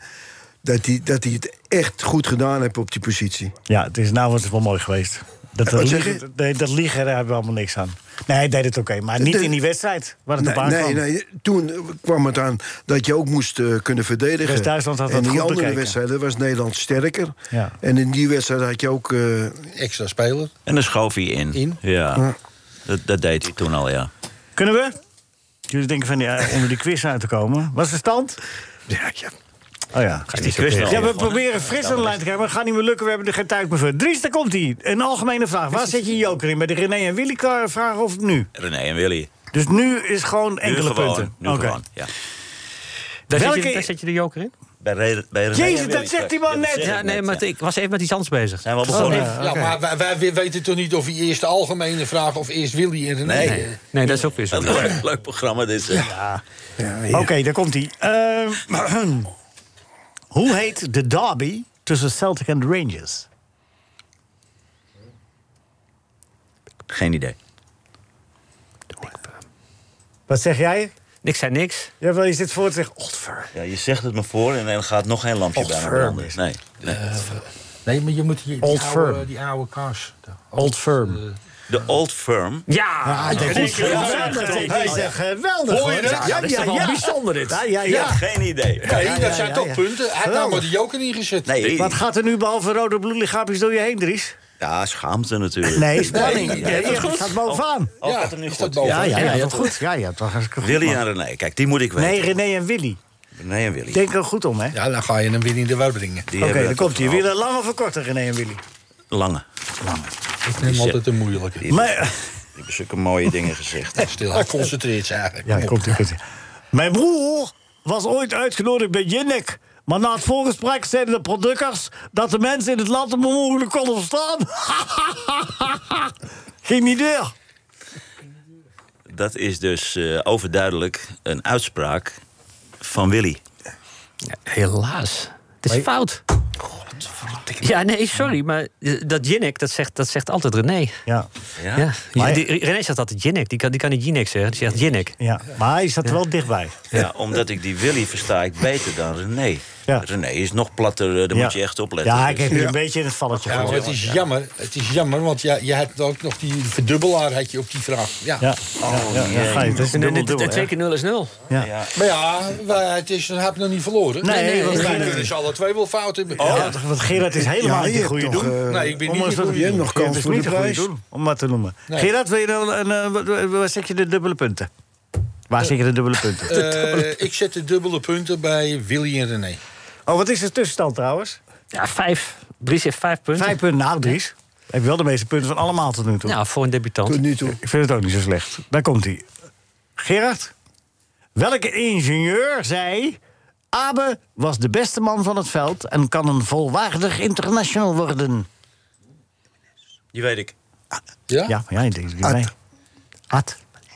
[SPEAKER 6] dat hij, dat hij het echt goed gedaan heeft op die positie.
[SPEAKER 4] Ja, het is, nou was het wel mooi geweest. Dat,
[SPEAKER 6] Wat
[SPEAKER 4] dat,
[SPEAKER 6] zeg
[SPEAKER 4] liegen, nee, dat liegen, daar hebben we allemaal niks aan. Nee, hij deed het oké, maar niet
[SPEAKER 6] De-
[SPEAKER 4] in die wedstrijd waar het
[SPEAKER 6] Nee,
[SPEAKER 4] op aankwam.
[SPEAKER 6] nee, nee, toen kwam het aan dat je ook moest eh, kunnen verdedigen.
[SPEAKER 4] West-Duitsland had
[SPEAKER 6] en
[SPEAKER 4] dat
[SPEAKER 6] die
[SPEAKER 4] goed
[SPEAKER 6] andere
[SPEAKER 4] bekeken.
[SPEAKER 6] wedstrijden was Nederland sterker.
[SPEAKER 4] Ja.
[SPEAKER 6] En in die wedstrijd had je ook... eh,
[SPEAKER 5] Extra speler.
[SPEAKER 9] En dan schoof hij in.
[SPEAKER 5] In?
[SPEAKER 9] Ja, dat, dat deed hij toen al, ja.
[SPEAKER 4] Kunnen we? Jullie denken van ja, om die quiz uit te komen. Wat is de stand?
[SPEAKER 6] ja, ja.
[SPEAKER 4] Oh ja.
[SPEAKER 9] Is die quiz nou
[SPEAKER 4] Ja,
[SPEAKER 9] al
[SPEAKER 4] we
[SPEAKER 9] begonnen?
[SPEAKER 4] proberen fris aan de lijn te krijgen, maar het gaat niet meer lukken. We hebben er geen tijd meer voor. Dries, daar komt hij. Een algemene vraag. Waar zet je je joker in? Bij de René en Willy ka- vraag of nu?
[SPEAKER 9] René en Willy.
[SPEAKER 4] Dus nu is gewoon
[SPEAKER 9] Nu
[SPEAKER 4] enkele
[SPEAKER 9] gewoon,
[SPEAKER 4] punten.
[SPEAKER 9] Nu
[SPEAKER 4] Oké.
[SPEAKER 9] gewoon, ja.
[SPEAKER 11] Daar, zet
[SPEAKER 4] Welke-
[SPEAKER 11] je, daar zet je de joker in?
[SPEAKER 9] Bij, Re- bij René en
[SPEAKER 5] Jezus,
[SPEAKER 9] Willy
[SPEAKER 5] dat zegt
[SPEAKER 9] straks.
[SPEAKER 5] die man
[SPEAKER 9] Ja, dat
[SPEAKER 5] net.
[SPEAKER 9] zeg
[SPEAKER 5] Ja,
[SPEAKER 9] ik
[SPEAKER 5] nee, maar
[SPEAKER 11] Ik was even met iets anders bezig.
[SPEAKER 9] Zijn we al begonnen?
[SPEAKER 5] Ja, maar wij, wij weten toch niet of hij eerst de algemene vraag of eerst Willy en René.
[SPEAKER 9] Nee.
[SPEAKER 5] eh,
[SPEAKER 11] Nee, dat is ook weer zo.
[SPEAKER 9] Leuk, leuk programma dit. eh. zeg. Ja.
[SPEAKER 4] Oké, daar komt hij. Ehm, [CLEARS THROAT] hoe heet de derby tussen Celtic en de Rangers?
[SPEAKER 9] Geen idee.
[SPEAKER 4] Wat zeg jij?
[SPEAKER 11] Niks zei niks.
[SPEAKER 4] Jawel, je zit voor het zegt Oldver.
[SPEAKER 9] Ja, je zegt het me voor en dan gaat nog geen lampje bij me
[SPEAKER 4] Firm
[SPEAKER 9] branden. Nee. nee.
[SPEAKER 5] nee, maar je moet hier
[SPEAKER 4] Old
[SPEAKER 5] die, oude,
[SPEAKER 4] Firm.
[SPEAKER 5] die oude kaars.
[SPEAKER 4] Old Firm.
[SPEAKER 9] De Old Firm.
[SPEAKER 11] Ja!
[SPEAKER 4] Ah, dat is geweldig. dit. Dit is echt geweldig.
[SPEAKER 5] Hoor
[SPEAKER 4] hoor.
[SPEAKER 5] je dat?
[SPEAKER 4] ja,
[SPEAKER 5] Ja,
[SPEAKER 4] ja. Ja, ja, ja.
[SPEAKER 9] Ja, geen idee.
[SPEAKER 5] Nee,
[SPEAKER 4] Ja, ja,
[SPEAKER 5] dat
[SPEAKER 4] ja,
[SPEAKER 5] zijn
[SPEAKER 4] ja,
[SPEAKER 5] toch
[SPEAKER 4] ja.
[SPEAKER 5] punten. Hij had nou
[SPEAKER 4] Geweldig.
[SPEAKER 5] maar die joker niet gezet.
[SPEAKER 9] Nee.
[SPEAKER 4] Wat gaat er nu behalve rode bloedlichaampjes door je heen, Dries?
[SPEAKER 9] Ja, schaamte natuurlijk.
[SPEAKER 4] Nee, spanning.
[SPEAKER 9] Nee,
[SPEAKER 4] Nee,
[SPEAKER 9] ja, dat is goed.
[SPEAKER 4] het gaat bovenaan.
[SPEAKER 9] Oh, gaat hem nu
[SPEAKER 5] is
[SPEAKER 9] goed.
[SPEAKER 5] dat boven?
[SPEAKER 4] Ja, ja,
[SPEAKER 9] Ja,
[SPEAKER 4] ja,
[SPEAKER 9] dat
[SPEAKER 4] dat
[SPEAKER 9] is
[SPEAKER 4] goed. Ja, ja, toch hartstikke goed.
[SPEAKER 9] Willy
[SPEAKER 4] man.
[SPEAKER 9] en René, kijk, die moet ik weten.
[SPEAKER 4] Nee, René en Willy.
[SPEAKER 9] René en Willy.
[SPEAKER 4] Denk er goed om, hè?
[SPEAKER 5] Ja, dan ga je hem weer in de war brengen.
[SPEAKER 9] Die
[SPEAKER 4] Oké,
[SPEAKER 9] hebben
[SPEAKER 4] dan
[SPEAKER 9] het
[SPEAKER 4] komt hij.
[SPEAKER 9] verhaal.
[SPEAKER 4] Wil je lang of een korte, René en Willy?
[SPEAKER 9] Lange.
[SPEAKER 5] Ik neem altijd een moeilijke.
[SPEAKER 9] Die
[SPEAKER 4] Maar-
[SPEAKER 9] hebben zulke mooie dingen gezegd.
[SPEAKER 5] Stil, hij concentreert zich eigenlijk.
[SPEAKER 4] Ja, komt ie, komt ie. Mijn broer was ooit uitgenodigd bij Jinnik. Maar na het voorgesprek zeiden de producters dat de mensen in het land hem onmogelijk konden verstaan. [LAUGHS] Geen idee.
[SPEAKER 9] Dat is dus eh, overduidelijk een uitspraak van Willy.
[SPEAKER 11] Helaas. Het is fout. Ja, nee, sorry, maar eh, dat Jinek, dat zegt, dat zegt altijd René.
[SPEAKER 4] Ja.
[SPEAKER 9] Ja?
[SPEAKER 11] Ja.
[SPEAKER 4] Maar-
[SPEAKER 11] die- René zegt altijd Jinek, die kan, die kan niet Jinek zeggen, die zegt Jinek.
[SPEAKER 4] ja. Maar hij zat er wel dichtbij.
[SPEAKER 9] Ja, omdat ik die Willy versta ik beter dan René.
[SPEAKER 4] Ja.
[SPEAKER 9] René is nog platter, eh, daar
[SPEAKER 4] Ja.
[SPEAKER 9] moet je echt opletten.
[SPEAKER 4] Ja,
[SPEAKER 9] Dus-
[SPEAKER 4] ik heb hier een beetje in het valletje
[SPEAKER 5] Ja, maar
[SPEAKER 4] gegooid.
[SPEAKER 5] het is jammer. Het is jammer, want ja, je had ook nog die verdubbelaar had je op die vraag. Ja.
[SPEAKER 4] Ja, ja, ja, ja, ga je. Dat is
[SPEAKER 11] En- en- en-
[SPEAKER 4] een dubbel dubbel,
[SPEAKER 11] Twee
[SPEAKER 4] hè?
[SPEAKER 11] keer nul is nul.
[SPEAKER 4] Ja.
[SPEAKER 5] Maar ja, wij, het is, dan heb je nog niet verloren.
[SPEAKER 4] Nee, nee,
[SPEAKER 5] want
[SPEAKER 4] nee,
[SPEAKER 5] wij
[SPEAKER 4] nee.
[SPEAKER 5] kunnen ze alle twee wel fout hebben.
[SPEAKER 4] Ja,
[SPEAKER 5] Ja.
[SPEAKER 4] want Oh, Gerard is helemaal
[SPEAKER 6] Ja, je
[SPEAKER 4] niet de
[SPEAKER 6] hebt
[SPEAKER 4] goede
[SPEAKER 6] toch,
[SPEAKER 4] doen.
[SPEAKER 6] eh,
[SPEAKER 5] Nee, ik ben
[SPEAKER 4] Om
[SPEAKER 5] niet
[SPEAKER 4] eens
[SPEAKER 5] de
[SPEAKER 4] wat
[SPEAKER 5] goede
[SPEAKER 4] te
[SPEAKER 6] Jij
[SPEAKER 4] doen.
[SPEAKER 6] nog
[SPEAKER 4] Gerard
[SPEAKER 6] kans
[SPEAKER 4] is
[SPEAKER 6] voor
[SPEAKER 4] niet
[SPEAKER 6] de
[SPEAKER 4] de goede
[SPEAKER 6] prijs.
[SPEAKER 4] doen, om wat te noemen. Gerard, wil je dan een, eh, wat- wat- waar zet je de dubbele punten? Waar zet je de dubbele punten?
[SPEAKER 5] Eh, ik zet de dubbele punten bij Willy en René.
[SPEAKER 4] Oh, wat is de tussenstand trouwens?
[SPEAKER 11] Ja, vijf. Dries heeft vijf punten.
[SPEAKER 4] Vijf punten. Nou, Dries. Heb je wel de meeste punten van allemaal tot nu toe.
[SPEAKER 11] Nou, voor een debutant.
[SPEAKER 6] Tot nu toe.
[SPEAKER 4] Ik vind het ook niet zo slecht. Daar komt hij. Gerard, welke ingenieur zei... Abe was de beste man van het veld en kan een volwaardig international worden?
[SPEAKER 9] Die weet ik.
[SPEAKER 5] Ja?
[SPEAKER 4] Ja, maar ja, ik denk het niet mee. Ad.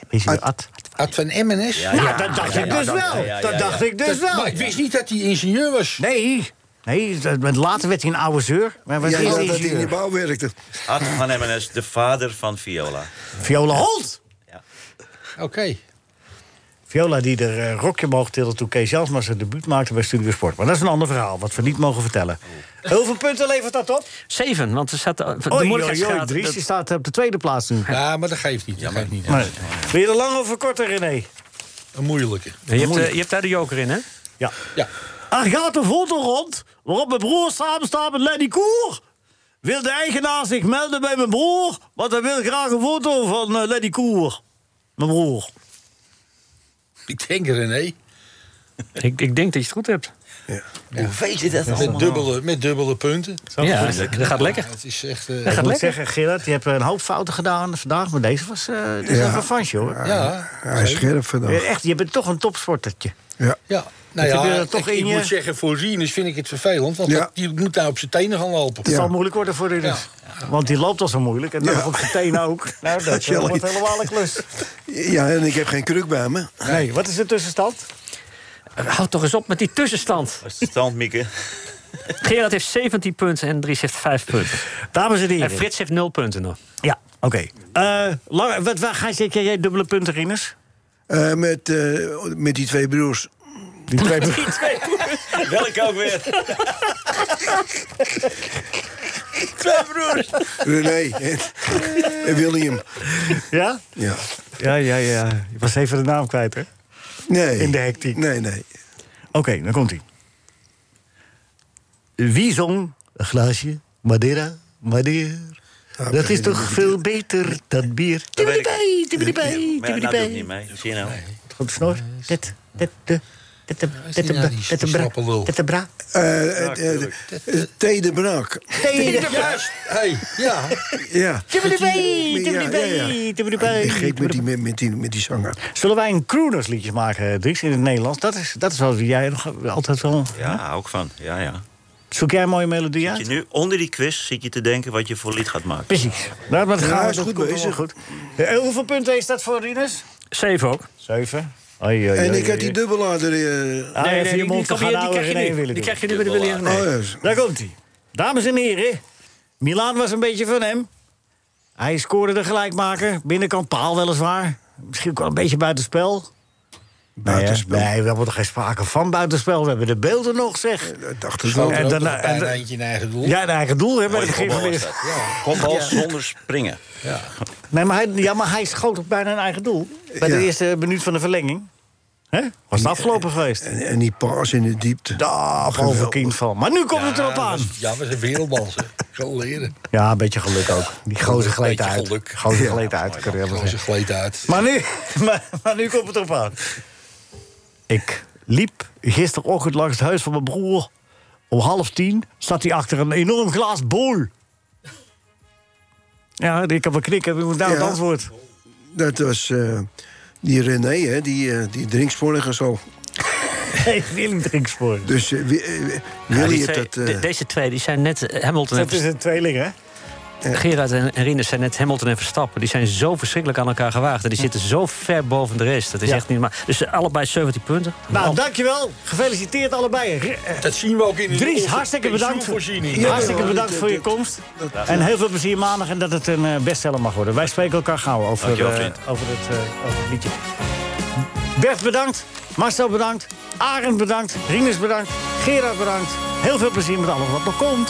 [SPEAKER 4] Ingenieur Ad.
[SPEAKER 5] Ad van MNS.
[SPEAKER 9] Ja,
[SPEAKER 4] Ja,
[SPEAKER 9] ja.
[SPEAKER 4] dat dacht ik dus
[SPEAKER 9] ja,
[SPEAKER 4] wel.
[SPEAKER 9] ja, ja,
[SPEAKER 4] Dat dacht
[SPEAKER 9] ja.
[SPEAKER 4] ik dus wel.
[SPEAKER 5] Maar ik wist niet dat hij ingenieur was.
[SPEAKER 4] Nee, nee dat- want later werd hij een oude zeur. Maar was
[SPEAKER 6] Jij
[SPEAKER 4] eerst
[SPEAKER 6] dacht dat hij in de
[SPEAKER 4] ingenieur.
[SPEAKER 6] bouw werkte.
[SPEAKER 9] Ad van MNS, de vader van Viola.
[SPEAKER 4] Viola Holt.
[SPEAKER 5] Oké.
[SPEAKER 4] Viola die er eh, rokje omhoog tilde toen Kees Jansma zijn debuut maakte bij Studio Sport. Maar dat is een ander verhaal, wat we niet mogen vertellen. Hoeveel punten levert dat op?
[SPEAKER 11] Zeven, want er staat de
[SPEAKER 4] Oei, oei, oei,
[SPEAKER 11] moeilijkheidsgraad...
[SPEAKER 4] Dries,
[SPEAKER 11] dat-
[SPEAKER 4] je staat op de tweede plaats nu.
[SPEAKER 5] Ja, maar dat geeft niet. Dat geeft niet.
[SPEAKER 4] Nee. Wil je er lang over korter, René?
[SPEAKER 5] Een moeilijke.
[SPEAKER 11] je, hebt, eh, je hebt daar de joker in, hè?
[SPEAKER 4] Ja.
[SPEAKER 5] Ja.
[SPEAKER 4] Er gaat een foto rond waarop mijn broer samen staat met Lenny Koer. Wil de eigenaar zich melden bij mijn broer? Want hij wil graag een foto van eh, Lenny Koer. Mijn broer.
[SPEAKER 5] Ik denk René.
[SPEAKER 11] Ik, ik denk dat je het goed hebt.
[SPEAKER 9] Hoe weet je dat allemaal?
[SPEAKER 5] Met dubbele, met dubbele punten.
[SPEAKER 11] Ja, dat gaat lekker.
[SPEAKER 5] Het is echt... eh,
[SPEAKER 4] Ik moet
[SPEAKER 11] lekker.
[SPEAKER 4] zeggen, Gerard, je hebt eh, een hoop fouten gedaan vandaag. Maar deze was eh dit is
[SPEAKER 6] Ja.
[SPEAKER 4] een revanche, hoor. Eh,
[SPEAKER 5] ja,
[SPEAKER 6] Hij is scherp vandaag.
[SPEAKER 4] Echt, je bent toch een topsportertje.
[SPEAKER 6] Ja.
[SPEAKER 5] ja. Nou
[SPEAKER 4] heb je
[SPEAKER 5] ja,
[SPEAKER 4] er toch
[SPEAKER 5] ik,
[SPEAKER 4] in
[SPEAKER 5] ik
[SPEAKER 4] je-
[SPEAKER 5] moet zeggen, voor Rinus vind ik het vervelend. Want
[SPEAKER 6] Ja.
[SPEAKER 5] dat- die moet daar op zijn tenen gaan lopen.
[SPEAKER 4] Het
[SPEAKER 6] Ja.
[SPEAKER 4] zal moeilijk worden voor Rinus. Want die loopt al zo moeilijk. En dan
[SPEAKER 6] Ja.
[SPEAKER 4] nog op zijn tenen ook. Nou, dat
[SPEAKER 6] Ja,
[SPEAKER 4] wordt
[SPEAKER 6] Lee.
[SPEAKER 4] helemaal een klus.
[SPEAKER 6] Ja, en ik heb geen kruk bij me.
[SPEAKER 4] Nee, wat is de tussenstand?
[SPEAKER 11] Houd toch eens op met die tussenstand.
[SPEAKER 9] Wat is de stand, Mieke?
[SPEAKER 11] Gerard heeft 17 punten en Dries heeft 5 punten.
[SPEAKER 4] Dames en
[SPEAKER 11] En
[SPEAKER 4] heren.
[SPEAKER 11] Frits heeft 0 punten nog.
[SPEAKER 4] Ja, oké. Eh, Lang, wat, waar ga je, jij dubbele punten, Rinus?
[SPEAKER 6] Eh, met, eh, met die twee broers.
[SPEAKER 4] Die twee
[SPEAKER 6] [LAUGHS]
[SPEAKER 4] punten.
[SPEAKER 9] Welk ook weer?
[SPEAKER 6] René en, en Eh, William.
[SPEAKER 4] Ja?
[SPEAKER 6] Ja.
[SPEAKER 4] Ja, ja, ja. Je was even de naam kwijt, hè?
[SPEAKER 6] Nee.
[SPEAKER 4] In de hectiek.
[SPEAKER 6] Nee, nee.
[SPEAKER 4] Oké, dan komt hij. Wie zong een glaasje Madeira, Madeira?
[SPEAKER 9] Ah,
[SPEAKER 4] dat is toch veel beter dan bier?
[SPEAKER 9] weet ik.
[SPEAKER 4] Tibbidi-bij,
[SPEAKER 9] Maar ja, nou doe ik niet
[SPEAKER 4] tibbidi-bij,
[SPEAKER 9] mee. Zie je nou?
[SPEAKER 4] Goed snor. Dit, dit, de.
[SPEAKER 5] Dat
[SPEAKER 15] de bra.
[SPEAKER 6] Eh, Thee de Braak.
[SPEAKER 15] Thee de Braak.
[SPEAKER 5] Hey, ja.
[SPEAKER 6] Ja.
[SPEAKER 15] Tibberibee,
[SPEAKER 6] Ja, ja,
[SPEAKER 15] tibberibee,
[SPEAKER 6] ja.
[SPEAKER 15] tibberibee.
[SPEAKER 6] Ik geef met die, met, met die, met die zanger.
[SPEAKER 4] Zullen wij een croonersliedje maken, eh, Dries, in het Nederlands? Dat is, dat is wat jij nog altijd wel...
[SPEAKER 9] Ja, hou ik van. Ja, ja.
[SPEAKER 4] Zoek jij een mooie melodie
[SPEAKER 9] Zit
[SPEAKER 4] uit?
[SPEAKER 9] je nu onder die quiz zit je te denken wat je voor lied gaat maken.
[SPEAKER 4] Precies. Nou, maar het
[SPEAKER 9] Ja,
[SPEAKER 4] gaat
[SPEAKER 9] is
[SPEAKER 4] dat
[SPEAKER 9] goed
[SPEAKER 4] komt wel
[SPEAKER 9] bezig.
[SPEAKER 4] Goed. Eh, hoeveel punten is dat voor Rinus?
[SPEAKER 11] Zeven ook.
[SPEAKER 4] Zeven.
[SPEAKER 6] En ik had die dubbelader. eh,
[SPEAKER 4] Ah, nee, nee, die, die, die, die krijg je nu. Die krijg je nu bij de Willy
[SPEAKER 6] Oh,
[SPEAKER 4] René.
[SPEAKER 6] ja.
[SPEAKER 4] Daar komt hij. Dames en heren, Milaan was een beetje van hem. Hij scoorde de gelijkmaker. Binnenkant paal weliswaar. Misschien ook wel een beetje buitenspel. Buitenspel? Nee, we hebben er geen sprake van buitenspel. We hebben de beelden nog, zeg.
[SPEAKER 6] dacht
[SPEAKER 5] is wel en daarna
[SPEAKER 4] en
[SPEAKER 5] een
[SPEAKER 4] da-
[SPEAKER 5] eindje in eigen doel.
[SPEAKER 4] Ja, een eigen doel. Hè, bij
[SPEAKER 9] Mooie
[SPEAKER 4] de gegeven
[SPEAKER 9] kopbal was
[SPEAKER 4] moment.
[SPEAKER 9] dat. Kopbal
[SPEAKER 4] Ja.
[SPEAKER 9] zonder springen. Ja.
[SPEAKER 4] Nee, maar hij, ja, maar hij schoot ook bijna een eigen doel. Bij de
[SPEAKER 6] Ja.
[SPEAKER 4] eerste minuut van de verlenging. Hè? Was het afgelopen geweest.
[SPEAKER 6] En, en die paas in de diepte.
[SPEAKER 4] Dag, overkind van. Maar nu komt het erop aan.
[SPEAKER 5] Ja, we zijn wereldbals. Ik zal leren.
[SPEAKER 4] Ja, een beetje geluk ook. Die gozer gleed
[SPEAKER 5] Beetje
[SPEAKER 4] uit.
[SPEAKER 5] geluk.
[SPEAKER 4] Gozer
[SPEAKER 5] Ja.
[SPEAKER 4] gleed uit, kun je wel
[SPEAKER 5] Gozer
[SPEAKER 4] zeggen.
[SPEAKER 5] gleed uit.
[SPEAKER 4] Maar nu, [LAUGHS] maar, maar nu komt het erop aan. Ik liep gisterochtend langs het huis van mijn broer. Om half tien zat hij achter een enorm glaas bol. Ja, ik kan wel knikken. Ik moet nou het
[SPEAKER 6] Ja.
[SPEAKER 4] antwoord. [LAUGHS]
[SPEAKER 6] Dat was eh, die René, hè, die, eh, die drinkspornig en zo.
[SPEAKER 4] Nee, Willem drinkspoor.
[SPEAKER 6] Dus eh, wi- eh,
[SPEAKER 11] Ja,
[SPEAKER 6] Willy
[SPEAKER 11] die
[SPEAKER 6] heeft
[SPEAKER 11] twee-
[SPEAKER 6] dat... eh,
[SPEAKER 11] de- deze twee die zijn net eh, Hamilton en
[SPEAKER 4] Dat is een tweeling, hè?
[SPEAKER 11] Gerard en en Rinus zijn net Hamilton en Verstappen. Die zijn zo verschrikkelijk aan elkaar gewaagd. En die zitten zo ver boven de rest. Dat is echt niet maar. Dus eh, allebei 17 punten.
[SPEAKER 4] Nou, dankjewel. Gefeliciteerd allebei. R- eh,
[SPEAKER 5] Dat zien we ook in de
[SPEAKER 4] Dries, hartstikke bedankt. voor- Hartstikke bedankt voor je komst. En heel veel plezier maandag en dat het een eh, bestseller mag worden. Wij spreken elkaar gauw over,
[SPEAKER 9] Dankjewel,
[SPEAKER 4] eh,
[SPEAKER 9] vriend.
[SPEAKER 4] over, het, eh, over het liedje. Bert bedankt, Marcel bedankt, Arend bedankt, Rinus bedankt, Gerard bedankt. Heel veel plezier met alles wat nog komt.